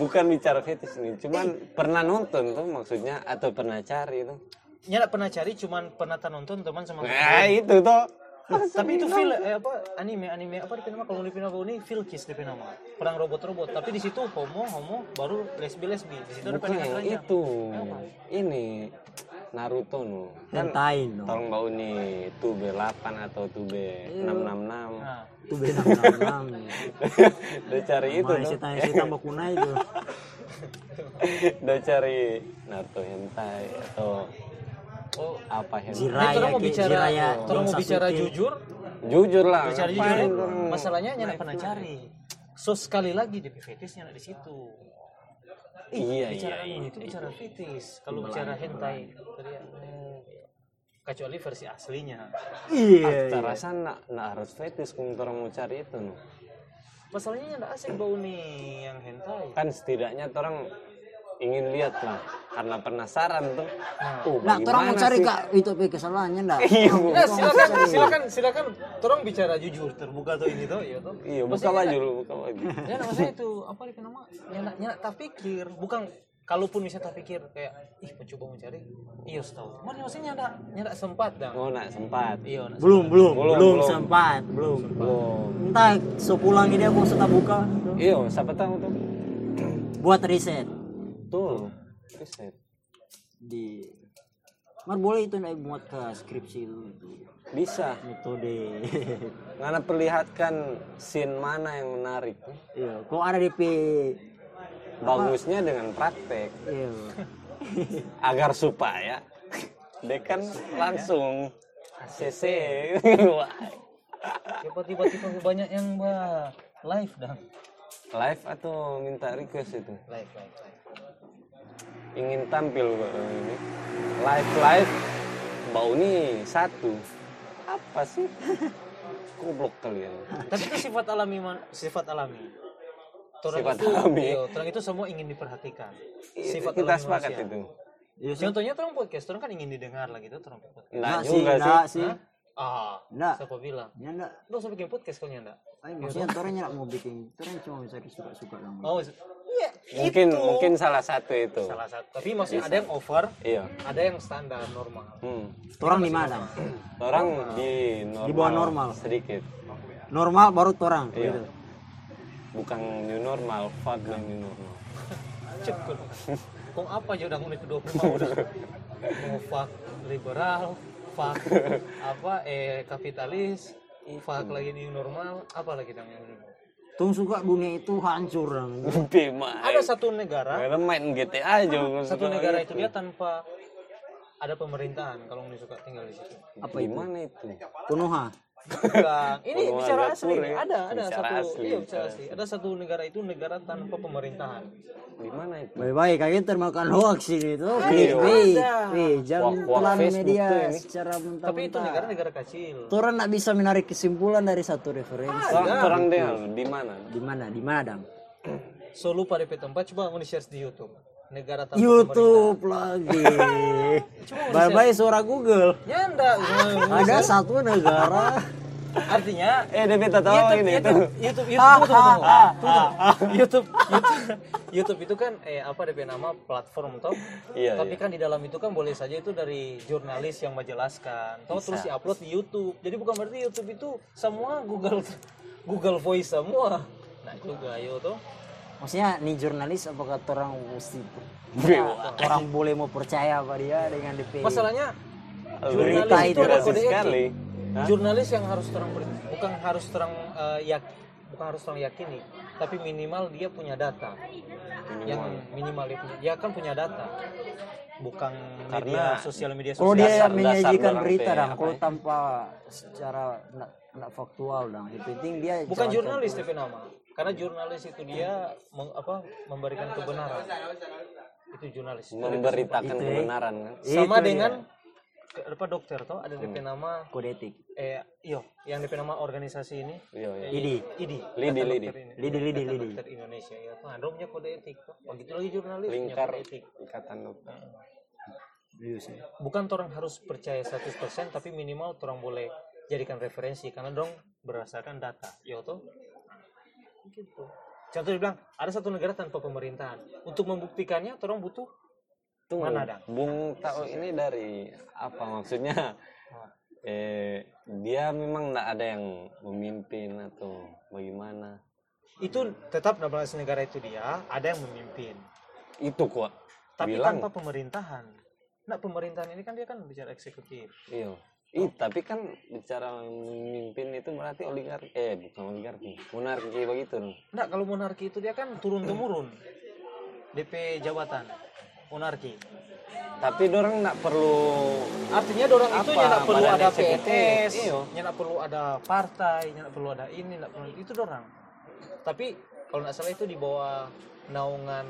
B: bukan bicara fetish ini cuman
C: Eh.
B: pernah nonton tuh maksudnya atau pernah cari tuh
E: Nya nggak pernah cari, cuman pernah tak nonton teman
C: Oh.
E: sama
B: nah
E: teman.
B: itu tuh
E: Tapi itu film eh, apa anime anime apa di nama kalau di nama ini film kiss di nama perang robot robot. Tapi di situ homo homo baru lesbi lesbi. Di situ ada
B: bukan yang
E: pernikahan
B: itu ini Naruto no kan
C: Hentai no.
B: Tolong bau nih tube 8 atau tube
C: Iya.
B: 666.
E: Nah,
C: Itu beda enam.
B: Udah cari itu
C: Itu
B: tuh.
C: si tanya si tambah kunai itu.
B: Udah cari Naruto hentai atau
E: oh.
B: apa hentai.
E: Ini
C: Jiraya,
E: orang mau
C: Ki,
E: bicara,
C: Jiraya.
E: orang mau
C: Sasuke.
E: bicara jujur,
B: Jujur lah.
E: bicara
B: ngapain
E: jujur.
B: orang
E: Masalahnya nggak pernah cari. So sekali lagi di fetisnya nggak di situ.
B: Iya iya.
E: bicara anu,
B: iya.
E: itu bicara fetis kalau bicara hentai tadi ya, hmm, kecuali versi aslinya
C: Iya.
B: Tak rasa nak nak harus fetish kalau orang mau cari itu no.
E: masalahnya nggak asik bau nih yang hentai
B: Kan setidaknya orang ingin lihat lah karena penasaran tuh. Tuh,
C: Nah, orang mau
B: bagaimana
C: cari
B: sih?
C: kak itu pe kesalahannya enggak?
B: Iya, Bu.
E: Nah, silakan, silakan, silakan. Tolong bicara jujur, terbuka tuh ini tuh, ya tuh.
B: Iya, buka baju dulu, buka baju.
E: Ya, nah, maksudnya itu apa di nama? Nyenak, nyenak tak pikir, bukan kalaupun bisa tak pikir kayak ih mencoba mencari iya tahu mana maksudnya nyenak nyenak sempat dah
B: Oh, nak sempat.
E: iya nak
C: Belum, belum,
B: Belum,
C: belum,
B: belum.
C: sempat, belum.
B: Belum.
C: Entah sepulang ini aku suka buka
B: Iya, siapa tahu tuh.
C: buat riset
B: Tuh. Buset.
C: di Mar boleh itu naik buat ke skripsi itu
B: Bisa.
C: metode.
B: Karena perlihatkan scene mana yang menarik.
C: Iya, kok ada DP
B: Bagusnya dengan praktek.
C: Iya.
B: Agar supaya dekan langsung CC. Wah.
E: siapa tiba-tiba banyak yang bah live dah
B: Live atau minta request itu?
E: live live, live.
B: ingin tampil kok tahun ini live live bau nih satu apa sih goblok kalian
E: tapi itu sifat alami man- sifat alami Torang
B: Sifat
E: itu,
B: alami. Iya,
E: iya, torang itu semua ingin diperhatikan sifat ya?
B: kita
E: alami
B: sepakat
E: manusia.
B: itu
C: Iya sih.
E: contohnya orang podcast orang kan ingin didengar lagi tuh orang podcast
B: enggak
C: Nggak sih,
B: juga sih
C: nggak sih.
E: ah
C: Nggak.
E: siapa bilang
C: Ya enggak.
E: lu usah bikin podcast kalau nggak
C: Ay, maksudnya orang nyerak mau bikin, orang cuma bisa disuka-suka dong.
E: oh se- iya
B: mungkin
E: itu.
B: mungkin salah satu itu
E: salah satu tapi maksudnya ada yang over
B: iya
E: ada yang standar normal
B: hmm.
C: Orang di mana?
B: orang di normal
C: Di bawah normal.
B: sedikit
C: Normal baru orang.
B: Iya.
C: Gitu. Nah.
B: bukan new normal fuck the new normal
E: cukup kong apa aja udah menit kedua puluh udah mau fuck liberal fuck apa eh kapitalis fuck lagi new normal apa lagi dong yang ini?
C: Tung suka dunia itu hancur dong.
B: bema
E: ada satu negara
B: Karena main GTA aja gua
E: satu
B: suka
E: negara itu dia tanpa ada pemerintahan kalau nggak suka tinggal di situ
C: Apa
B: di
C: itu?
B: mana itu
C: Kunoha.
E: Bukan. ini
B: Benua
E: bicara
B: Singapura
E: asli
B: ya.
E: ada ada
B: Bicara
E: satu
B: asli,
E: iya,
B: bicara
E: bicara asli. ada satu negara itu negara tanpa pemerintahan
B: di mana itu
C: Baik-baik kalian termakan hoax gitu. ini tuh.
B: Iya.
C: Clickbait. Eh, jangan
B: Hoax-hoax
C: telan
B: Facebook
C: media
B: tuh ini.
C: secara mentah-mentah.
E: tapi itu negara negara kecil
C: Orang nggak bisa menarik kesimpulan dari satu referensi.
B: orang orang dengar di mana
E: Nah,
C: Di mana? Di mana, Dang?
E: so lupa DP tempat coba mau share di YouTube negara tanpa
C: YouTube lagi. Bye-bye suara Google.
E: pemerintahan. ya enggak
C: Ada satu negara. Iya,
E: artinya
B: eh dia minta tahu
E: YouTube,
B: ini Ah, itu
E: YouTube, YouTube, YouTube, tunggu, tunggu, tunggu. Tunggu, tunggu. YouTube, YouTube, YouTube itu kan eh apa DP nama platform toh.
B: Iya,
E: Tapi
B: iya.
E: kan di dalam itu kan boleh saja itu dari jurnalis yang menjelaskan. Toh terus diupload di YouTube. Jadi bukan berarti YouTube itu semua Google Google Voice semua. Nah juga yo toh.
C: Maksudnya nih jurnalis apakah orang mesti
B: Iya.
C: orang boleh mau percaya apa dia dengan DP?
E: Masalahnya
B: Jurnalis
C: Gitu. Berita
B: itu
C: itu
B: rasis
E: kode etik.
B: sekali. Hah?
E: jurnalis yang harus terang ber- bukan harus terang eh, yak bukan harus terang yakini tapi minimal dia punya data yang minimal dia punya dia kan punya data bukan media
B: Karena
E: sosial media
C: Kalau
E: sosial
C: dia
B: Dasar- dasar
C: menyajikan
B: orang
C: berita
B: teh,
C: dong,
B: apa
C: kalau
B: ya?
C: tanpa secara nak, nak faktual dong, yang penting dia
E: bukan
C: jalankan
E: jurnalis
C: dulu.
E: tapi nama karena jurnalis itu dia meng- apa memberikan kebenaran itu jurnalis
B: memberitakan
C: Itu, eh.
B: kebenaran kan.
E: sama
C: Itu
E: dengan ke- apa dokter toh ada DP
C: dia.
E: nama
C: kode etik.
E: eh yo yang DP nama organisasi ini
B: Iya, iya.
C: Idi.
E: IDI.
B: Lidi,
E: Ikatan
B: lidi.
E: Dokter ini-
C: Lidi, lidi,
E: Ikatan
C: lidi.
E: Dokter Indonesia ya. Tuh, ada punya kode etik. Oh, gitu lagi jurnalis punya
B: Lingkar
E: kode etik.
B: ikatan dokter.
E: Bukan orang harus percaya 100% tapi minimal orang boleh jadikan referensi karena dong berdasarkan data. Ya toh. Gitu. Contoh dibilang ada satu negara tanpa pemerintahan. Untuk membuktikannya orang butuh
B: Tunggu,
E: Mana, Dang?
B: Bung Tao ini dari apa maksudnya? Eh, dia memang tidak ada yang memimpin atau bagaimana?
E: itu tetap dalam bahasa negara itu dia ada yang memimpin.
B: Itu kok.
E: Tapi
B: bilang,
E: kan tanpa pemerintahan. Nah, pemerintahan ini kan dia kan bicara eksekutif.
B: iya. Ih, tapi kan bicara memimpin itu berarti oligarki eh bukan oligarki, monarki begitu. Dong.
E: Enggak, Nah, kalau monarki itu dia kan turun temurun. DP jabatan monarki.
B: Tapi orang tidak perlu
E: Artinya orang itu
B: Apa,
E: nyenak perlu
B: badan
E: ada
B: eksekutif,
E: PNS,
B: iyo.
E: nyenak perlu ada partai, nyenak perlu ada ini, nyenak perlu itu dorang. Tapi kalau nggak salah itu di bawah naungan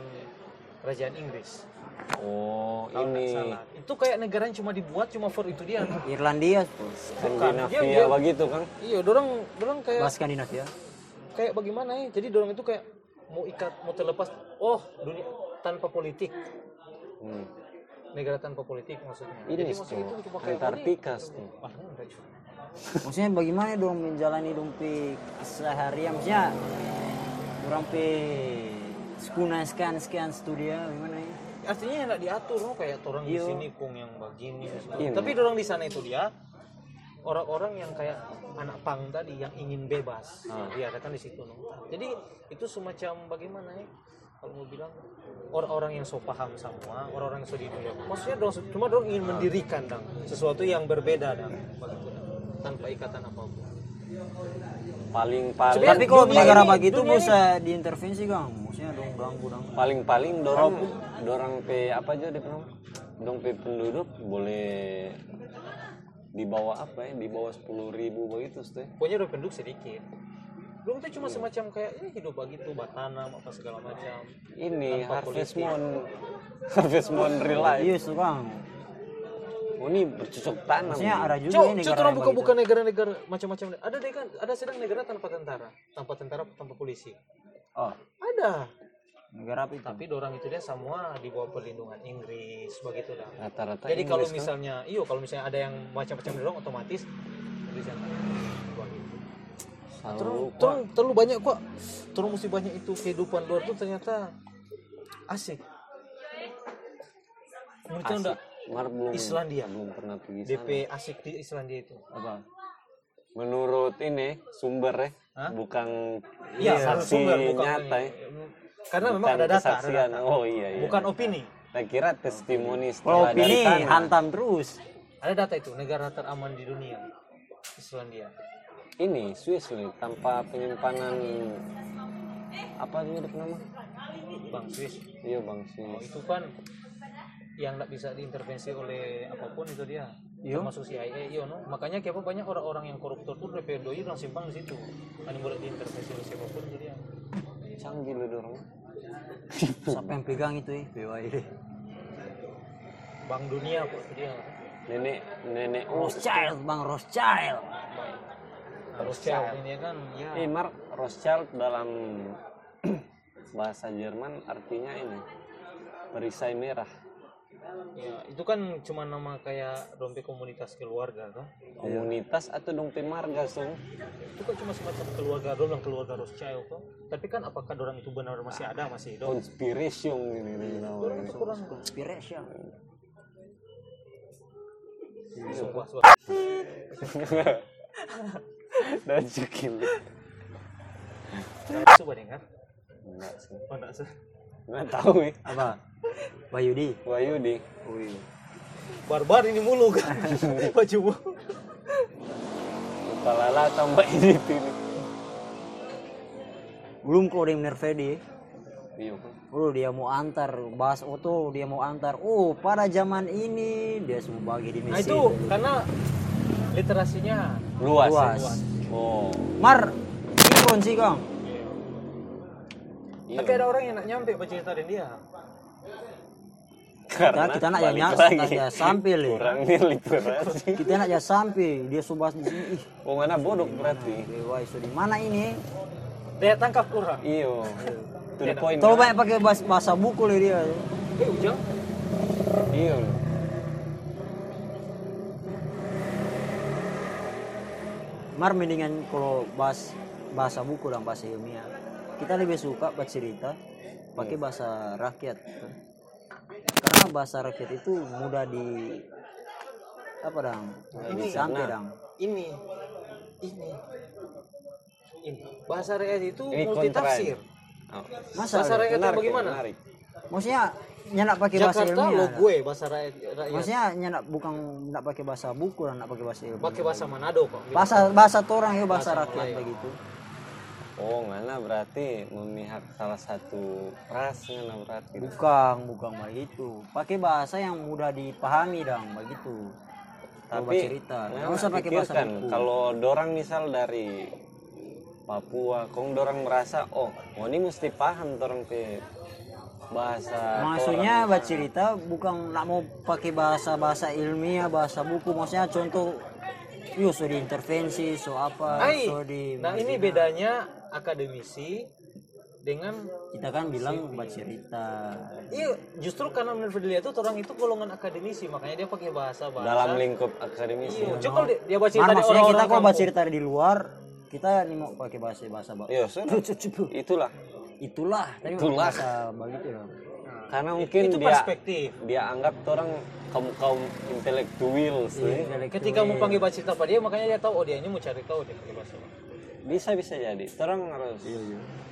E: kerajaan Inggris.
B: oh
E: Kalau nggak
B: ini
E: salah. Itu kayak negaranya cuma dibuat cuma for itu dia.
C: Irlandia,
E: Dia-
B: Skandinavia
E: dia-
B: begitu kan.
E: iya, dorang dorang kayak ya?
C: bahas Skandinavia.
E: kayak bagaimana ya jadi dorong itu kayak mau ikat mau terlepas oh dunia tanpa politik
B: Hmm.
E: negara tanpa politik maksudnya
B: Ini tuh,
E: jadi maksudnya itu dipakai
B: Hmm. Antartika tuh.
E: ah, enggak cuy.
C: maksudnya bagaimana dong menjalani dompi seharian maksudnya orang pe sekuna sekian sekian studio gimana ya
E: artinya enak diatur loh Oh, kayak orang di
C: Iya.
E: sini kung yang begini segala.
B: Iya,
E: tapi orang di sana itu dia orang-orang yang kayak anak pang tadi yang ingin bebas diadakan di situ no. jadi itu semacam bagaimana ya kalau mau bilang orang-orang yang so paham semua orang-orang yang so di dunia maksudnya dong cuma dong ingin mendirikan dong sesuatu yang berbeda dong begitu, dong. tanpa ikatan apapun
B: Paling paling
C: tapi kalau
E: dunia
C: negara
E: ini-
C: begitu
E: dunia ini-
C: bisa diintervensi kang maksudnya dong ganggu dong
B: paling paling dorong dorang pe apa aja deh Bro? dorong pe penduduk boleh dibawa apa ya dibawa sepuluh ribu begitu ya. sih
E: pokoknya udah penduduk sedikit belum itu cuma semacam kayak ini hidup begitu batanam apa segala macam
B: ini harvest moon harvest moon real life
C: iya tuh kang
B: oh, ini bercocok tanam
C: maksudnya ada juga
E: Cuk,
C: ini
E: cuk, orang buka-buka negara-negara macam-macam. Ada deh kan, ada sedang negara tanpa tentara, tanpa tentara, tanpa polisi.
B: oh
E: Ada.
C: negara apa itu
E: Tapi dorang itu dia semua di bawah perlindungan Inggris, begitu dah.
B: rata-rata
E: Jadi kalau
B: Inggris, kan?
E: misalnya, iyo kalau misalnya ada yang macam-macam dorong otomatis Inggris yang ada. Begitu.
B: Selalu
E: Terlalu,
B: lupa.
E: terlalu, terlalu banyak kok. Terlalu mesti banyak itu kehidupan luar tuh ternyata asik. Menurut
B: Asik.
E: anda
B: Mar belum
E: Islandia.
B: belum pernah pergi sana.
E: DP asik di Islandia itu.
B: apa menurut ini sumber ya
E: Hah?
B: bukan
E: Iya,
B: saksi
E: sumber, bukan
B: nyata ya
E: Karena memang
B: Bukan
E: ada data, ada
B: kesaksian.
E: data.
B: oh iya iya
E: bukan opini.
B: saya kira testimoni
C: kalau
B: setelah dari
C: pilih
B: tanah.
C: hantam terus
E: Ada data itu negara teraman di dunia. Islandia.
B: ini Swiss nih tanpa penyimpanan apa dia ada nama
E: Bang Swiss.
B: iya bang
E: Oh,
B: Swiss
E: itu kan yang nggak bisa diintervensi oleh apapun itu dia. Termasuk CIA, iya no. Makanya kenapa banyak orang-orang yang koruptor tuh doi udah simpang di situ. Kan boleh diintervensi oleh siapapun itu dia.
B: canggih lu dorong
C: siapa yang pegang itu ya BYD
E: Bank dunia kok itu dia.
B: nenek nenek oh
C: Rothschild bang Rothschild
E: Harus cewek ini kan ya.
B: eh Mar Rothschild dalam bahasa Jerman artinya ini perisai merah
E: ya. Itu kan cuma nama kayak dompet komunitas keluarga kan.
C: Iya.
B: komunitas atau dompet marga sung
E: itu kan cuma semacam keluarga doang keluarga Rothschild kok tapi kan apakah orang itu benar masih ada masih hidup
B: konspirasi ini ini namanya.
E: itu kurang
C: Inspiration
E: sumpah sumpah
B: dan cekil
E: coba dengar
B: enggak sih
E: oh enggak sih
B: enggak tahu ya
C: apa Bayudi
B: Wahyu di
C: oh iya
E: barbar ini mulu
B: Ah,
E: kan baju mu.
B: kepala lala tambah ini ini
C: belum kalau dia Nervedi
B: iya kan
C: Oh eh. dia mau antar bahas Oto dia mau antar oh pada zaman ini dia semua bagi di
E: nah
C: mesin
E: itu
B: iya.
E: karena literasinya
B: luas, ya?
C: Luas.
B: oh
C: Mar sinkron sih kang
B: iya.
E: tapi ada orang yang nak nyampe baca cerita dari dia
B: karena
C: kita nak yang
B: balik
C: nyas-
B: lagi.
C: nak yang sampil, ya.
B: kurangnya literasi
C: kita nak aja sampai dia suruh bahas di sini ih
B: oh mana bodoh berarti
C: dewa itu di mana ini
E: daya tangkap kurang
B: iyo Iya. to the point
C: terlalu
B: kan?
C: banyak pakai bahas- bahasa buku lah dia
E: eh ujang
B: iyo loh.
C: Mar mendingan kalau bahas bahasa buku dan bahasa ilmiah kita lebih suka buat cerita pakai
B: Iya.
C: bahasa rakyat karena bahasa rakyat itu mudah di apa dang
E: Ini,
C: sampai
B: nah.
C: dang
E: ini ini ini bahasa rakyat itu
B: Ini
E: multi tafsir
B: oh.
C: masa
E: bahasa
C: le?
E: rakyat yang
B: menarik ya?
E: bagaimana
B: menarik
C: maksudnya nyenak pakai bahasa
E: Jakarta
C: ilmiah
E: lo
C: dah.
E: gue bahasa rakyat,
B: iya.
E: rakyat.
C: maksudnya nyenak bukan nggak pakai bahasa buku dan nggak pakai bahasa ilmiah
E: pakai bahasa Manado kok gitu.
C: bahasa bahasa torang ya bahasa, rakyat begitu
B: oh mana berarti memihak salah satu ras ngana berarti
C: bukan bukan begitu pakai bahasa yang mudah dipahami dang begitu Coba
B: tapi
C: cerita
B: nah,
C: nggak usah pakai bahasa
B: pikirkan,
C: buku
B: kalau dorang misal dari Papua kong dorang merasa oh oh ini mesti paham dorang ke bahasa
C: maksudnya buat cerita bukan nak mau pakai bahasa bahasa ilmiah bahasa buku maksudnya contoh yo so diintervensi so apa
E: Ai,
C: so di
E: nah ini bedanya Nah, akademisi dengan
C: kita kan bilang buat cerita
E: iya justru karena menurut dia itu orang itu golongan akademisi makanya dia pakai bahasa bahasa
B: dalam lingkup akademisi.
E: Iya, coba kalau dia, dia
C: Mar,
E: baca tadi
C: Nah, maksudnya
E: orang-orang
C: kita kalau buat
E: kampung.
C: cerita dari luar kita ini mau pakai bahasa bahasa bang
B: Iya, sudah. Itulah.
C: itulah tapi pakai
B: Itulah.
C: bahasa begitu ya
B: Karena mungkin
E: itu
B: dia
E: perspektif
B: dia anggap orang kaum kaum intelektual sih.
E: ketika mau panggil baca cerita pada dia makanya dia tahu oh dia ini mau cari tahu dia pakai bahasa bahasa.
B: Bisa bisa jadi. Orang harus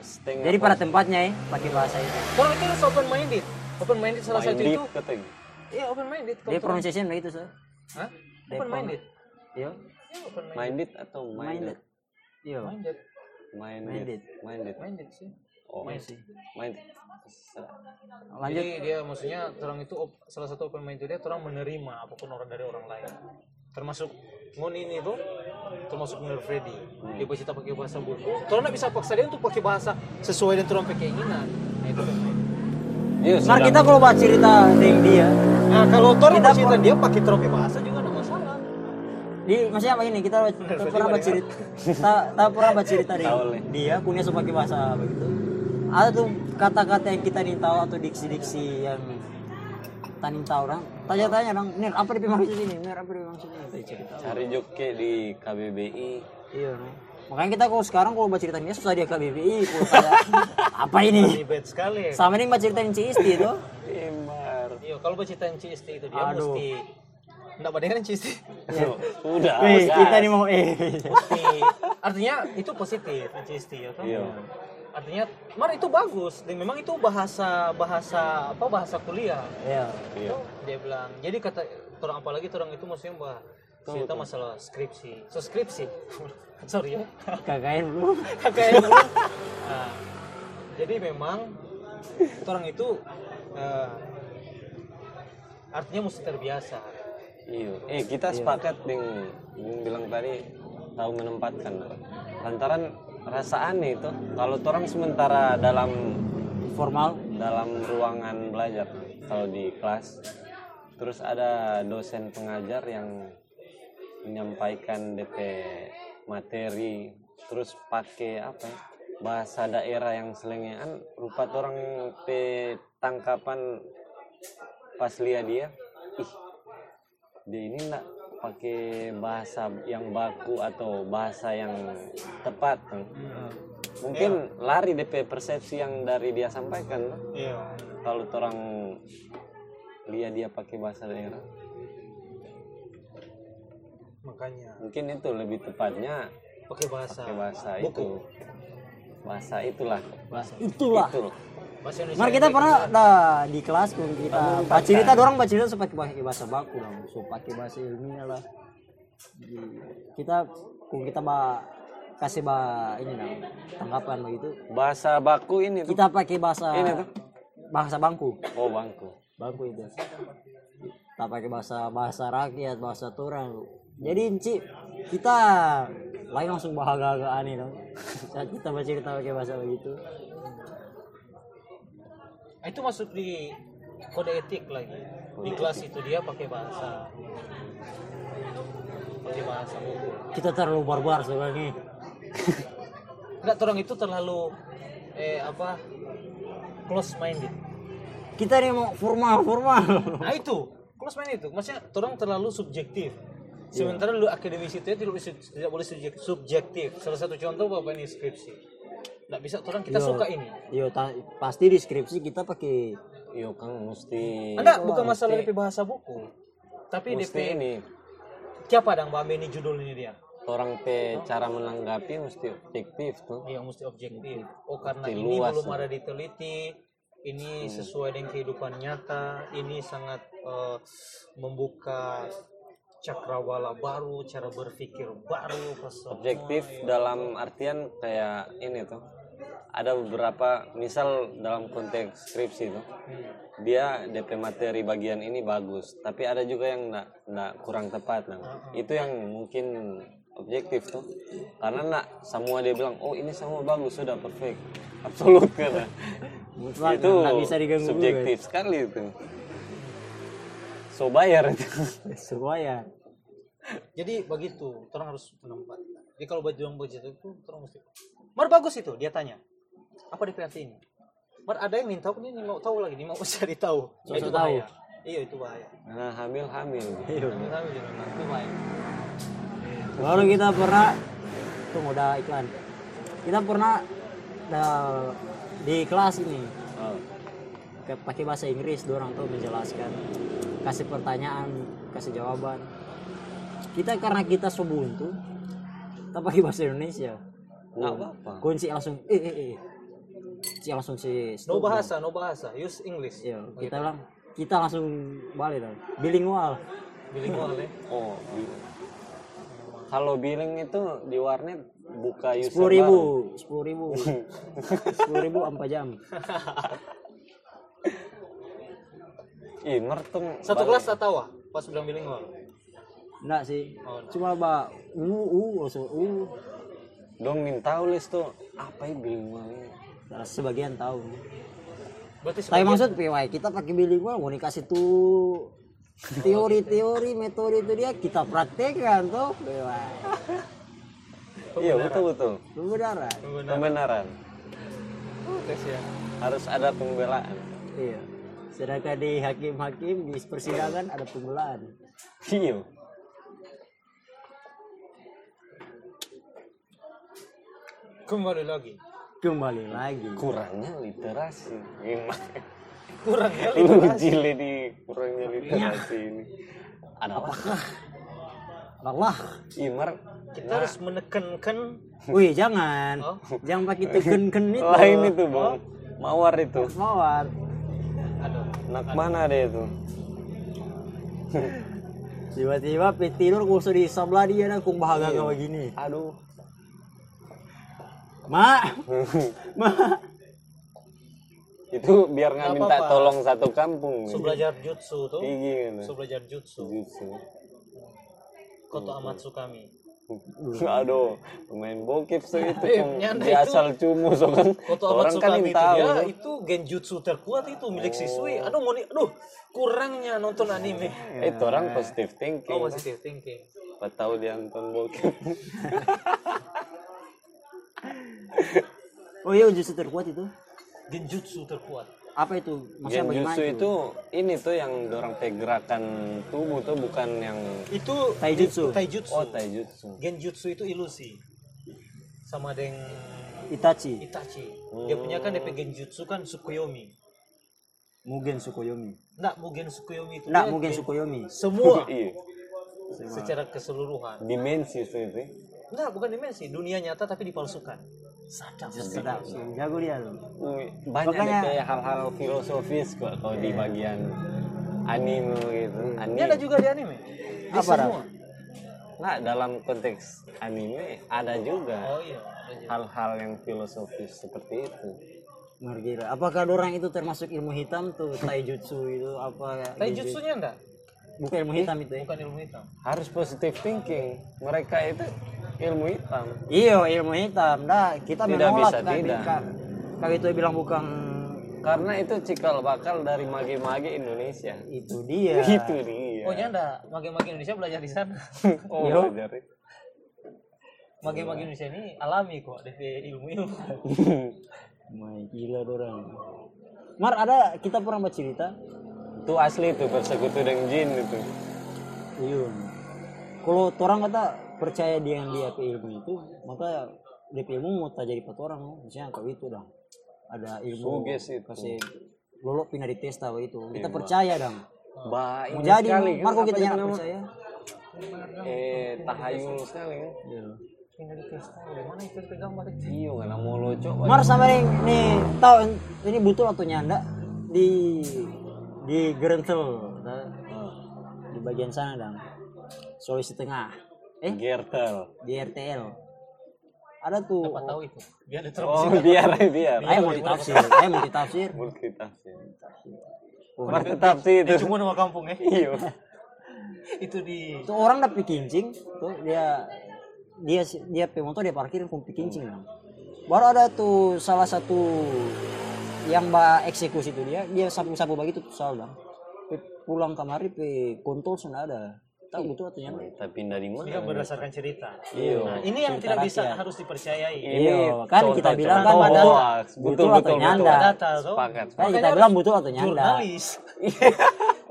B: setengah
C: jadi pada tempatnya ya pakai bahasa itu
E: orang itu harus open minded open minded salah satu
B: minded
E: itu
B: katanya.
E: iya open minded
C: dia pronunciation begitu so
E: Hah?
C: Dia
E: open minded
C: iya
E: Iya, open minded
B: Minded atau minded?
C: iya
E: minded
B: Minded. Minded.
E: minded sih
B: Oh, minded.
C: lanjut
E: Jadi dia maksudnya orang itu op- salah satu open mind dia orang menerima apapun orang dari orang lain. Termasuk ngon ini tuh termasuk menurut Freddy.
C: Hmm.
E: Dia pasti tak pakai bahasa buku. Orang nggak bisa paksa dia untuk pakai bahasa sesuai dengan orang keinginan. Nah, itu open minded.
B: Iya,
C: Mar
B: sudah.
C: Nah, kita kalau buat cerita dengan dia
E: Nah, kalau orang
C: Kita
E: pasti dia pakai terus pakai bahasa juga enggak masalah.
C: di maksudnya apa ini kita, kita pernah buat cerita kita, kita pernah buat cerita dengan dia punya suka pakai bahasa begitu ada tuh kata-kata yang kita nih tahu atau diksi-diksi yang kita nih tahu orang tanya-tanya orang nir apa di maksud ini nir apa di maksud ini Kita cerita
B: Cari joki di KBBI.
C: iya Nir. makanya kita kalau sekarang kalau buat cerita ini susah dia ke BBI kalau kayak, apa ini
E: Ini bad sekali. ya.
C: sama ini buat cerita ini Cisti itu
B: Emar.
E: Iya, kalau berceritain CST itu dia
C: Aduh.
E: mesti enggak kan bandingkan CST.
B: Sudah.
C: Wih,
B: gas.
C: kita nih mau eh
E: Mesti. Artinya itu positif CST ya kan?
B: Iya.
E: Artinya, mar itu bagus. Dan memang itu bahasa bahasa apa bahasa kuliah.
C: iya
B: Iya.
E: dia bilang jadi kata orang apalagi orang itu maksudnya mbak cerita masalah skripsi so skripsi sorry ya
C: KKN belum
E: Kayak dulu. Nah, jadi memang orang itu eh, artinya mesti terbiasa
B: Iya. Eh kita sepakat dengan yang bilang tadi tahu menempatkan. Lantaran rasa aneh itu kalau orang sementara dalam
C: formal
B: dalam ruangan belajar kalau di kelas terus ada dosen pengajar yang menyampaikan DP materi terus pakai apa ya, bahasa daerah yang selengean rupa orang pe tangkapan pas lihat dia ih dia ini enggak pakai bahasa yang baku atau bahasa yang tepat kan. mungkin lari DP persepsi yang dari dia sampaikan kan.
E: iya
B: kalau orang lihat dia pakai bahasa daerah
E: makanya
B: mungkin itu lebih tepatnya
E: pakai bahasa
B: pakai bahasa itu
E: buku
B: bahasa itulah
C: itulah
B: Itulah.
E: bahasa Indonesia
C: Mar kita
E: yang
C: pernah dah di kelas kun kita baca cerita dorong baca cerita supaya pakai bahasa baku dong, so pakai bahasa ilmiah lah. Di- Kita kun kita ba kasih ba ini dong tanggapan begitu.
B: bahasa baku ini tuh
C: Kita pakai bahasa
B: Ini tuh.
C: bahasa bangku,
B: oh bangku
C: bangku itu. Kita pakai bahasa bahasa rakyat, bahasa turang. Jadi Enci, kita lain langsung bahagia aneh dong. Saat kita baca cerita pakai bahasa begitu.
E: Ah, itu masuk di kode etik lagi di kelas itu dia pakai bahasa pakai bahasa buku
C: Kita terlalu barbar sebagai
E: Enggak, orang itu terlalu eh apa close minded.
C: kita nih mau formal formal
E: Nah itu close minded itu maksudnya orang terlalu subjektif.
B: Iya.
E: Sementara lu akademisi itu ya tidak boleh sub- tidak boleh subjek- subjektif. Salah satu contoh bapak ini skripsi. Enggak bisa orang kita
C: Iya.
E: suka ini.
C: yo ta- pasti di skripsi kita pakai
B: yo kan mesti
E: Enggak, bukan masalah DP bahasa buku. Tapi
B: Iya, mesti
E: DP
B: ini
E: siapa dang Mbak ini judul ini dia?
B: orang pe cara menanggapi mesti objektif tuh
E: Iya, Yang mesti objektif. Oh karena
B: Mesti
E: ini
B: luas,
E: belum
B: ya.
E: ada diteliti. Ini sesuai dengan kehidupan nyata. Ini sangat eh, membuka cakrawala baru, cara berpikir baru, pesona.
B: objektif
C: Oh, iya.
B: dalam artian kayak ini tuh ada beberapa misal dalam konteks skripsi tuh
C: Hmm.
B: dia DP materi bagian ini bagus tapi ada juga yang ndak ndak kurang tepat nah
C: Hmm.
B: itu yang mungkin objektif tuh karena nak semua dia bilang oh ini semua bagus sudah perfect absolut karena
C: mutlak
B: itu
C: nggak bisa diganggu
B: subjektif sekali itu so bayar itu
C: guys. supaya
E: Jadi begitu, orang harus menempatkan. Jadi kalau baju yang begitu itu, orang mesti. Mar bagus itu, dia tanya. apa diperhatiin Bar ada yang minta aku nih nih mau tahu lagi nih mau cari tahu
C: Sok-sok
E: itu
C: tahu.
E: bahaya iya itu bahaya
B: Nah, hamil hamil.
E: Jangan sampai jangan sampai. itu bahaya
C: Baru kita pernah tunggu udah iklan. Kita pernah dah- di kelas ini
B: Oh,
C: ke- pakai bahasa Inggris dua orang tuh menjelaskan kasih pertanyaan kasih jawaban kita karena kita sebuntu kita pakai bahasa Indonesia
B: Nggak apa-apa.
C: kunci langsung eh eh eh si langsung si
E: no bahasa no bahasa use English
C: Iya, Iya, kita bilang kita langsung balik dong bilingual
E: bilingual ya
B: Oh. bi- Kalau billing itu di warnet buka user
C: sepuluh ribu sepuluh ribu sepuluh ribu empat jam
B: baru. Ih, mertem.
E: satu
B: balik.
E: kelas tak tahu ah, pas bilang bilingual
C: enggak sih
E: Oh, enggak.
C: cuma ba uh uh langsung uh
B: Dong minta ulis tuh apa ya billing ini?
C: Nah, sebagian tahu
E: berarti
C: tapi
E: sebagian-
C: maksud PY kita pakai bilingual mau dikasih tuh teori-teori metode itu dia kita praktekkan tuh PY
B: Iya betul betul.
C: kebenaran
B: Kebenaran.
E: tes ya
B: Harus ada pembelaan.
C: iya sedangkan di hakim-hakim di persidangan ada pembelaan
B: Iya.
E: kembali lagi
C: kembali lagi
B: Kurangnya literasi. Gimana?
E: kurang ya
B: Lu jile di kurangnya literasi ini. Ada apa?
C: Allah
B: Imar Ya.
E: kita harus menekankan
C: wih jangan
E: Oh.
C: jangan pakai teken-ken itu
B: lain itu bang. Mawar itu.
C: mawar
E: aduh
B: Nak mana deh itu?
C: tiba-tiba pe tidur gue usah di sebelah dia nah kung bahagia kayak begini
B: Aduh.
C: mak mak
B: itu biar nggak minta tolong satu kampung.
E: so belajar jutsu tuh
B: Iya gitu.
E: so belajar jutsu
B: Jujutsu.
E: koto amatsu kami
B: Aduh, pemain bokep so itu
E: Eh,
B: Kang.
E: nyanda
B: dia
E: itu.
B: asal cumu so kan.
E: Koto
B: Orang
E: amatsu
B: kan
E: kami
B: yang
E: itu
B: tahu.
E: dia Ya, itu genjutsu terkuat itu milik siswi aduh moni aduh kurangnya nonton anime
B: Eh, Itu orang positive thinking.
E: oh positive thinking
B: Apa tahu dia nonton bokep.
C: oh iya justru terkuat itu
E: genjutsu terkuat
C: apa itu maksudnya bagaimana
B: Genjutsu itu ini tuh yang dorong teh gerakan tubuh tuh bukan yang
E: itu
C: Taijutsu.
E: itu taijutsu
B: oh taijutsu.
E: genjutsu itu ilusi sama dengan
C: Itachi
E: Itachi
B: Oh.
E: dia punya kan DP genjutsu kan Tsukuyomi
C: Mugen Tsukuyomi
E: Nggak mungkin Tsukuyomi itu
C: Nggak
E: dia
C: Mugen
E: gen-
C: Tsukuyomi
E: semua
B: Iya.
E: secara keseluruhan
B: Dimensi so itu.
E: Nggak, bukan dimensi dunia nyata tapi dipalsukan sadap
C: sedap sih, jago dia tuh
B: Wih, Banyak deh
C: Makanya-
B: kayak hal-hal filosofis kok kalau di bagian anime gitu.
E: Iya. ini
B: Anime.
E: ada juga di anime di
C: Iya. Apa, Raf?
E: semua
B: Nah, dalam konteks anime ada juga
E: oh iya ada juga.
B: hal-hal yang filosofis seperti itu.
C: Margira. Apakah orang itu termasuk ilmu hitam tuh taijutsu itu apa?
E: taijutsunya enggak
C: bukan ilmu hitam itu ya?
E: bukan ilmu hitam
B: Harus positive thinking. Mereka itu ilmu hitam.
C: Iya ilmu hitam. Nah kita
B: Tidak
C: menolak
B: bisa
C: kan,
B: tidak.
C: Kak. Kak itu bilang bukan
B: Karena itu cikal bakal dari mage-mage Indonesia.
C: itu dia.
B: Itu
C: Iya.
B: dia.
E: Iya. oh Iya. nyanda mage-mage Indonesia belajar di sana
B: Oh,
C: Yo.
B: belajar.
E: mage-mage Indonesia ini alami kok DP ilmu-ilmu
C: My gila orang. Mar ada kita pernah baca cerita.
B: Itu asli itu bersekutu dengan jin itu.
C: Iya. Kalau orang kata percaya dia yang dia ke ilmu itu, maka dia ke ilmu mau tak jadi patu orang, misalnya kau itu dah ada ilmu
B: Suges itu.
C: kasih lolo pindah di tes tahu itu kita percaya dong
B: Baik
C: mau jadi
B: sekali. kan?
C: Marco
B: Apa
C: kita
B: dia
C: jangan
B: nama?
C: percaya
B: Eh, tahayul sekali kan.
E: Iya. tinggal di kristal mana itu gambar itu
B: Iya, karena mau lo coba.
C: Mar sama nih, nih tahu ini butuh atau nyanda di di Gerentel nah, di bagian sana dong Sulawesi Tengah eh
B: Gertel.
C: di RTL ada tuh
E: apa tahu itu biar ada
B: Oh, biar biar.
E: iya.
C: ayah mau ditafsir ayah mau ditafsir
B: Multitafsir.
C: Oh,
B: Multitafsir itu.
E: cuma nama kampung ya
B: Iya.
E: itu di
C: itu orang udah kincing tuh dia dia dia pakai motor dia parkir kumpi kincing dong. baru ada tuh salah satu yang mbak eksekusi itu dia dia sapu sapu begitu tuh salah dong. Pe- pulang kamari pe kontol sudah ada tahu gitu artinya
B: Kita pindah di mana?
E: Ini kan berdasarkan cerita.
B: Iya.
E: Nah, ini yang
C: Cerita
E: tidak bisa
C: rakyat.
E: harus dipercayai.
C: Iya, kan kita bilang kan
B: ada
C: ada-
B: betul
C: butuh
B: betul
C: atau
B: betul.
C: nyanda.
E: Data tuh.
B: Sepakat.
C: kan
E: Makanya
C: kita
E: harus
C: bilang butuh atau nyanda
E: Jurnalis.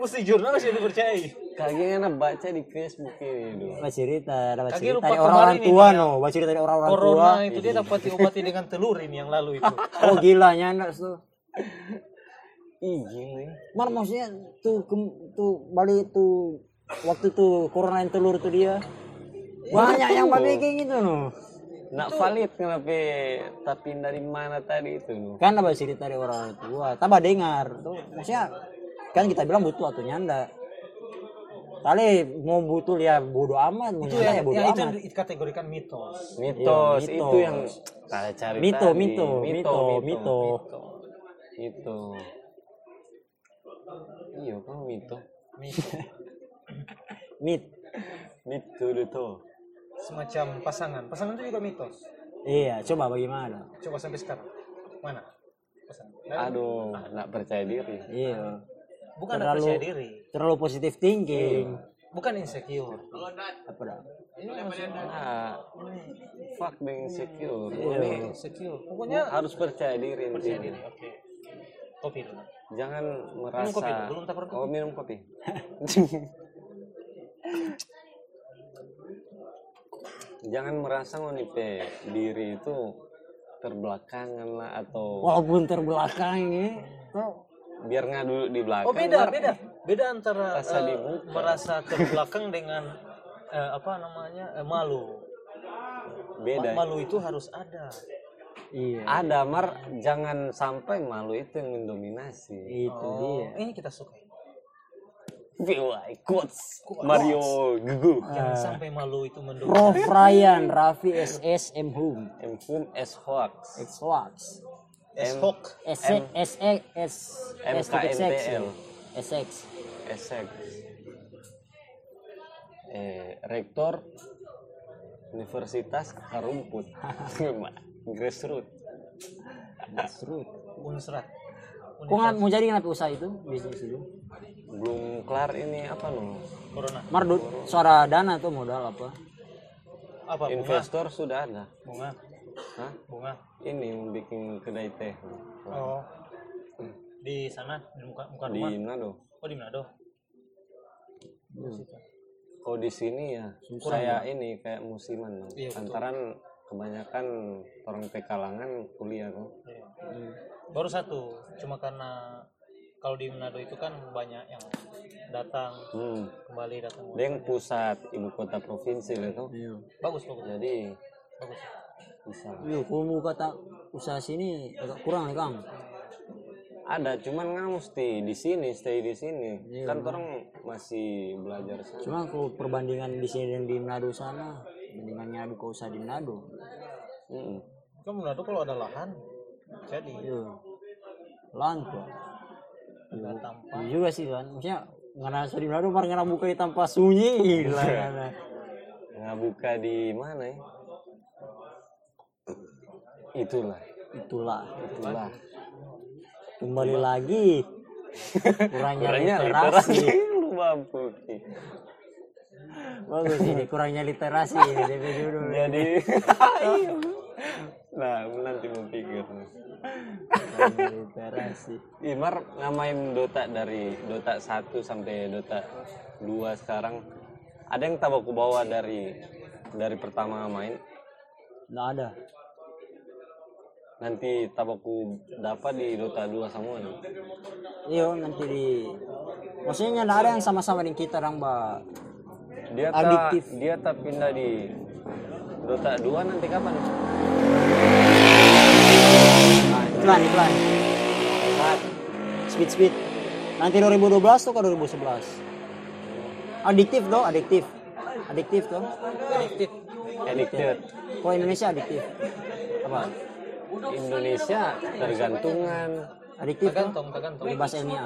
E: Mesti jurnalis yang dipercayai.
B: Kagaknya enak baca di Facebook ini.
C: baca cerita dapat
E: Kaki
C: cerita
E: lupa
C: dari orang-orang
E: kemarin ini
C: tua
E: ya.
C: no baca cerita dari orang-orang tua
E: Corona Nah, itu dia dapat diobati dengan telurin yang lalu itu.
C: oh gila nyanda tuh
B: Ih, gila. ya.
C: Mar maksudnya tuh kem- tuh balik tuh waktu tuh corona yang telur tuh dia banyak yang pakai kayak gitu no
B: Nak valid kenapa tak pindah dari mana tadi itu? no?
C: kan ada cerita dari orang tua tambah dengar tuh maksudnya kan kita bilang butuh atau nyanda kali mau butuh ya bodoh amat mau
E: itu
C: nyanda
E: yang,
C: ya bodoh
E: yang itu
C: amat
E: yang dikategorikan mitos.
B: Mitos,
C: Iya,
B: itu
C: mitos.
B: yang ada cari
C: Mito,
B: tadi.
C: mito, mito, mito.
B: mito. Mito. Iya, kan mito.
C: mit
B: Mito itu.
E: Semacam pasangan. Pasangan itu juga mitos.
C: iya coba bagaimana
E: Coba sampai sekarang. Mana? Pasangan. Nah,
B: Aduh, nak percaya diri.
C: iya
E: bukan ada
C: terlalu-
E: percaya diri.
C: terlalu positif thinking
E: Bukan insecure.
C: apa dah?
E: Ini maksudnya
B: Nah, fuck being secure.
E: ini
B: Ini
E: Iya, insecure. Pokoknya
B: harus percaya diri.
E: percaya
B: intinya.
E: diri. Oke. Kopi dulu.
B: Jangan merasa.
E: kopi dulu, belum tapar kopi.
B: Oh, minum kopi. Jangan merasa ngonipe diri itu terbelakangan lah atau
C: walaupun terbelakang ya
B: biar ngadu di belakang.
E: Oh beda,
B: Mar.
E: beda. Beda antara
B: Rasa
E: eh,
B: di muka.
E: merasa terbelakang dengan eh, apa namanya? eh, malu.
B: Beda.
E: Malu itu harus ada.
C: iya
B: Ada mar, jangan sampai malu itu yang mendominasi. Oh.
C: itu dia
E: Oh, Ini kita suka.
B: VY quotes Mario Gugu.
E: Jangan sampai malu itu mendukung.
C: Prof Ryan Raffi SS M Hum
B: And whom as hoax.
C: X Wax
E: Esok.
C: S S S S titik seks ya. SX
B: Esek. Eh, rektor Universitas Harumput. Grassroots.
C: seru
E: Unsrat.
C: kok nggak mau jadi kenapa usaha itu bisnis itu
B: Belum kelar ini apa loh?
E: Corona.
C: Mardut suara dana tuh modal apa
E: Apa bunga?
B: Investor sudah ada.
E: Bunga.
B: Hah?
E: Bunga.
B: Ini yang bikin kedai teh.
E: Oh. Di sana di muka muka
B: Hmm. Di
E: rumah.
B: Manado.
E: Oh di Manado.
B: Kalau di sini ya, saya ini kayak musiman. loh.
E: Iya, betul.
B: Antaran kebanyakan orang pekalangan kuliah loh.
E: Iya.
B: Hmm.
E: Baru satu. Cuma karena kalau di Manado itu kan banyak yang datang
B: Hmm.
E: kembali datang.
B: Dia yang pusat ibu kota provinsi lah itu.
E: Iya. Bagus bagus
B: Jadi
E: bagus.
B: bisa.
C: Iya, kalau mau kata usaha sini agak kurang nih kang.
B: Ada, cuman kan mesti di sini, stay di sini. Kan orang masih belajar sana.
C: Cuma kalau perbandingan di sini dan di Manado sana, perbandingannya adu ke usaha di Manado.
B: Mm-mm.
E: Kan Manado kalau ada lahan jadi
C: Iya, lantai.
E: ada tanpa
C: Iya juga sih kan, maksudnya karena di Manado mar ngana buka di tanpa sunyi lah. kan. ngana.
B: Nggak buka di mana ya? Itulah,
C: Itulah,
B: itulah.
C: kembali lagi kurangnya
B: Kurangnya literasi.
C: literasi.
B: Lu mampu.
C: Bagus ini kurangnya literasi ini DP dulu.
E: Iya.
B: Jadi, iya. nah nanti mau pikir.
C: Kurangnya literasi.
B: Imar ngamain Dota dari Dota 1 sampai Dota 2 sekarang ada yang tak aku bawa dari dari pertama main
C: Nggak ada.
B: nanti tabaku dapat di Dota 2 semua nih.
C: Iya nanti di. Maksudnya nggak ada yang sama-sama dengan kita dong, Mbak.
B: Dia tak
C: Adiktif.
B: dia tak pindah di Dota 2 nanti kapan?
C: Pelan, pelan.
B: Saat
C: Speed, speed. Nanti 2012 tuh ke 2011. Adiktif dong, adiktif. Adiktif dong.
E: Adiktif. Iya.
B: addicted.
C: Kok Indonesia adiktif?
B: Apa? Indonesia tergantungan
C: Adiktif dong.
E: Tergantung, tergantung.
C: Ini bahasa ilmiah.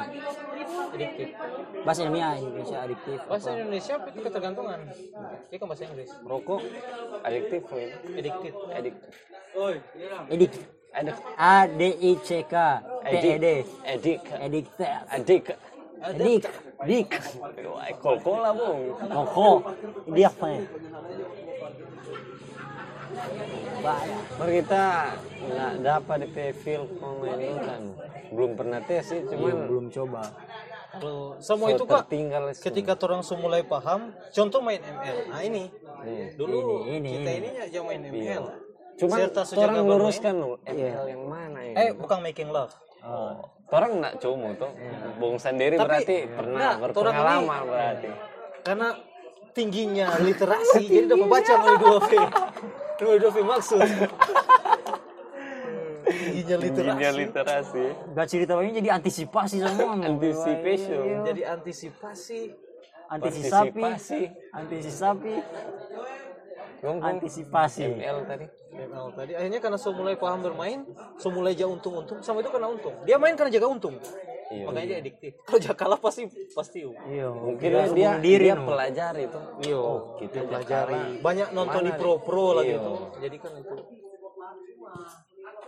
E: Adiktif.
C: Bahasa ilmiah Indonesia adiktif.
E: Bahasa
C: Apa?
E: Indonesia itu ketergantungan.
B: Iya.
E: Dia kan bahasa Inggris.
B: rokok adiktif ya.
E: Adiktif.
B: Adiktif.
C: Edik.
B: Adik
C: A D E I C K T E D.
B: adik adik
C: Ediktif.
B: adik
C: Dik, Dik,
B: Koko lah bung.
C: Koko, dia apa ya?
B: Baru kita nggak dapat di feel memainkan. Belum pernah tes sih, cuman
C: Belum coba.
E: Kalau semua
B: so
E: itu kok
B: tertinggal sih.
E: ketika orang semua mulai paham, contoh main ML. Nah ini
B: Iya.
E: dulu
C: Ini, ini.
E: kita ini yang main ML.
B: Cuman kan
E: Serta
B: orang
E: sejak abang ya?
B: luruskan loh,
C: Iya.
B: ML yang mana ya?
E: Eh bukan making love.
B: orang nggak cuma tuh. Bung sendiri
E: Tapi-
B: berarti
E: Iya.
B: pernah
E: Nggak,
B: berpengalaman
E: orang ini-
B: berarti.
E: Karena tingginya literasi jadi dapat baca melalui dua V. Melalui dua V maksud. tingginya
B: Tingginya
E: literasi.
B: literasi.
C: Gak cerita ini jadi antisipasi semua.
B: Anticipation.
E: Jadi antisipasi
C: Antisipasi,
B: Partisipasi.
C: antisipasi,
B: Ngomong
C: antisipasi.
B: ML tadi.
E: ML tadi akhirnya karena so mulai paham bermain, so mulai jaga untung-untung sama itu karena untung. Dia main karena jaga untung.
B: Iya.
E: Makanya dia adiktif. Kalau jaga kalah pasti pasti
C: Iya,
B: Mungkin
C: dia
B: dia dia,
C: sebuah diri no.
B: pelajari tuh.
E: Iya.
B: kita pelajari.
E: Banyak nonton
B: Mana
E: di
B: nih?
E: pro-pro lagi
B: Iya.
E: itu. Jadi kan itu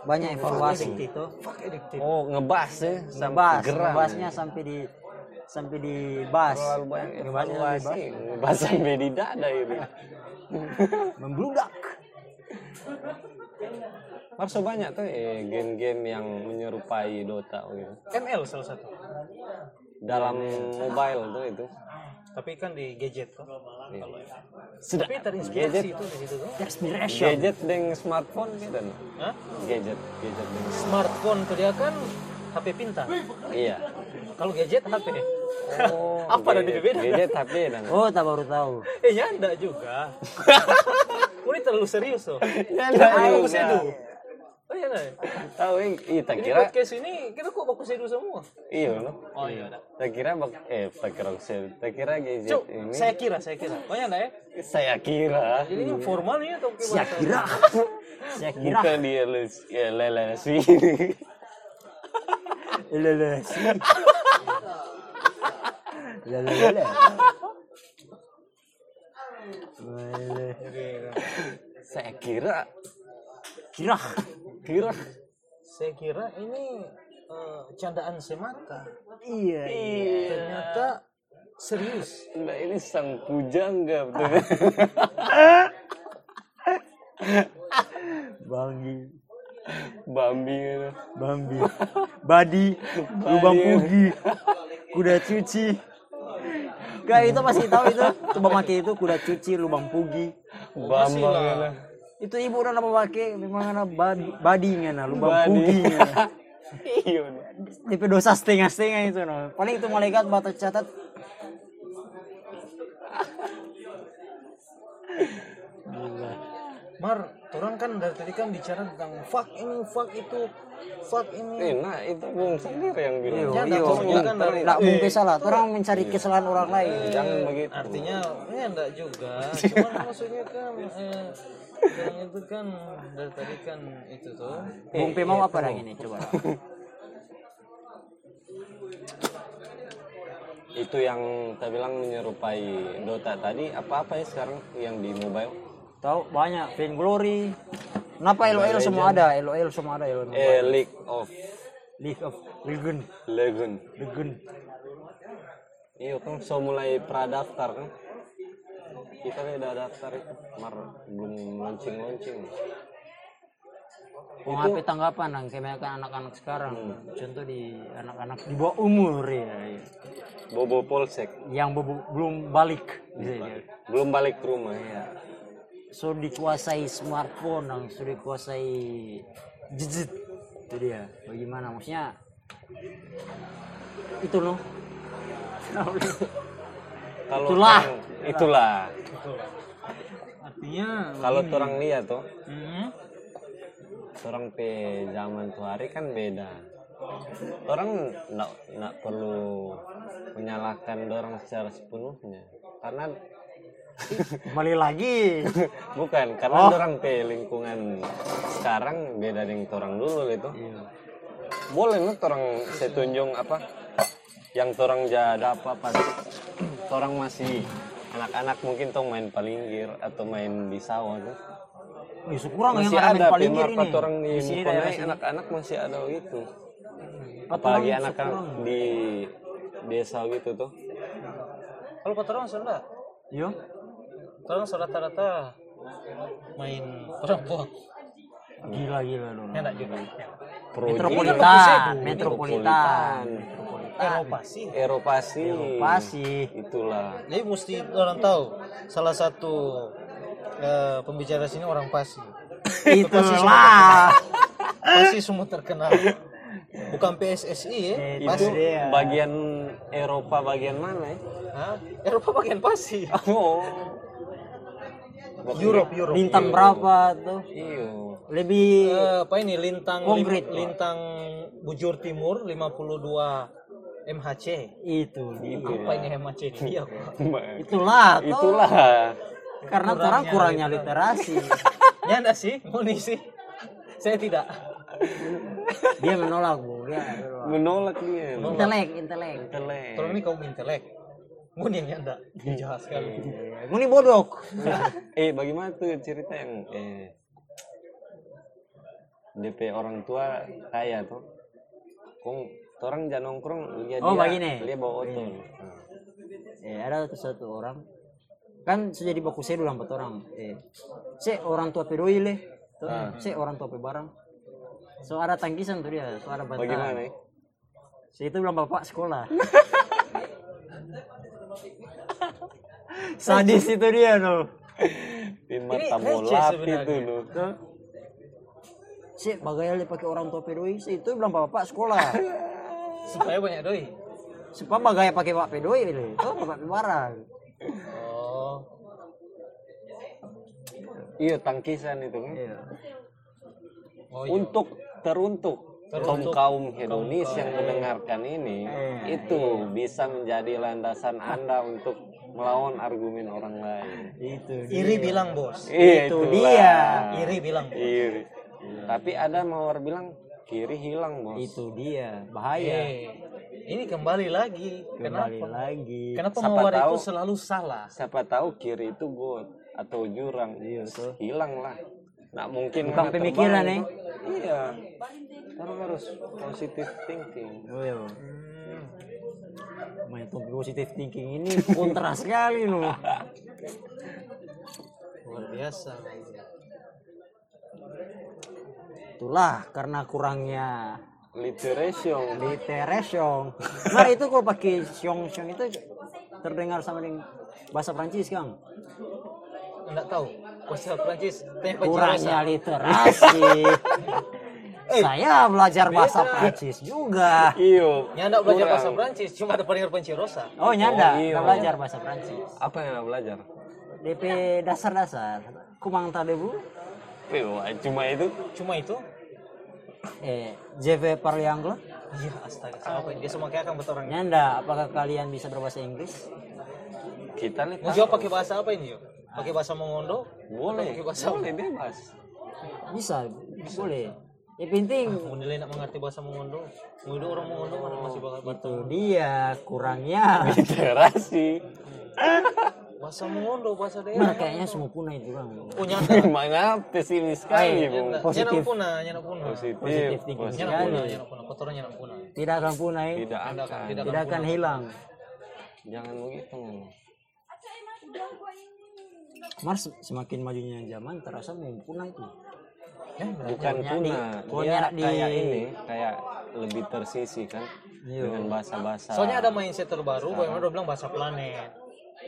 C: banyak evaluasi. Itu
E: fuck adiktif.
B: Oh, ngebas ya, sampai
C: ngebas,
B: geram.
C: ngebasnya sampai di sampai di bas.
B: terlalu banyak
C: Ngebasnya sampai di
B: evaluasi, ngebas sampai di dada ini.
C: bas. Membludak.
B: Marso banyak tuh eh, game-game yang menyerupai Dota gitu.
E: ML salah satu. Iya,
B: Dalam mobile tuh itu.
E: Tapi kan di gadget kan. Kalau
B: Sudah.
E: Tapi
B: Gadget,
E: terinspirasi itu di situ tuh.
C: Desperation.
B: gadget dengan smartphone gitu. no?
E: Hah?
B: Gadget, gadget dengan
E: Smartphone tuh dia kan HP pintar.
B: Iya.
E: Kalau gadget HP.
B: Oh,
E: Apa ada
B: gadget-
E: bedanya?
B: Gadget tapi dan
C: Oh, tak baru tahu.
E: Eh nyanda juga. Ini terlalu serius tuh.
C: Iya,
B: Nyanda
E: Ayo
B: juga.
E: bagus itu. Oh iya, nah.
B: Iya. tahu yang kita
E: Ini
B: kira
E: podcast ini kita kok bagus itu semua.
B: iya no?
E: Oh iya. dah.
B: Tak kira bak- eh tak kira tak kira gadget
E: Cuk,
B: Ya, ini
E: saya kira, saya kira. Oh iya, nah, ya.
B: saya kira
E: Jadi ini formal ini atau gimana?
C: Saya kira. Saya kira.
B: Bukan dia les, ya, lelesi.
C: Lelesi. Lelele. Lele.
B: Saya kira,
C: Kira.
B: kira.
E: Saya kira ini eh, candaan semata.
C: Iya. iya.
E: Ternyata serius.
B: Nah ini sang pujangga betul.
E: Ah.
C: Bambi.
B: Bambi itu.
C: Bambi. Badi. Lubang pugi. Kuda cuci. Gak itu masih tahu itu. Coba pakai itu kuda cuci, lubang pugi.
B: Bambang itu.
C: Itu ibu udah apa pakai memang ada badi, badi ngana, lubang
B: Badi.
C: pugi. ngana.
B: Iya.
C: Tipe dosa setengah-setengah itu no. Paling itu malaikat batu catat
E: Mar, orang kan dari tadi kan bicara tentang fuck ini, fuck itu, fuck
B: Eh,
E: ini.
B: nah itu Bung sendiri yang bilang.
C: Iya,
B: Jangan
C: iya.
B: kau
E: Iya,
B: komentar
E: iya.
B: itu.
C: Tidak mungkin salah. Orang mencari kesalahan orang lain.
B: Jangan
C: Eh,
B: begitu.
E: Artinya ini enggak juga. Cuman maksudnya kan eh, orang itu kan dari tadi kan itu tuh.
C: Bung P mau apa lagi nih? Coba.
B: Itu yang saya bilang menyerupai Dota tadi. Apa-apa ya sekarang yang di mobile?
C: Tahu banyak. Vain Glory. Kenapa LOL semua ada? LOL semua ada. LOL.
B: Eh, League of
C: League of Legend.
B: Legends.
C: Legend.
B: Iya kan so mulai pradaftar kan. Kita nih udah daftar itu, mar belum launching launching.
C: Mau apa tanggapan nang kebanyakan anak-anak sekarang? Contoh di anak-anak Hmm. di bawah umur ya. ya.
B: Bobo Polsek
C: Yang be- belum balik. bisa jadi.
B: belum balik ke rumah ya.
C: So dikuasai smartphone nang so dikuasai gadget. Itu dia. Bagaimana maksudnya? Itu loh.
B: Kalau
C: Itulah.
B: orang- itulah.
E: Artinya
B: Kalau orang lihat tuh,
E: Mhm.
B: orang pe zaman tuh hari kan beda. Orang nggak nggak perlu menyalahkan orang secara sepenuhnya karena
C: Kembali lagi.
B: bukan karena
C: Oh.
B: orang pe lingkungan sekarang beda dengan orang dulu itu.
C: Iya.
B: boleh nih orang saya tunjung apa yang orang jada apa apa orang masih anak-anak mungkin tong main palinggir atau main di sawah tuh
C: Wih, kurang Oh, yang
B: masih
C: ada
B: ada
C: main paling kiri
B: pimar
C: nih.
B: orang di,
C: Di sini
B: Mukonai,
C: daerah sini.
B: anak-anak masih ada itu
C: Empat
B: gitu. apalagi
C: orang,
B: anak-anak
C: sekurang.
B: di desa gitu tuh
E: Kalau kata orang Sunda,
C: Yo,
E: orang Sunda rata-rata main perempuan.
C: gila gila dong.
E: Enak juga.
B: Pro
C: Metropolitan,
E: Metropolitan.
C: metropolitan, Ah.
E: Eropa sih.
B: Eropa sih
C: Pasti.
B: itulah
E: Jadi mesti orang tahu salah satu eh, pembicara sini orang Pasi.
C: Itulah.
E: Pasi semua terkenal. Bukan PSSI ya,
C: Itu
E: Pasi.
C: dia.
B: bagian Eropa bagian mana ya
E: Hah? Eropa bagian Pasi.
B: oh
E: Europe, Europe.
C: Bintang berapa tuh?
B: iya
C: Lebih
E: Eh, apa ini lintang
C: Konkret, Pak.
E: lintang bujur timur 52 MHC
C: itu.
E: apa ini MHC ini dia Iya, Pak?
C: Itulah. tuh.
B: itulah
C: Karena orang kurangnya literasi.
E: ya enggak sih moni sih saya tidak
C: dia menolak bu. Dia menolak.
B: menolak dia
C: Intelek, intelek.
B: Telek.
E: kalau ini kaum intelek moni yang nyanda Dia jahat sekali
C: Ini bodoh.
B: eh bagaimana tuh cerita yang eh DP orang tua kaya tuh kong orang jangan nongkrong dia
C: Oh,
B: dia,
C: begini.
B: dia bawa otot
C: eh ada tuh satu orang kan sudah di baku saya dulu empat orang eh saya orang tua pedoi leh tuh saya orang tua pebarang so ada tangkisan tuh dia so ada bantahan
B: bagaimana ya?
C: saya itu bilang bapak sekolah sadis itu dia tuh
B: di mata
E: receh
B: bola
E: sebenarnya.
B: itu loh
C: saya bagainya leh pakai orang tua pedoi saya itu bilang bapak sekolah
E: supaya banyak doi
C: sebab bagaya pakai bapak pedoi leh tuh bapak pebarang
E: oh
B: iya tangkisan itu kan
C: Iya.
E: oh iya.
B: untuk teruntuk kaum kaum hedonis yang mendengarkan ini
C: Hmm.
B: itu bisa menjadi landasan anda untuk melawan argumen orang lain
C: itu dia.
E: iri bilang bos
B: Iya,
C: Itu
B: itulah.
C: dia.
E: iri bilang bos
B: Iri. Tapi ada mawar bilang kiri hilang bos.
C: itu dia
B: Iya.
C: bahaya
E: Eh, ini kembali lagi
C: kembali
E: kenapa
C: lagi
E: kenapa
B: Siapa
E: mawar
B: tahu?
E: itu selalu salah
B: Siapa tahu kiri itu got atau jurang. Hilang lah. Nah mungkin
C: Bukan
B: mana
C: Iya, pemikiran,
B: terbang.
C: eh.
B: Iya. Orang harus positive thinking.
C: Oh, iya.
E: Hmm.
C: Main topik positive thinking ini kontras sekali loh.
E: luar biasa
C: Itulah karena kurangnya
B: Literation.
C: literation. Nah itu kalau pakai siong siong itu terdengar sama dengan bahasa Prancis kang.
E: enggak tahu bahasa Prancis tanya Pak
C: Kurangnya literasi.
B: Eh,
C: Saya belajar bahasa Prancis juga.
B: Iyo.
E: Ya enggak belajar
B: Iya,
E: bahasa
B: kurang.
E: Prancis, cuma ada pendengar Pencirosa.
C: Oh
B: Oh,
C: nyanda,
B: iya.
C: nggak belajar bahasa Prancis.
B: Apa yang anda belajar?
C: DP dasar-dasar. Kumang tadi bu.
B: Iyo, cuma itu.
E: Cuma itu?
C: Eh, JV Parli Angle.
E: Iya, astaga. Apa ini? Dia semua kayak akan bertorang.
C: Nyanda, apakah kalian bisa berbahasa Inggris?
B: Kita nih.
E: Mau jawab pakai bahasa apa ini, yo? Pakai bahasa Mongondo?
B: Boleh.
E: Pakai bahasa
B: Boleh bebas.
C: Bisa, boleh. Yang penting
E: Mau nilai nak mengerti bahasa Mongondo? Mau hidup orang Mongondo mana masih bakal
C: itu dia kurangnya.
B: Literasi.
E: bahasa Mongondo, bahasa daerah.
C: Bener
B: Nah.
C: kayaknya semua punah itu bang.
E: Punya
B: Mana pesimis sekali bung.
C: Positif.
E: Nyanak puna, nyanak puna.
B: Positif.
C: Positif thinking
E: Nyanak puna,
C: sekali.
E: nyanak puna. Kotoran nyanak puna.
C: Tidak akan punah eh.
B: Tidak akan.
C: Tidak akan hilang.
B: Jangan begitu.
C: Mars semakin majunya zaman terasa mau punah itu.
B: bukan tuna dia
C: pokoknya di-
B: kayak ini kayak lebih tersisi kan
C: Iya.
B: dengan bahasa-bahasa
E: Soalnya ada mindset terbaru, bagaimana dia bilang bahasa planet.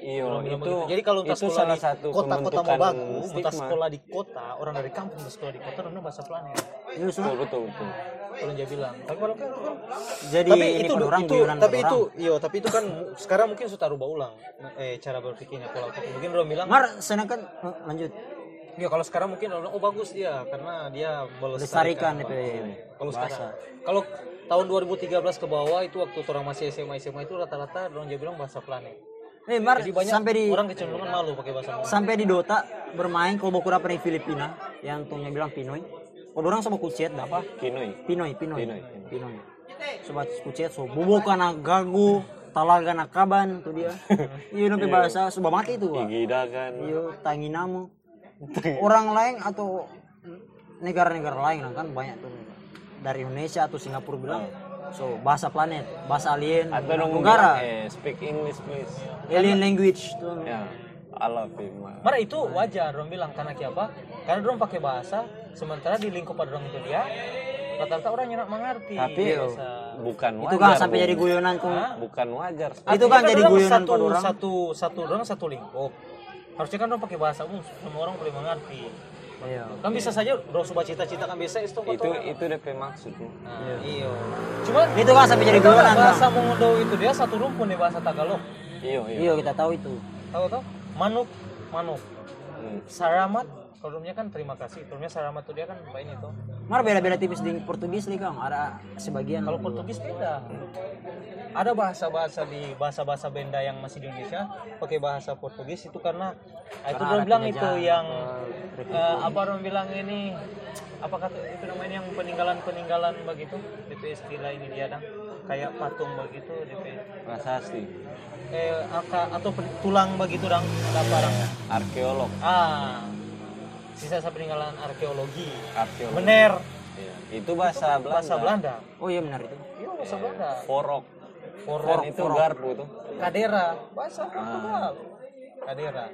B: iyo
E: Bilang
B: Iya, itu
E: begitu. Jadi kalau entah
B: itu
E: sekolah
B: salah
E: di
B: satu
E: kota-kota
B: pembentukan
E: Mobagu, entah
B: stigma
E: sekolah di kota, orang dari kampung ke sekolah di kota, namanya bahasa planet.
C: Ini
B: betul
C: susah.
B: betul betul
E: Kalau dia bilang, tapi kalau kan itu kan
C: Jadi
E: tapi
C: ini
E: itu
C: kan orang
E: itu
C: guyonan kan
E: tapi
C: orang.
E: itu iya tapi itu kan mu- sekarang mungkin sudah rubah ulang eh cara berpikirnya kalau aku- mungkin orang bilang
C: Mar senakan eh, lanjut.
E: ya kalau sekarang mungkin orang bilang, oh bagus dia karena dia
C: Lestarikan
E: melestarikan
C: DP
E: kalau
C: iya, bahasa.
E: sekarang kalau tahun 2013 ke bawah itu waktu orang masih SMA SMA itu rata-rata orang dia bilang bahasa planet
C: Eh Mar
E: jadi banyak
C: sampai di
E: orang kecenderungan malu pakai bahasa Melayu.
C: sampai di Dota bermain kalau Bokura pernah di Filipina yang tongnya bilang Pinoy. Kalau orang sama kucet apa?
B: kinoi
C: Pinoy, Pinoy.
B: Pinoy.
C: Pinoy. Sobat kucet so bobo kana gagu, talaga na kaban tuh dia. Iya nabi bahasa sudah mati itu. Wak.
B: gida kan
C: Iya tanginamu. Orang lain atau negara-negara lain lah kan banyak tuh dari Indonesia atau Singapura bilang So, bahasa planet, bahasa alien,
B: Atau nunggu bilang,
C: negara,
B: eh, speak English please.
C: alien language tuh.
B: Ya, I love you, man.
E: Mara itu wajar orang bilang karena apa? Karena orang pakai bahasa, sementara di lingkup orang itu dia rata-rata orang yang nak mengerti. Iya,
B: Tapi
E: bahasa.
B: bukan wajar.
C: Itu kan sampai jadi
B: Bung.
C: guyonan tuh.
B: Bukan wajar.
C: Itu kan jadi
E: orang
C: guyonan
E: satu,
C: pada orang.
E: satu satu orang satu lingkup. Harusnya kan orang pakai bahasa umum, semua orang boleh mengerti.
C: Iya.
E: Kan bisa saja orang suka cita-cita kan bisa itu
B: itu itu DP maksud Bung.
E: Nah, iya. Cuma
C: Itu kan sampai jadi
E: bahasa
C: guyonan. Bang.
E: bahasa Mongodo itu dia satu rumpun di bahasa Tagalog.
B: Iya, iya.
C: Iya, kita tahu itu.
E: Tahu tahu? Manuk, manuk.
B: Hmm.
E: Saramat, kalau rumahnya kan terima kasih. Rumahnya saramat tuh dia kan apa ini tuh?
C: Mar beda-beda tipis di Portugis nih Kang, ada sebagian.
E: Kalau Portugis beda. Ada bahasa-bahasa di bahasa-bahasa benda yang masih di Indonesia pakai bahasa Portugis itu karena ah, itu
C: Karena
E: orang
C: ada
E: bilang itu
C: penjajah,
E: yang
C: eh,
E: eh, apa orang bilang ini apa kata itu namanya yang peninggalan-peninggalan begitu itu istilah ini dia dah kayak patung begitu DP
B: Prasasti,
E: eh aka- atau pe- tulang begitu dang ada barang
B: arkeolog,
E: ah sisa peninggalan arkeologi
B: arkeolog.
E: bener
B: Iya. Itu bahasa Belanda.
E: bahasa Belanda
C: Oh iya benar itu.
E: iya bahasa Belanda
B: Forok. Dan
E: Forok,
B: itu garpu tuh.
E: Kadera, bahasa Portugal. Kadera.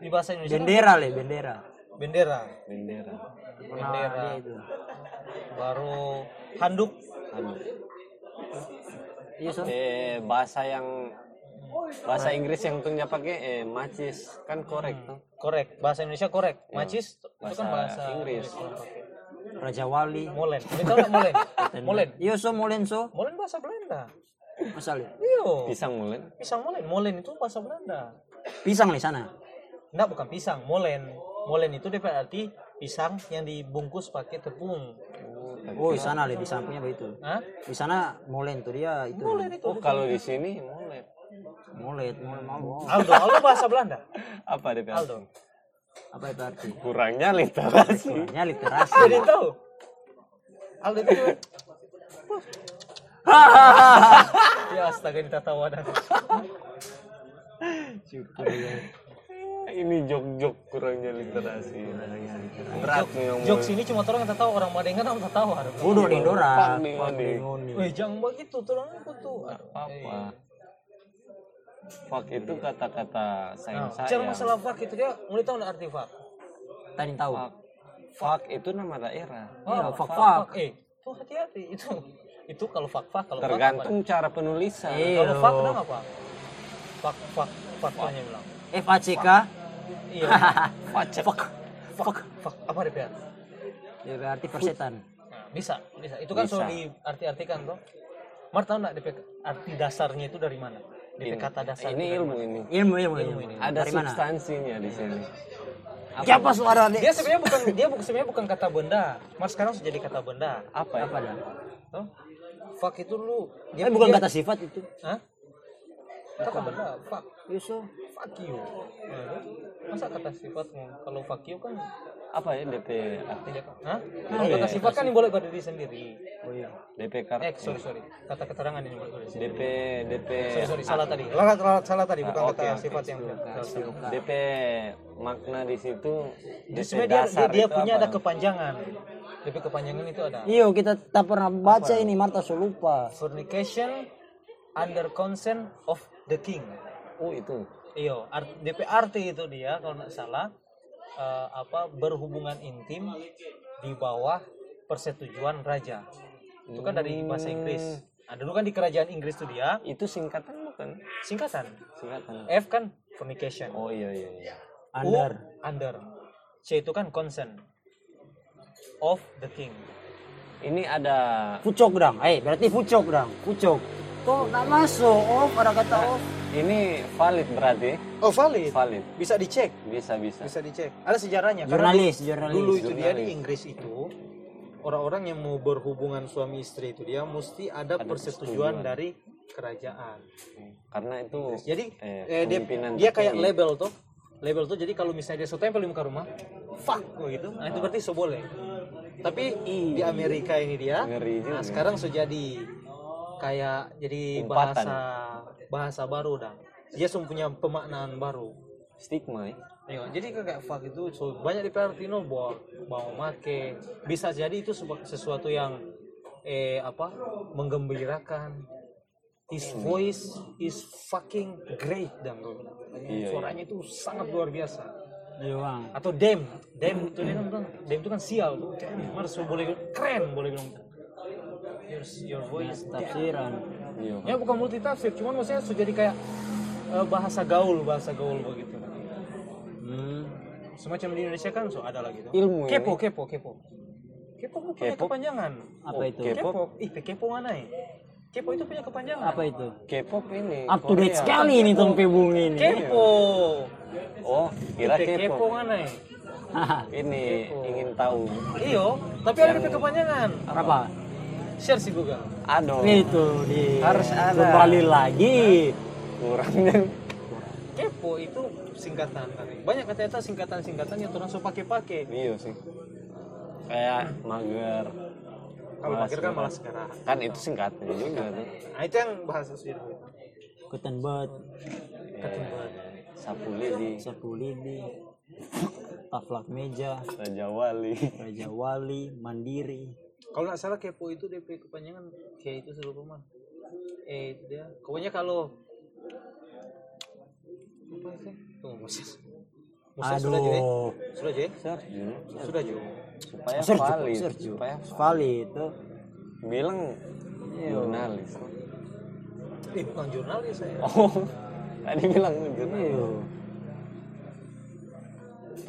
E: Di bahasa Indonesia
C: Bendera le, bendera.
E: bendera,
B: Bendera.
E: bendera.
C: Iya itu.
E: Baru handuk.
B: Aduh.
C: Iya, so.
B: Anu. Eh, bahasa yang bahasa Inggris yang tungnya pakai eh macis kan korek tuh.
E: Korek, bahasa Indonesia korek. Macis itu kan
B: Bahasa
E: Iya. bahasa
B: Inggris.
C: Raja Wali.
E: Molen. Ini tahu nggak molen? Molen.
C: Iya, so molen so.
E: Molen bahasa Belanda.
C: Masa le?
E: Iyo.
B: Pisang mulen.
E: Pisang molen. Molen itu bahasa Belanda.
C: Pisang di sana.
E: Enggak, bukan pisang, molen. Molen itu dia berarti pisang yang dibungkus pakai tepung.
C: Oh, di sana le, di sampingnya begitu.
E: Hah?
C: Di sana molen tuh dia itu.
E: Molen itu.
B: Oh kalau di sini mulen.
C: Molet, molen mau.
E: Aldo, Aldo bahasa Belanda.
B: Apa DP?
E: Aldo.
C: Apa itu arti?
B: Kurangnya literasi.
C: Kurangnya literasi.
E: Jadi tahu. Aldo itu ya astaga ini tawa dan
B: Ini jok-jok kurangnya literasi. Berat nih ngomong.
E: jokes ini cuma orang yang tahu orang Madengan orang tahu
C: Bodoh di Dora.
B: Panding, panding.
E: Weh jangan begitu orang aku tuh.
B: Apa? Fuck itu kata-kata
C: Nah,
B: sayang saya.
E: Bicara Nah, masalah fak itu dia mulai tahu nggak arti fak.
C: Tadi tahu.
B: Fuck. Fuck itu nama daerah.
C: Iya, fak
E: Fak,
C: fak.
E: fak. Eh, tuh hati-hati itu itu kalau fak fak kalau fak apa?
B: Tergantung cara penulisan.
C: Iya.
E: Kalau fak kenapa apa? Fak fak fak tuanya bilang.
C: F A C K.
E: Iya.
C: Fuck. Fuck.
E: Fak fak apa dia? bilang?
C: Ya, berarti persetan.
E: Nah, bisa, bisa. Itu kan
B: Bisa.
E: selalu diarti-artikan tuh. Mar tahu nggak DP arti dasarnya itu dari mana? DP kata dasar.
B: Ini
E: itu dari
B: ilmu
E: mana?
B: ini.
C: Ilmu ilmu ilmu.
B: Ada
C: Dari mana?
B: substansinya di sini.
C: Siapa suara dia?
E: Dia sebenarnya bukan dia bukan sebenarnya bukan kata benda. Mar sekarang sudah jadi kata benda.
B: Apa ya?
C: Apa dah?
E: Tuh. Fuck itu lu.
C: Eh, bukan kata sifat itu. Iya,
E: Hah? Kata benda. Fuck.
C: Yusuf.
E: Fuck you. Nah, gitu. Masa kata sifat kalau fuck you kan
B: Apa ya DP arti?
E: tidak. Hah? Kalau kata sifat kan yang boleh berdiri sendiri.
C: Oh iya.
B: DP kar
E: Eh, sorry sorry. Kata keterangan yang boleh berdiri sendiri.
B: DP DP
E: Sorry, sorry, salah tadi. Salah, salah, salah tadi, bukan
B: Ah, oke,
E: kata
B: oke.
E: sifat yang
B: DP makna di situ
E: Jadi
B: DP
E: sebenarnya dia,
B: dasar
E: dia, dia
B: itu
E: punya
B: apa
E: ada
B: namanya?
E: kepanjangan. Iya. Tapi kepanjangan itu ada
C: Iyo Iya, kita tak pernah baca ini Marta so lupa.
E: fornication under consent of the king.
B: Oh itu.
E: Iyo, art, DPRT itu dia kalau nggak salah eh, apa berhubungan intim di bawah persetujuan raja. Itu kan dari bahasa Inggris. Nah, dulu kan di kerajaan Inggris itu dia
B: Itu singkatan bukan?
E: singkatan.
B: Singkatan.
E: F kan fornication.
B: Oh iya iya iya.
C: Under.
E: U, under. C itu kan consent of the king.
B: Ini ada
C: Pucok dong. Eh berarti pucok dong. Pucok. Kok nggak masuk? Oh pada kata oh.
B: ini valid berarti
E: Oh valid.
B: valid
E: Bisa dicek.
B: bisa bisa
E: bisa dicek ada sejarahnya karena
C: Jurnalis,
E: dulu
C: jurnalis.
E: itu dia di Inggris itu orang-orang yang mau berhubungan suami istri itu dia mesti ada,
B: persetujuan.
E: persetujuan dari kerajaan
B: karena itu
E: jadi
B: eh,
E: eh, dia,
B: kepemimpinan
E: dia kayak
B: tertinggi.
E: label tuh label tuh jadi kalau misalnya dia so tempel di muka rumah fuck gitu nah itu berarti so boleh tapi di Amerika ini dia
B: Ngeri juga.
E: nah sekarang so jadi kayak jadi
B: Umpatan.
E: bahasa bahasa baru dah dia so punya pemaknaan baru
B: stigma ya.
E: Tengok, jadi kayak fuck itu so, banyak di Pertino bawa bawa make. Bisa jadi itu sebu- sesuatu yang eh apa menggembirakan his voice is fucking great dan
B: Iya,
E: suaranya itu sangat luar biasa
C: Iya bang.
E: atau dem dem itu dia kan bilang, dem itu kan sial tuh Mars boleh keren boleh bilang your, your voice
C: Tafsiran.
B: Iya.
E: ya bukan multi tafsir cuman maksudnya sudah jadi kayak eh, bahasa gaul bahasa gaul begitu
C: Hmm.
E: semacam di Indonesia kan so ada lagi tuh
B: Ilmu
E: kepo
B: ini.
E: kepo kepo kepo kan punya
B: Kepo?
E: kepanjangan
C: Apa itu?
B: Kepo?
E: kepo ih kepo mana ya kepo itu punya kepanjangan
C: Apa itu?
B: K-pop ini.
C: Up to date
B: Korea.
C: sekali ini tong Bung ini.
E: kepo
B: Oh, kira
E: Ih, kepo
B: K-pop.
E: mana ya
C: Haha.
B: Ini
E: Kepo.
B: ingin tahu.
E: iyo tapi ada punya kepanjangan
C: Apa?
E: share sih Google
B: Aduh,
C: Itu di
B: Harus ada.
C: kembali lagi.
B: kurangnya.
E: kepo itu singkatan banyak kata-kata singkatan-singkatan yang orang suka pakai-pakai
B: Iya sih. Kayak mager.
E: kalau
B: Malas
E: mager kan
B: gerak.
E: malas gerak
B: Kan itu singkatnya juga tuh.
E: nah itu yang bahasa sih
C: Ketan banget.
B: Sapuli di
C: Sapu lidi. Taflak meja.
B: Raja Wali.
C: Raja Wali. Mandiri.
E: kalau nggak salah kepo itu DP kepanjangan kayak itu seluruh rumah eh itu dia pokoknya kalau apa itu tunggu Moses Moses sudah juga ya?
C: Aduh.
E: sudah juga ya?
B: Search dulu.
E: sudah juga
B: supaya
C: Search,
B: valid,
C: search.
B: supaya
C: Valid itu.
B: bilang
E: Iya.
B: jurnalis.
E: eh bukan jurnalis saya
B: Oh, tadi bilang jurnalis.
C: Iya.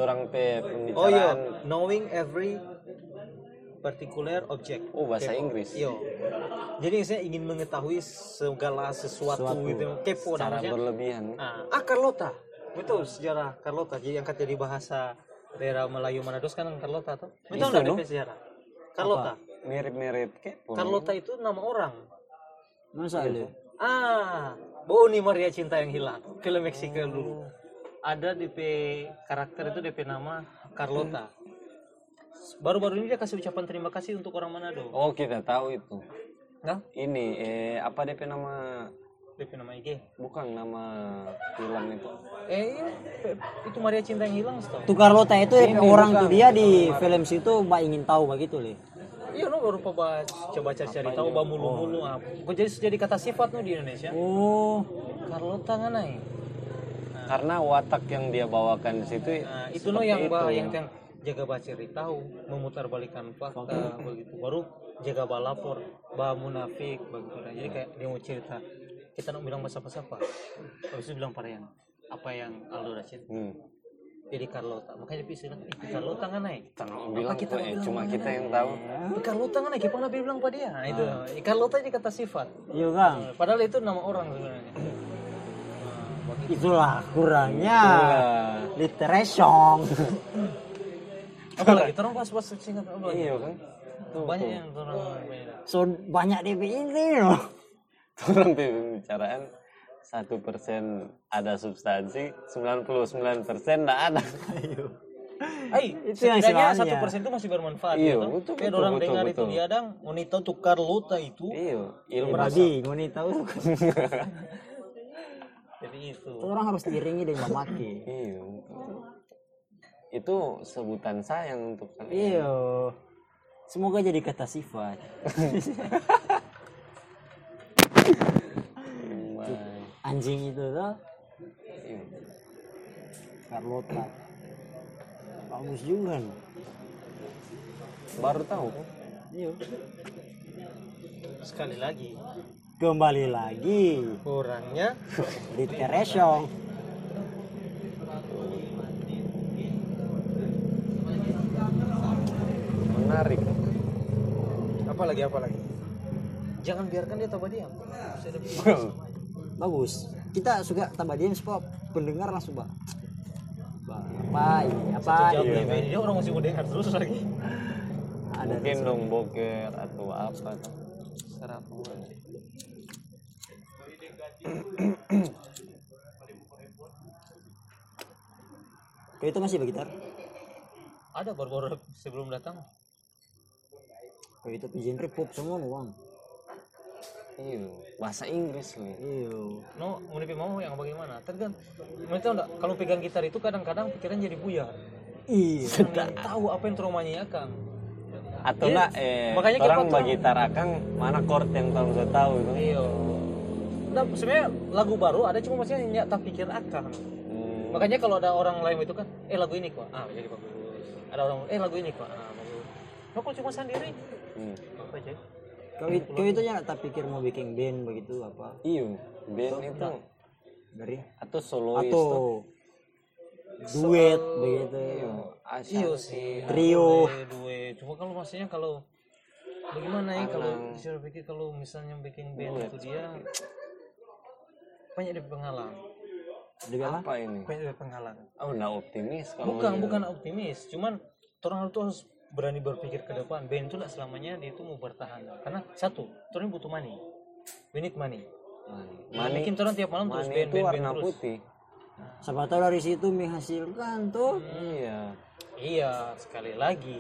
B: Orang teh pembicaraan.
E: oh iya knowing every particular object
B: Oh, bahasa
E: Kepo.
B: Inggris.
E: iya jadi saya ingin mengetahui segala sesuatu,
C: Sesuatu.
E: gitu kepo
B: Cara
E: namanya.
B: berlebihan.
E: Nah, ah Carlota. Betul sejarah Carlota jadi angkat jadi bahasa daerah Melayu Manado sekarang Carlota tuh. Betul
B: Bisa,
E: enggak
B: no?
E: DP sejarah? Carlota.
B: Mirip-mirip kepo.
E: Carlota itu nama orang.
C: Masa
B: Iya.
C: lu?
E: Ah, Boni Maria Cinta yang hilang. Film Meksiko dulu. Ada DP karakter itu DP nama Carlota. Hmm. Baru-baru ini dia kasih ucapan terima kasih untuk orang Manado.
B: Oh, kita tahu itu.
E: Nah,
B: Ini eh apa DP nama
E: DP nama IG.
B: bukan nama film itu.
E: Eh, iya. Pe- itu Maria Cinta yang hilang setau.
C: Tukar lota itu orang
B: bukan.
C: tuh dia di film situ mbak ingin tahu begitu leh.
E: Iya, no, baru coba coba cari cari tahu bah mulu mulu apa. Kok jadi jadi kata sifat no di Indonesia.
C: Oh, ya?
E: Carlota kan ay.
B: Karena watak yang dia bawakan di situ
E: Nah, itu no
B: Iya, seperti
E: yang bah
B: itu. ya.
E: yang yang jaga baciri tahu, memutarbalikan fakta begitu. Baru jaga bah lapor, bah munafik begitu. Nah, Jadi kayak dia mau cerita, kita nak bilang bahasa siapa? Habis itu bilang pada yang apa yang Aldo Rashid
B: Hmm.
E: jadi Carlota makanya dia istilah eh, Carlota kan naik
B: Tanah bilang kita cuma kita yang tahu.
E: Carlota kan naik kita nabi bilang pada dia nah, itu
B: Ah.
E: eh, Carlota ini kata sifat Nah,
C: iya kang.
E: padahal itu nama orang sebenarnya
C: Itulah kurangnya
B: Itulah.
C: literation.
E: apa lagi terus pas pas singkat apa lagi
B: Iya kan? Tuh,
E: banyak
B: tuh.
E: yang terus
C: so banyak DP ini loh.
B: orang di pembicaraan satu persen ada substansi 99 persen nggak ada
E: Ay,
C: Itu yang
E: setidaknya
C: sebenarnya.
E: satu persen itu masih bermanfaat. ya,
B: Iya,
E: toh?
B: betul,
E: Kayak
B: betul,
E: orang
B: betul,
E: dengar
B: betul.
E: itu diadang, wanita tukar luta itu.
B: iya
C: Eh,
B: ilmu
C: Berarti ngoni tahu.
E: Jadi itu.
C: Itu orang harus diiringi dengan memaki.
B: iya betul. itu sebutan sayang untuk kan
C: Iya. Semoga jadi kata sifat. Anjing itu tuh
B: Iya.
C: Carlota. Bagus juga. nih.
B: baru tahu kan
C: Iya.
E: Sekali lagi,
C: Kembali lagi
E: orangnya
C: literation.
B: menarik
E: apa lagi apa lagi? Jangan biarkan dia tambah diam.
C: bagus kita suka tambah diam sebab pendengar langsung pak apa ini apa
B: Iya,
C: Iya.
E: Jawab
C: ini
E: lebih, dia orang masih mau dengar terus lagi.
C: ada
B: mungkin dong boker atau apa tuh. sarapan
C: kau itu masih bergitar
E: Ada baru-baru sebelum datang.
C: kau itu genre pop semua nih bang
B: iya bahasa Inggris nih
C: iyo
E: No, mau lebih mau yang bagaimana? Tergantung. Mau tahu enggak? Kalau pegang gitar itu kadang-kadang pikiran jadi buyar.
C: iya
E: Pengen tahu apa yang traumanya ya kang
B: atau
E: Iya.
B: enggak eh
E: Makanya kita
B: orang
E: tuh-
B: bagi tarakang mana chord yang kamu sudah tahu kan? itu
E: Iya. Nah, sebenarnya lagu baru ada cuma maksudnya nyak tak pikir akan.
B: Hmm.
E: Makanya kalau ada orang lain itu kan, eh lagu ini kok, ah jadi bagus. Ada orang, eh lagu ini kok, ah bagus. Nah, kalau cuma sendiri,
B: Hmm.
E: apa aja?
C: kau itu kau itu ya tak pikir mau bikin band begitu apa
B: Iya, band itu
C: dari
B: atau solois
C: atau
B: tuh.
C: duet begitu
B: Asal
E: Iya sih.
C: Trio.
E: dua, dua. Cuma kalau maksudnya kalau bagaimana ya kalau disuruh pikir kalau misalnya bikin band itu dia banyak di penghalang,
C: juga lah
B: apa ini?
E: banyak di penghalang.
B: Oh, enggak optimis kalau
E: Bukan, bukan optimis, cuman orang itu harus berani berpikir ke depan. Band itu nggak selamanya dia itu mau bertahan. Karena satu, orang butuh money. We need money.
B: Mani,
E: Mungkin orang tiap malam terus
B: mani
E: band,
B: itu
E: band, band
B: warna
E: terus.
B: putih.
C: siapa tahu dari situ menghasilkan tuh
B: Iya.
E: Iya, sekali lagi.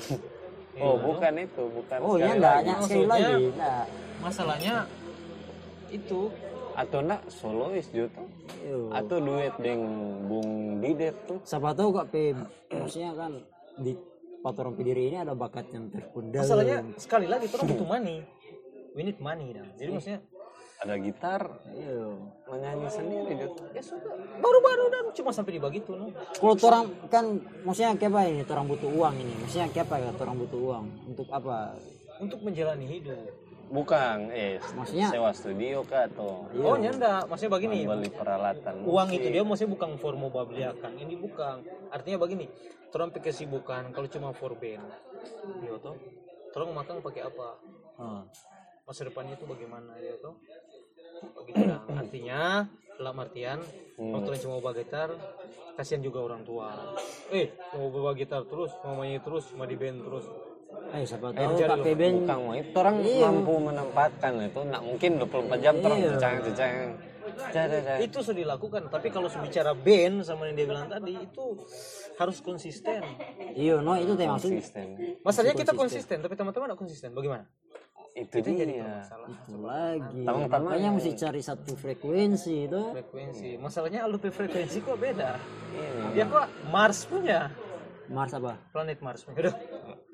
B: Oh,
E: Iya.
B: bukan itu, bukan
C: oh
B: sekali
C: iya
B: lagi.
C: enggak sekali
E: Maksudnya-
C: lagi enggak
E: Masalahnya itu
B: Atau enggak solois Jota? Atau duet dengan Bung Didet tuh.
C: Iya. siapa tahu kok pe maksudnya kan di patron pediri ini ada bakat yang
B: Iya,
C: terpendam
E: masalahnya sekali lagi orang butuh money we need money dah
B: Hmm.
E: jadi maksudnya
B: Ada gitar,
C: Iya.
B: menyanyi sendiri Jota.
E: ya sudah baru-baru dan cuma sampai di begitu no.
C: kalau orang kan maksudnya apa ini orang butuh uang ini maksudnya apa ya orang butuh uang untuk apa
E: untuk menjalani hidup
B: Iya. Bukan, eh
C: Maksudnya-
B: sewa studio kah atau
E: oh nyanda maksudnya begini
B: beli peralatan.
E: uang itu dia maksudnya bukan for mau babliakan ini bukan artinya begini orang pikir kesibukan kalau cuma for band iya toh orang makan pakai apa masa depannya itu bagaimana ya toh Begitu lah. artinya dalam artian kalau orang cuma bawa gitar kasihan juga orang tua eh mau bawa gitar terus mau main terus cuma di band terus
C: eh siapa tahu kok pe band
B: Bukan mau itu orang mampu menempatkan itu enggak mungkin 24 jam terus cecang-cecang. Eh.
E: itu sudah dilakukan tapi kalau bicara band sama yang dia bilang tadi itu harus konsisten
C: iya no itu teh maksud
B: Konsisten.
E: masalahnya kita konsisten tapi teman-teman nggak konsisten bagaimana
B: Itu, dia.
C: itu lagi
B: Tangan-tangan
C: makanya
B: yang-
C: mesti cari satu frekuensi itu
E: frekuensi masalahnya lu punya frekuensi kok beda
B: Ini.
E: ya kok Mars punya
C: Mars apa
E: planet Mars punya udah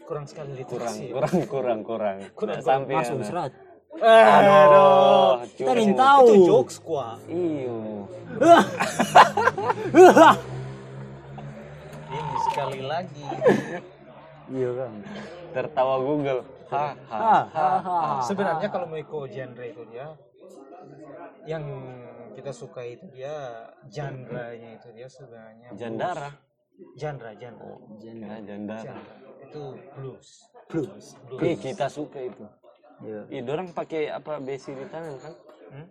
E: kurang sekali
B: kurang
E: literasi
B: kurang kurang kurang kurang sampai
C: Mars Unsrat
B: aduh
C: kita ingin tahu
E: itu jokes kuah
B: iyo
E: ini sekali lagi
B: iyo kan tertawa Google ha ha ha
E: sebenarnya kalau mau ikut genre itu dia yang kita suka itu dia genre-nya itu dia sebenarnya
B: jandara
E: genre genre
B: ya jandara
E: itu blues
B: Ih, kita suka itu
C: Iya.
B: Ih, dorang pakai apa besi di tangan kan?
E: Hmm?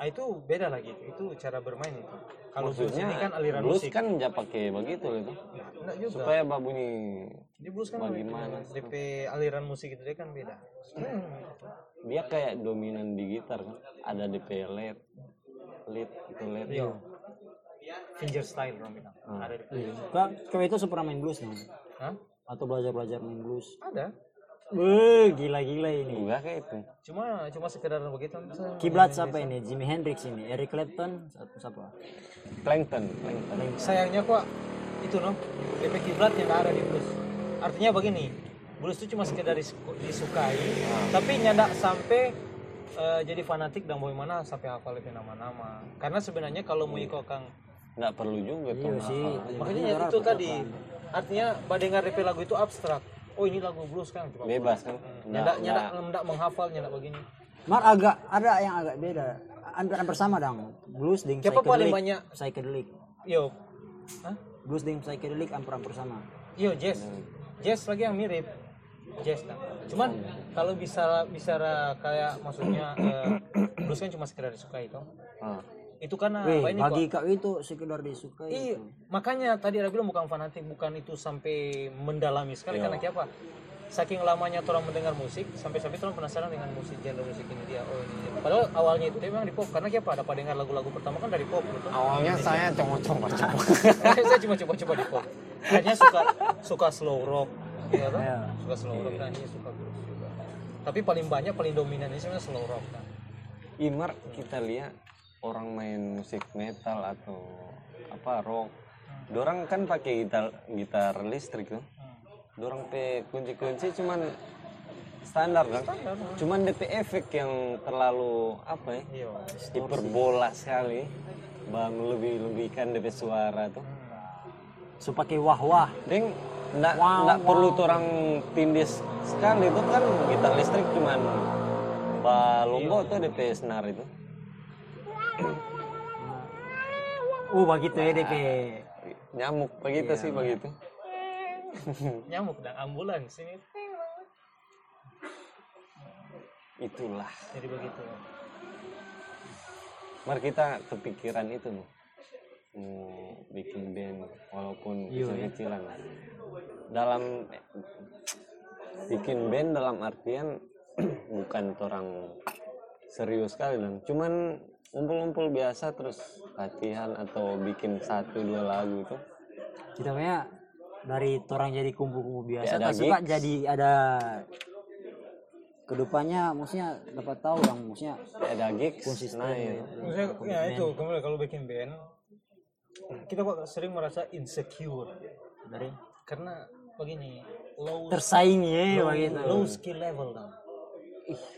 E: Ah, itu beda lagi itu cara bermain itu kalau blues
B: Maksudnya
E: ini kan aliran
B: blues
E: musik Nah, Iya.
B: kan nggak pakai begitu itu.
E: enggak juga
B: Supaya bah bunyi
E: Dia blues kan
B: Bagaimana?
E: beda. DP aliran musik itu dia kan beda
C: Hmm.
B: dia kayak dominan di gitar kan. Ada DP led, lead itu led.
E: Iya. finger style orang bilang
C: Hmm.
E: ada di
C: Kak, kau Iya. Kan, itu super main blues dong?
E: Hah?
C: Atau belajar-belajar main blues?
E: ada
C: Wih, gila-gila ini.
B: Enggak kayak itu.
E: cuma cuma sekedar begitu
C: Kiblat siapa ini? Jimi Hendrix ini, Eric Clapton, siapa? siapa?
B: Plankton, plankton.
E: sayangnya kok itu no DP kiblat yang nggak ada di blues artinya begini blues itu cuma sekedar disu- disukai
C: Hmm.
E: tapi nyandak sampai eh, jadi fanatik dan bagaimana sampai hafal itu nama-nama karena sebenarnya kalau mau ikut kang
B: Nggak perlu juga tuh.
C: sih.
E: makanya
C: Orang
E: itu
C: apa?
E: tadi artinya badengar DP lagu itu abstrak oh ini lagu blues kan cuma
B: Bebas kan?
E: nyandak nyandak nyandak menghafal nyandak begini
C: Mar agak ada yang agak beda. Hampir hampir sama dong. Blues dengan
E: Siapa paling
C: psychedelic.
E: banyak?
C: Psychedelic.
E: yo Hah?
C: Blues dengan psychedelic hampir hampir sama.
E: Yo jazz, jazz lagi yang mirip jazz lah. Cuman kalau bisa bicara kayak maksudnya eh, blues kan cuma sekedar disukai toh.
B: Ah.
E: Itu karena
C: Weh,
E: apa ini
C: bagi
E: kok?
C: kau itu sekedar disukai.
E: Iya, makanya tadi ada bilang bukan fanatik, bukan itu sampai mendalami sekali karena kayak apa? Saking lamanya orang mendengar musik, sampai-sampai orang penasaran dengan musik genre musik ini dia. Oh, ini dia. Padahal awalnya itu dia memang di pop, karena kayak apa? Dapat dengar lagu-lagu pertama kan dari pop, gitu.
B: Awalnya saya coba-coba coba.
E: saya cuma coba-coba di pop akhirnya suka suka slow rock ya kan? suka slow rock dan akhirnya suka blues juga tapi paling banyak paling dominan ini sebenarnya slow rock kan
B: Imar kita lihat orang main musik metal atau apa rock. Dorang kan pakai gitar gitar listrik tuh. Dorang pe kunci-kunci cuman standar kan cuman DP efek yang terlalu apa ya
E: Iya.
B: hiperbola sekali bang lebih lebihkan DP suara tuh
C: so pakai wah wah
B: ding ndak ndak perlu orang tindis sekali itu kan gitar listrik cuman balongo tuh DP senar itu
C: uh begitu ya DP
B: nyamuk begitu sih begitu
E: Nyamuk dan ambulans ini
B: itulah
E: jadi begitu.
B: Mar kita kepikiran itu Bu. mau bikin band
C: Iya,
B: walaupun kecil-kecilan lah. Dalam bikin band dalam artian bukan orang serius sekali dan cuman ngumpul-ngumpul biasa terus latihan atau bikin satu dua lagu itu
C: kita kayak dari orang jadi kumpul-kumpul biasa
E: Ya,
B: Kayak ada
C: tak suka
B: gigs.
C: jadi ada kedepannya maksudnya dapat tahu dong maksudnya
B: ada gigs
C: konsisten
B: nah,
C: ya.
B: ya.
E: Maksudnya ya itu kembali kalau bikin band kita kok sering merasa insecure
C: dari
E: karena begini low
C: tersaing ya
E: low,
C: begitu
E: low skill level dong.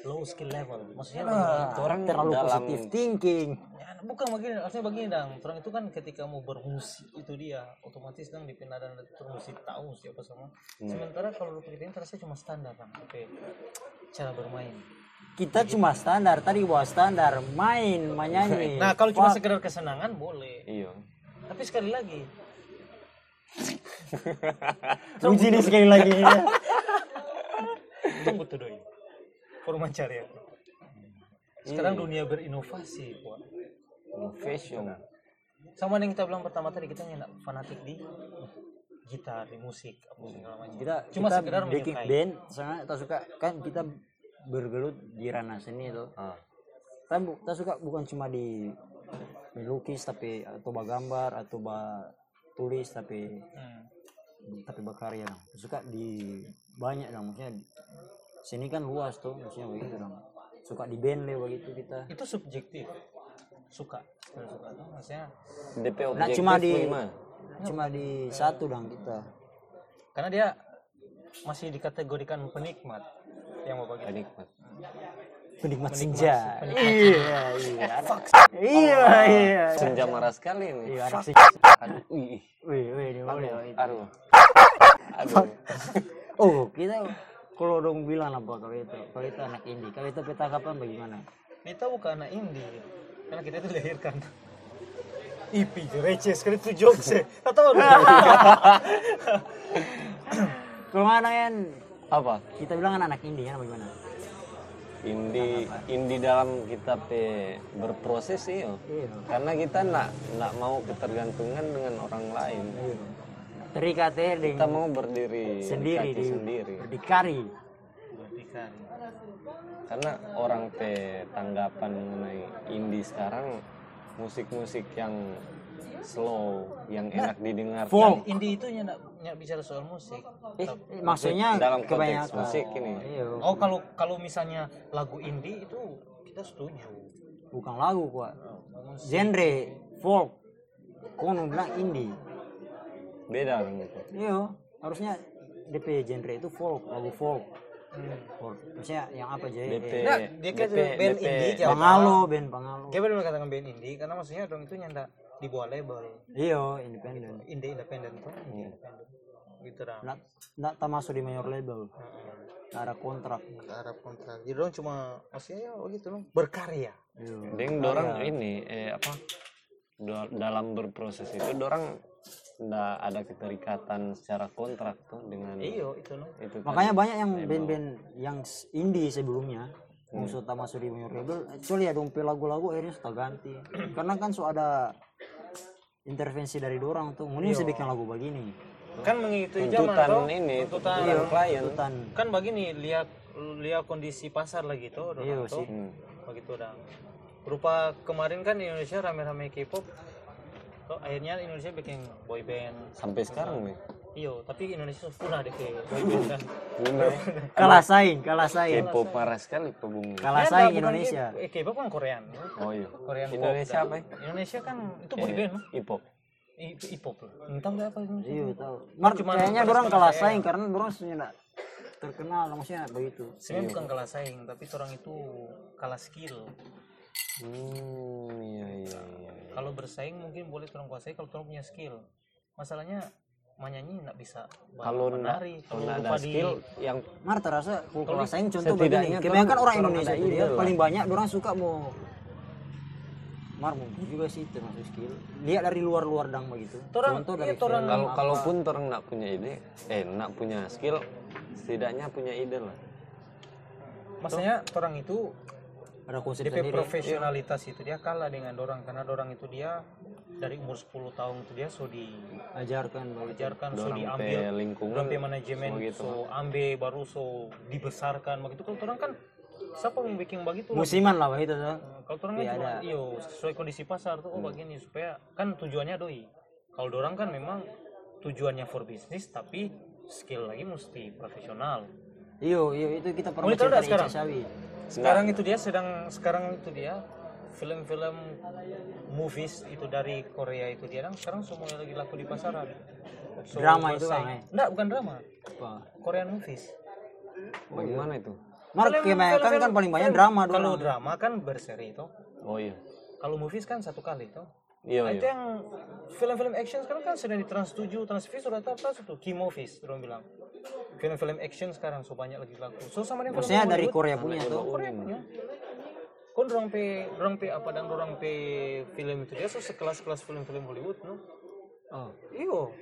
E: Low skill level. Maksudnya begini.
B: orang
C: terlalu
B: dalam
C: positif thinking
E: Ya, bukan begini, artinya begini dong. Orang itu kan ketika mau bermusik itu dia otomatis dong dipindah dan musik tahu musik apa semua.
C: Iya.
E: Sementara kalau lu pilih terasa cuma standar kan, oke cara bermain.
C: kita cuma standar tadi bawah standar main menyanyi
E: Nah kalau
C: Iya.
E: cuma
C: Wah,
E: sekedar kesenangan boleh,
B: iya
E: tapi sekali lagi
C: puji nih sekali lagi ya.
E: tunggu tuh doi. Forma cari aku.
C: Iya.
E: Sekarang dunia berinovasi, Wak.
B: Innovation.
E: sama yang kita bilang pertama tadi kita nyenak fanatik di gitar di musik apa segala macam
C: kita
E: cuma
C: kita
E: sekedar
C: bikin
E: menyukai
C: band sangat tak suka kan kita bergelut di ranah seni itu
B: Ah.
C: kan bu- kita suka bukan cuma di melukis tapi atau gambar atau ba- tulis tapi
E: Hmm.
C: tapi berkarya dong suka di banyak dong maksudnya di- seni kan luas tuh maksudnya begitu dong suka di band deh begitu kita
E: itu subjektif suka sekali suka tuh maksudnya
B: DP
C: nah
B: objektif
C: cuma di
B: gimana?
C: cuma di satu dong kita
E: karena dia masih dikategorikan penikmat yang mau bagi
B: Penikmat.
C: penikmat senja iya iya Anak- iya
B: Oh.
C: iya
B: Senja marah sekali ini.
C: iya anak
B: Aduh, ih, ih,
C: Wih, wih, ini boleh.
B: aduh. Aduh.
C: Oh, kita kalau dong bilang apa kalau itu, kalau itu anak indie, kalau itu peta kapan bagaimana?
E: kita bukan anak indie karena kita itu dilahirkan Ipi receh sekali itu jokes ya. Tak tahu lu.
C: Kalau anak yang
B: Apa?
C: kita bilang kan anak indie kan bagaimana?
B: Indi indi dalam kita pe berproses sih. yo.
C: Iya,
B: Karena kita nak nak mau ketergantungan dengan orang lain.
C: iya. Terikat ya
B: Kita
C: dengan
B: mau berdiri
C: sendiri
B: kaki
C: di
B: sendiri.
C: berdikari.
B: Karena orang pe tanggapan mengenai indie sekarang musik-musik yang slow, yang enak
E: Nah,
B: didengar.
C: Folk.
E: Indie itu nyenak, nyenak bicara soal musik.
C: Eh, maksudnya
B: dalam konteks
C: kebanyakan
B: musik ini.
C: Iya,
E: Oh kalau kalau misalnya lagu indie itu kita setuju.
C: bukan lagu kok. Genre folk kono bilang indie.
B: Beda kan gitu.
C: Iya, harusnya DP genre itu folk, lagu folk. Folk. Maksudnya yang apa jadi?
B: DP,
E: Nah, dia kan band indie
B: Ya,
E: tiap
C: Pangalo, band Pangalo.
E: Dia benar katakan band indie karena maksudnya dong itu nyanda di bawah label
C: Iya, independen.
E: indie independen tuh indie independen gitu dah.
C: Nggak, nggak termasuk di mayor label. Nggak ada kontrak.
E: Nggak harap kontrak. Jadi dong cuma maksudnya ya gitu loh berkarya.
C: Iya.
B: Deng dorang ini eh apa do- dalam berproses itu dorang ndak ada keterikatan secara kontrak tuh dengan
E: Iya itu loh.
B: itu
C: Makanya banyak yang band-band yang s- indie sebelumnya musuh tak masuk di mayor label. Kecuali ya dompe lagu-lagu akhirnya suka ganti. Karena kan so ada intervensi dari dorang tuh. Mending saya bikin lagu begini.
E: Kan mengikuti zaman
B: tuntutan
E: tuh.
B: ini tuntutan
E: Tuntutan
B: klien
C: Hutan.
E: kan begini lihat lihat kondisi pasar lagi tuh dong
C: Iya
E: tuh.
C: sih.
B: Hmm.
E: begitu dong berupa kemarin kan di Indonesia rame-rame K-pop tuh akhirnya Indonesia bikin boy band
B: sampai sekarang
E: Iya.
B: nih
E: iyo tapi Indonesia sudah punah deh kayak boy band kan
B: bener
C: Kalah saing, kalah saing.
B: kepo parah sekali pebungu
C: Kalah
E: Ya,
C: saing
E: bukan
C: Indonesia.
E: K- eh, K-pop kan Korean
B: oh iya
E: Korean pop,
B: Indonesia
E: dah.
B: apa ya Iya. Eh,
E: Indonesia kan itu boy band mah
B: hip-hop
E: I- itu hip hop lah entah apa itu
C: Iya tahu. Mar,
E: Cuman
C: kayaknya
E: terus
C: orang
E: terus
C: kalah
E: saya-
C: saing karena orang sebenarnya terkenal maksudnya begitu
E: sebenarnya
B: Iya.
E: bukan kalah saing tapi orang itu kalah skill
B: Hmm, iya iya iya.
E: kalau bersaing mungkin boleh orang kuasai kalau orang punya skill masalahnya menyanyi nggak bisa
B: Kalau ndak
E: menari
B: kalau
E: kalau
B: ndak ada
E: lupa di
B: skill yang
E: Hmm,
C: Mar terasa kalau saing contoh
B: setidaknya
E: kan
C: begini kebanyakan
B: tolong-
C: orang
B: tolong
C: Indonesia
B: ada
C: itu
B: ideal
C: dia
B: lah.
C: paling banyak orang suka mau Mar mungkin juga sih termasuk skill lihat dari luar-luar dang begitu
E: Torang-
C: contoh
E: iya,
C: dari
E: torang-
C: film
B: kalau
C: apa.
B: kalaupun orang ndak punya ide, eh ndak punya skill, setidaknya punya ide lah.
E: maksudnya orang itu
C: ada konsep
E: DP
C: sendiri
E: profesionalitas itu dia kalah dengan dorang karena dorang itu dia dari umur 10 tahun itu dia so
C: ajarkan begitu
E: diajarkan so
B: Dorang pe
E: diambil
B: lingkungan
E: Berarti manajemen
B: semua gitu.
E: so ambe baru so dibesarkan begitu kalau orang kan siapa yang bikin begitu
C: musiman lah begitu tuh
E: kalau orang
C: Iya,
E: kan cuma
C: ada. Hmm.
E: iyo sesuai kondisi pasar tuh oh begini supaya kan tujuannya doi kalau dorang kan memang tujuannya for bisnis tapi skill lagi mesti profesional
C: Nah. iyo iyo itu kita pernah
E: Monitor
C: cerita
E: dah
C: di
E: sekarang?
C: Ica Sawi
E: sekarang itu dia sedang sekarang itu dia film-film movies itu dari Korea itu dia kan sekarang semuanya lagi laku di pasaran So,
C: Drama itu,
E: bersaing-
C: Bang, eh?
E: Nggak, bukan drama
C: Apa?
E: Korean movies
B: Bagaimana itu?
E: Iya.
C: Mar
E: Film-
C: kebanyakan
E: film-
C: kan paling banyak
E: film-
C: drama
E: kalau
C: dong
E: drama kan berseri itu
B: Oh iya.
E: kalau movies kan satu kali itu
B: Iya
E: Nah,
B: iya.
E: itu yang film-film action sekarang kan sedang di Trans 7, Trans V sudah rata apa tuh key movies orang bilang. Film-film action sekarang so banyak lagi laku. So sama dengan
C: maksudnya dari
E: Hollywood,
C: Korea punya tuh
E: Korea punya. Kon dorang pe dorang pe apa dan dorang pe film itu dia so sekelas-kelas film-film Hollywood no.
C: Oh.
E: Iyo.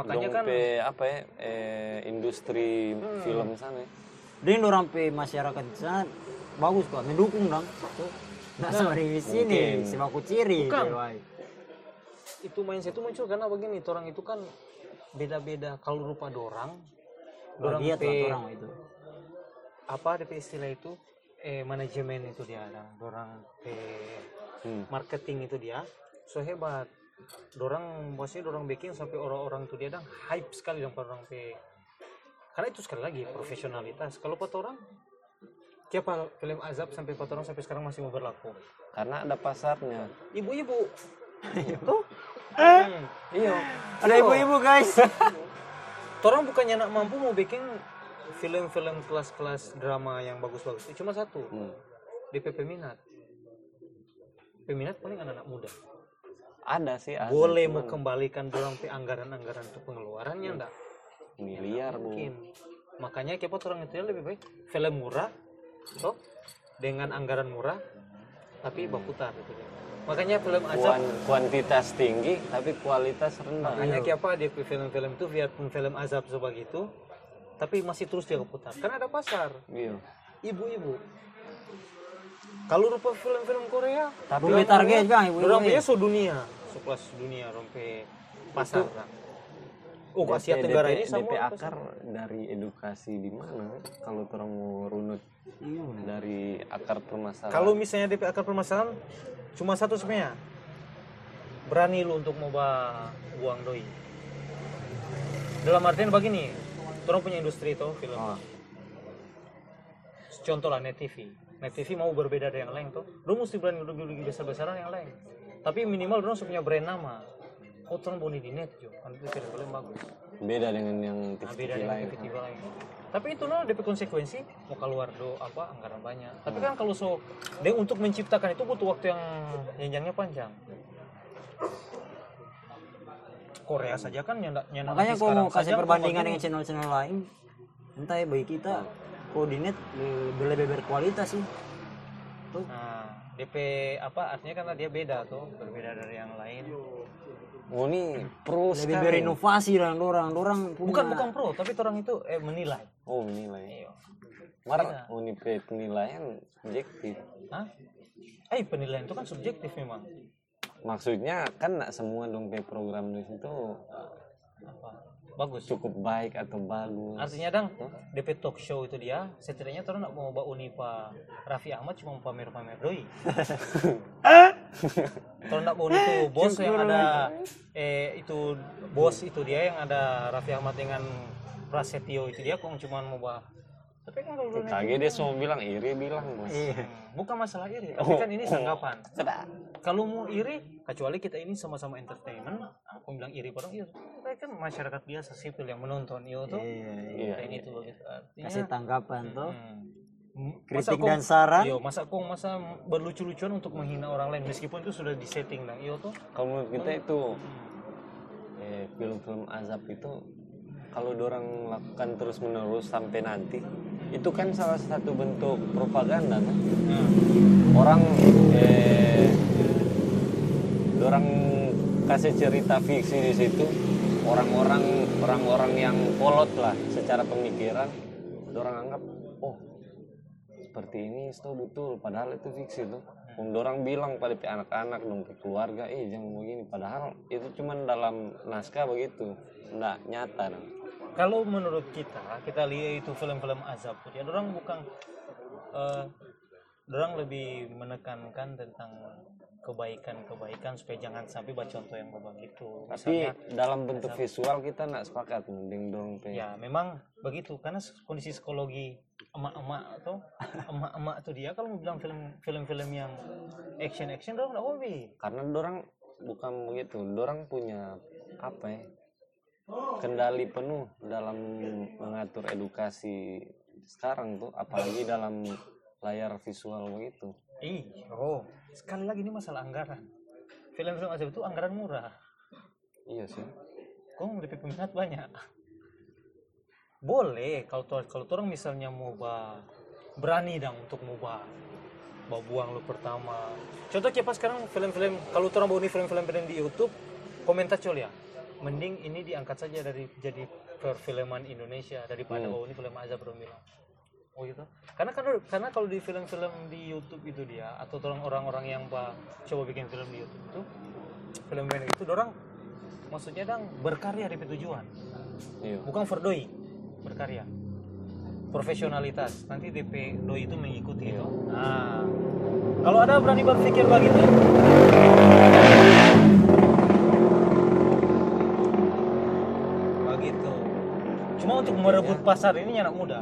E: Makanya
B: Dong
E: kan Hmm.
B: pe apa ya? Eh, industri film sana. ya.
C: Dia orang pe masyarakat di sana bagus kok, mendukung dong. Tuh. Nah, sama di sini, si baku ciri.
E: Bukan.
C: dia, wai.
E: itu mindset itu muncul karena begini orang itu kan beda-beda kalau rupa dorang dorang
C: Bahagia tuh
E: pe-
C: orang itu.
E: apa DP istilah itu eh manajemen itu dia ada orang eh, marketing itu dia so hebat dorang bosnya dorang bikin sampai orang-orang tuh dia dang hype sekali dong pada orang pe karena itu sekali lagi profesionalitas kalau empat orang tiap hal- film azab sampai empat orang sampai sekarang masih mau berlaku
B: Karena ada pasarnya.
E: ibu-ibu Eh? Hmm,
B: Iya.
C: Ada ibu-ibu guys.
E: Iya. orang bukannya nak mampu mau bikin film-film kelas-kelas drama yang bagus-bagus itu cuma satu DP peminat peminat paling anak-anak muda
B: Ada sih ada.
E: boleh mau kembalikan dorong ke anggaran-anggaran untuk pengeluarannya enggak
B: miliar bu.
E: mungkin makanya kepo orang itu ya lebih baik film murah toh dengan anggaran murah tapi berputar gitu dia. makanya film azab
B: Kuan- kuantitas tinggi tapi kualitas rendah. Iya.
E: makanya kepo di film-film itu biarpun film azab sebagai itu tapi masih terus dia putar karena ada pasar
B: Iya.
E: ibu-ibu kalau rupa film-film Korea
C: Tapi target kan ibu-ibu.
E: orang punya
C: ini.
E: so dunia so kelas dunia orang pe pasar lah. oh
B: DP-
E: Asia Tenggara
B: DP
E: ini sama
B: DP
E: orang pasar.
B: akar dari edukasi di mana kalau orang mau runut dari akar permasalahan.
E: Iya. Kalau misalnya DP akar permasalahan cuma satu sebenarnya. Berani lu untuk moba uang doi. Dalam artian begini, orang punya industri itu film.
B: Oh.
E: Contoh lah Net TV. Net TV mau berbeda dari yang lain tuh. Lu mesti berani lebih besar-besaran yang lain. Tapi minimal lu harus punya brand nama. Oh, orang boleh di net juga. Kan itu cerita paling bagus.
B: beda dengan yang
E: Nah,
B: TV
E: beda dengan
B: lain.
E: TV lain. Tapi itu no DP konsekuensi mau keluar do apa anggaran banyak. Tapi kan kalau so dia untuk menciptakan itu butuh waktu yang jenjangnya panjang. Korea saja kan nyendak nyendak
C: Makanya
E: nanti
C: kalau mau
E: sekarang
C: kasih
E: saja
C: perbandingan
E: kalau
C: dengan channel-channel lain, entah ya bagi kita koordinat lebih lebih berkualitas sih.
E: begini. Nah, DP apa artinya karena dia beda tuh, berbeda dari yang lain.
B: Oh ini pro
C: Lebih
B: sekali.
C: berinovasi orang orang orang punya.
E: Bukan bukan pro, tapi orang itu eh menilai.
B: Oh nilai.
E: Iya.
B: Mar ini pe- penilaian subjektif.
E: Hah? Eh penilaian itu kan subjektif memang.
B: Maksudnya kan nggak semua dong pe program di situ
E: Apa? Bagus.
B: cukup baik atau bagus.
E: Artinya dang, DP talk show itu dia, setidaknya terus nak mau bawa Unipa Raffi Ahmad cuma mau pamer-pamer doi. Terus nak bawa itu bos yang ada eh itu bos itu dia yang ada Raffi Ahmad dengan Prasetyo itu dia kok cuma mau bawa. Tapi kan kalau dunia-
B: Kaget dia semua bilang iri bilang bos.
E: Iya. bukan masalah iri, tapi kan ini sanggapan. Kalau mau iri, kecuali kita ini sama-sama entertainment, aku bilang iri bareng, iya, kita kan masyarakat biasa sipil yang menonton itu tuh
C: Iya, iya.
E: dan itu begitu gitu, artinya
C: kasih tanggapan tuh
E: hmm, masa Iya.
C: kritik
E: kong-
C: dan saran
E: Yo, masa kong masa berlucu-lucuan untuk menghina orang lain meskipun itu sudah disetting nah, iya lah. Yo tuh
B: kalau menurut kita itu eh, film-film azab itu kalau dorang lakukan terus menerus sampai nanti itu kan salah satu bentuk propaganda kan? orang eh, dorang kasih cerita fiksi di situ orang-orang orang-orang yang kolot lah secara pemikiran dorang anggap oh seperti ini itu betul padahal itu fiksi tuh Om dorang bilang pada pi anak-anak dong pi keluarga eh jangan begini padahal itu cuman dalam naskah begitu nggak nyata dong
E: kalau menurut kita kita lihat itu film-film azab ya orang bukan eh, orang lebih menekankan tentang kebaikan-kebaikan supaya jangan sampai baca contoh yang begitu
B: tapi dalam bentuk visual kita nak sepakat mending dong pi
E: ya memang begitu karena s- kondisi psikologi emak-emak atau emak-emak tuh dia kalau bilang film film-film yang action action orang nggak hobi
B: karena dorang bukan begitu dorang punya apa ya kendali penuh dalam mengatur edukasi sekarang tuh apalagi dalam layar visual begitu
E: Ih, oh, sekali lagi ini masalah anggaran. Film-film azab itu anggaran murah.
B: iya sih
E: Kok lebih peminat banyak? Boleh kalau tu- kalau tu orang misalnya mau ba- berani dong untuk mubah bawa buang lu pertama. Contoh kayak pas sekarang film-film kalau tu orang bawa ini film-film pendek di YouTube komentar col ya. Mending ini diangkat saja dari jadi perfilman Indonesia daripada bawa ini film azab orang bilang. Oh gitu. Karena kalau karena kalau di film-film di YouTube itu dia atau orang- orang-orang yang ba- coba bikin film di YouTube itu film pendek itu orang maksudnya dang berkarya di tujuan
B: iya
E: bukan ferdoi berkarya profesionalitas nanti DP doi itu mengikuti itu nah kalau ada berani berpikir begitu begitu cuma untuk merebut pasar ini anak muda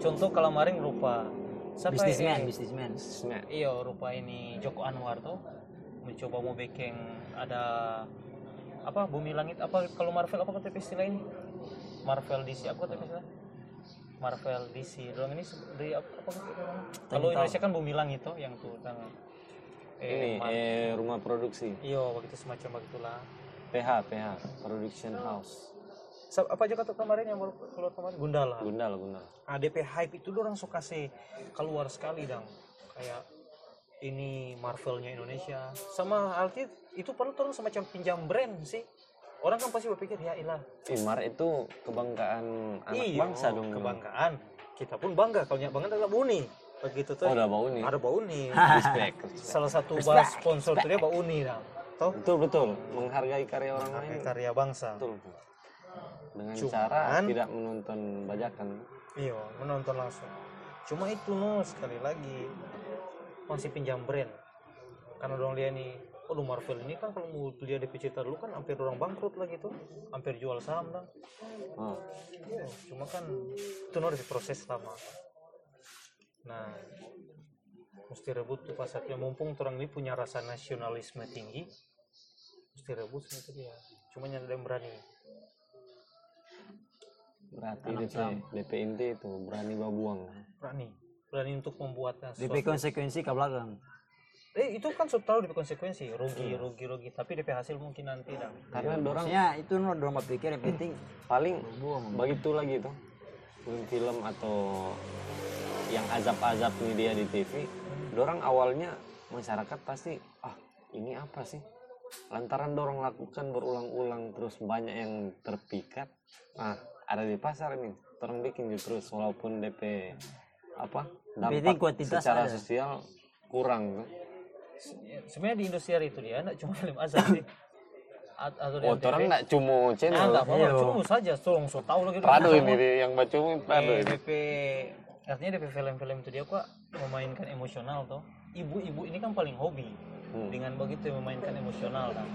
E: contoh kalau maring rupa siapa
C: bisnismen
E: eh,
C: bisnismen
B: Sebenarnya
E: Iya, rupa ini Joko Anwar tuh mencoba mau bikin ada apa bumi langit apa kalau Marvel apa kata istilah ini? Marvel DC aku kata istilah Marvel DC doang ini se- dari apa, apa kata namanya? kalau Indonesia kan bumi langit tuh yang tuh tentang
B: ini
E: eh, Mar-
B: eh, rumah produksi
E: iya begitu semacam begitulah
B: PH PH Production House
E: Sa- apa aja kata kemarin yang baru keluar kemarin Gundala
B: Gundal Gundal
E: ADP Ah, hype itu orang suka sih keluar sekali dong kayak ini Marvelnya Indonesia sama arti itu perlu tuh orang semacam pinjam brand sih orang kan pasti berpikir ya ilah
B: Imar itu kebanggaan anak
E: iyo,
B: bangsa dong
E: kebanggaan kita pun bangga kalau nyak bangga ada Bauni begitu tuh
B: oh udah bau nih
E: ada Bauni
B: respect, respect.
E: salah satu bahas sponsor tuh dia Bauni dong toh
B: betul betul menghargai karya orang lain
E: karya bangsa
B: betul betul. dengan
E: Cuman-
B: cara tidak menonton bajakan
E: Iya, menonton langsung. Cuma itu no sekali lagi masih pinjam brand. Karena orang lihat nih, aduh Marvel ini kan kalau mau lihat di cerita dulu kan hampir orang bangkrut lah gitu, hampir jual saham lah.
B: oh.
E: Iya, cuma kan itu no harus proses lama. Nah, mesti rebut tuh pasarnya mumpung orang ini punya rasa nasionalisme tinggi, mesti rebut sama itu dia. Cuma nyari yang berani.
B: berarti DP, DP inti itu berani babuang
E: Berani. Berani untuk membuatnya
C: DP konsekuensi ke belakang
E: Eh, itu kan selalu di konsekuensi rugi rugi rugi tapi DP hasil mungkin nanti dah.
B: karena dorang
C: maksudnya itu nur dorong berpikir yang penting
B: paling begitu lagi tuh film-film atau yang azab-azab nih dia di TV dorang awalnya masyarakat pasti ah ini apa sih lantaran dorong lakukan berulang-ulang terus banyak yang terpikat ah ada di pasar ini orang bikin juga terus walaupun DP apa
C: Penting
B: dampak
C: kuantitas
B: secara
C: ada.
B: sosial kurang tuh.
E: Ya, Sebenarnya di industri itu dia enggak cuma film azab sih. A- Atau di
B: oh
E: MTV.
B: orang nggak cuma
E: Ah,
B: channel
E: enggak apa-apa, cuma saja tolong so tahu lagi.
B: Prado ini dia yang baca Prado ini
E: Eh,
C: Iya.
E: DP artinya DP film-film itu dia kok memainkan emosional toh. Ibu-ibu ini kan paling hobi
B: Hmm.
E: dengan begitu memainkan emosional kan.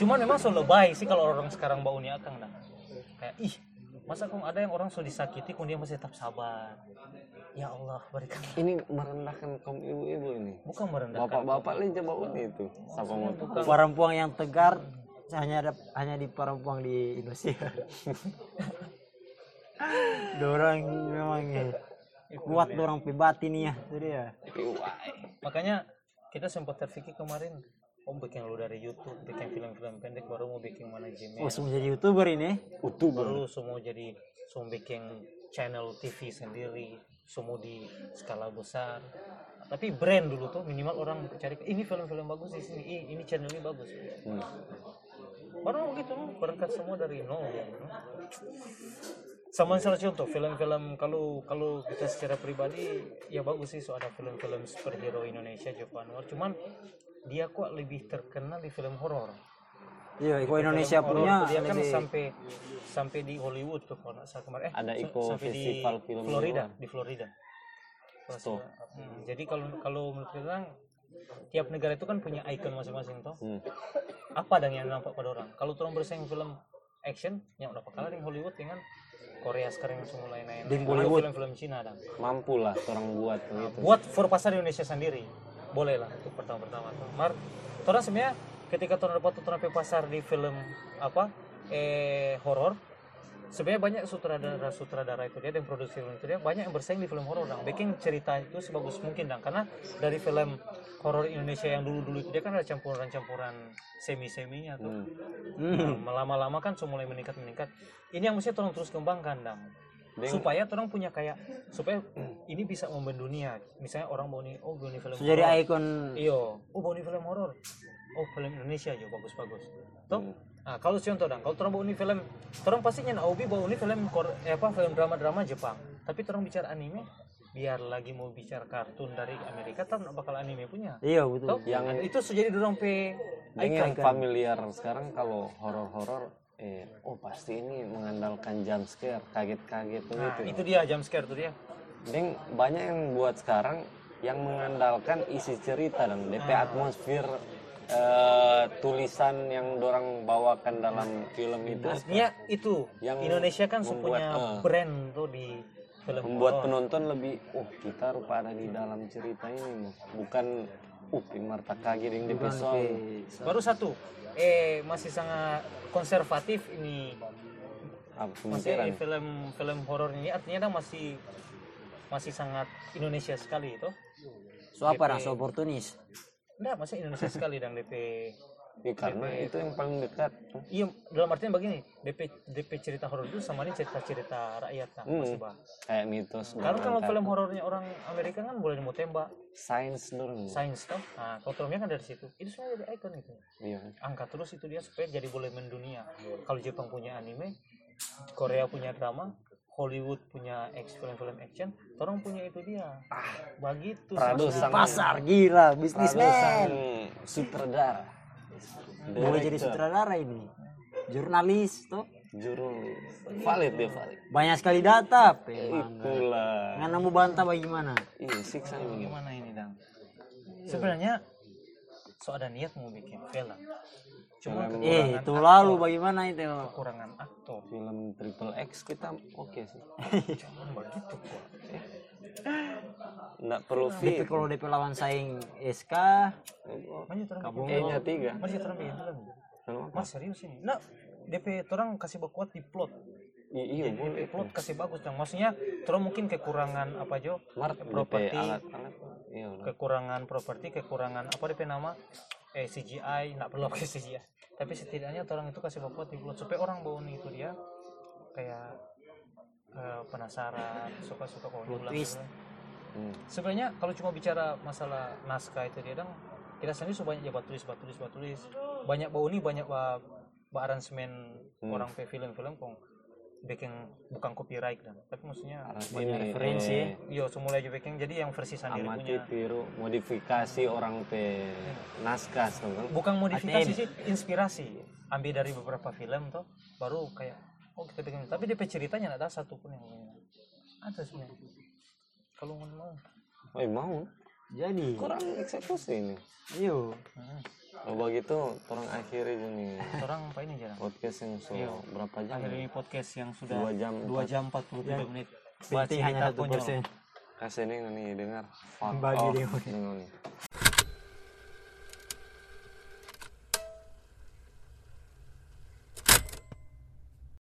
E: Cuman memang so lebay sih kalau orang sekarang bau ni akang dah. Kayak ih, masa kong ada yang orang so disakiti kong dia masih tetap sabar. Ya Allah, berikan
B: ini merendahkan kaum ibu-ibu ini
E: bukan merendahkan
B: Bapak-bapak lain coba uni itu. Siapa mau tuh?
C: perempuan yang tegar hanya ada hanya di perempuan di Indonesia. dorang memang ya, kuat dorang pibati nih ya, itu dia.
E: makanya kita sempat terpikir kemarin om bikin lu dari YouTube bikin film-film pendek baru mau bikin manajemen
C: Oh, semua jadi youtuber ini.
E: baru semua jadi semua bikin channel TV sendiri semua di skala besar tapi brand dulu tuh minimal orang cari ini film-film bagus di sini ih, ini channel ini bagus baru begitu berangkat semua dari nol ya, no? sama salah contoh film-film kalau kalau kita secara pribadi ya bagus sih so ada film-film superhero Indonesia Joko Anwar cuman dia kok lebih terkenal di film horor
C: Iya, Iko Indonesia
E: Film horor
C: punya
E: tuh dia kan
C: lebih-
E: sampai sampai di Hollywood tuh kalau nggak salah kemarin eh
B: Ada
E: sa-
B: Iko
E: sampai di
B: Festival Film
E: Florida
B: Hollywood.
E: di Florida Kalau
B: Tuh.
E: saya- hmm, jadi kalau kalau menurut kita orang, tiap negara itu kan punya ikon masing-masing toh
B: Hmm.
E: apa dan yang nampak pada orang kalau orang bersaing film action yang udah kalah dengan Hollywood dengan Korea sekarang yang mulai naik
C: Dengan
E: Apalagi
C: Bollywood.
E: film-film Cina dan
B: mampu lah orang buat gitu
E: buat for pasar Indonesia sendiri boleh lah untuk pertama pertama tuh mar orang sebenarnya ketika orang dapat orang pe pasar di film apa eh horor sebenarnya banyak sutradara sutradara itu dia dan produksi film itu dia banyak yang bersaing di film horor dan bikin cerita itu sebagus mungkin dan karena dari film horor Indonesia yang dulu dulu itu dia kan ada campuran campuran semi seminya tuh
B: Hmm.
E: Nah, lama-lama kan semua mulai meningkat meningkat ini yang mesti tolong terus kembangkan dam supaya orang punya kayak supaya ini bisa membendunia misalnya orang mau nih oh ini film
C: So, jadi
E: horor.
C: ikon
E: iyo oh mau nih film horor oh film Indonesia aja bagus bagus toh
C: Hmm.
E: nah, kalau contoh dong kalau orang mau nih film orang pastinya nak hobi mau nih film kor- eh, apa film drama drama Jepang tapi orang bicara anime biar lagi mau bicara kartun dari Amerika orang nak bakal anime punya
C: iya betul.
E: toh yang itu sudah jadi dorong pe
B: Yang yang familiar sekarang kalau horor-horor eh oh pasti ini mengandalkan jump scare, kaget-kaget tuh
E: nah,
B: gitu.
C: Iya.
E: itu dia jam scare tuh dia
B: Deng banyak yang buat sekarang yang mengandalkan isi cerita dan DP atmosfer eh, tulisan yang dorang bawakan dalam film itu
E: Artinya Iya, itu
B: Yang
E: Indonesia kan
B: membuat,
E: punya
B: eh,
E: brand tuh di film
B: membuat
E: horor.
B: penonton lebih oh kita rupa ada di dalam cerita ini Mas." bukan uh Marta kagi ding di peson
E: Baru satu, eh masih sangat konservatif ini
B: apa
E: masih
B: pemikiran
E: film film horor ini artinya kan masih masih sangat Indonesia sekali itu.
C: So apa dah? So oportunis.
E: Enggak, masih Indonesia sekali dan DP
B: Ya, karena itu yang paling dekat
E: Iya, dalam artian begini, DP DP cerita horor itu sama ini cerita-cerita rakyat nah,
B: Hmm.
E: masih bah.
B: kayak mitos
E: Karena kalau
B: berangkat.
E: film horornya orang Amerika kan boleh mau tembak,
B: sains dulu
E: sains toh. Nah, kontrolnya kan dari situ. Itu sebenarnya dari ikon itu.
B: iya
E: angkat terus itu dia supaya jadi boleh mendunia. Kalau Jepang punya anime, Korea punya drama, Hollywood punya action film-film action, orang punya itu dia. Ah, begitu.
B: produsen
C: Pasar gila,
B: produsen
C: bisnismen.
B: sutradara
C: Boleh jadi sutradara ini. Jurnalis tuh.
B: jurnalis valid dia valid
C: Banyak sekali data,
B: Iya.
C: memang.
B: itulah
C: Nggak mau bantah bagaimana?
B: iya siksa ini
E: Gimana ini, Dang? Sebenarnya so ada niat mau bikin film. Cuma
C: Eh, itu lalu bagaimana itu?
E: kekurangan aktor.
B: film triple X kita oke sih
E: Jangan begitu kok.
B: nggak perlu
C: DP
B: fit
C: kalau DP lawan saing SK,
E: Makanya orang
B: E
E: bikin
B: nya tiga
E: Masih orang bikin film.
B: Kalau apa?
E: Mas serius ini. Nah, DP orang kasih berkuat di plot.
B: I- iya boleh
E: Plot kasih bagus dong. Maksudnya, terus mungkin kekurangan apa Jo?
B: Mart DP
E: Properti.
B: alat alat iya lah.
E: kekurangan properti, kekurangan apa DP nama eh CGI, nggak perlu pakai CGI. Tapi setidaknya orang itu kasih bobot di plot supaya orang bau nih itu dia kayak eh, penasaran, suka-suka kalau
C: Plot
E: diulang
C: twist.
E: diulang.
B: Hmm.
E: Sebenarnya kalau cuma bicara masalah naskah itu dia dong kita sendiri sudah banyak ya batulis, batulis, batulis. Banyak bau nih, banyak ba, ba aransemen orang pe film-film kong bikin bukan copyright dan tapi maksudnya
B: ini referensi
E: yo semula aja bikin jadi yang versi sendiri
B: amati
E: punya
B: tiru modifikasi orang pe naskah kan? sekarang
E: bukan modifikasi
C: Aten.
E: sih inspirasi ambil dari beberapa film tuh baru kayak oh kita bikin tapi DP ceritanya nggak ada satu pun yang ini. ada sebenarnya kalau mau mau
B: Eh mau
C: jadi, iya.
B: kurang eksekusi ini
C: yuk.
B: Oh begitu, orang akhiri gini
E: orang apa ini jarang
B: podcast yang so berapa jam? ya?
E: akhir ini podcast yang sudah
B: Dua jam,
E: 2 jam 43 menit
C: Penting Ya. hanya
E: cerita
C: satu persen.
B: Kasih ini nih dengar. Fuck
C: Bagi
B: off,
C: dia.
B: dengar nih.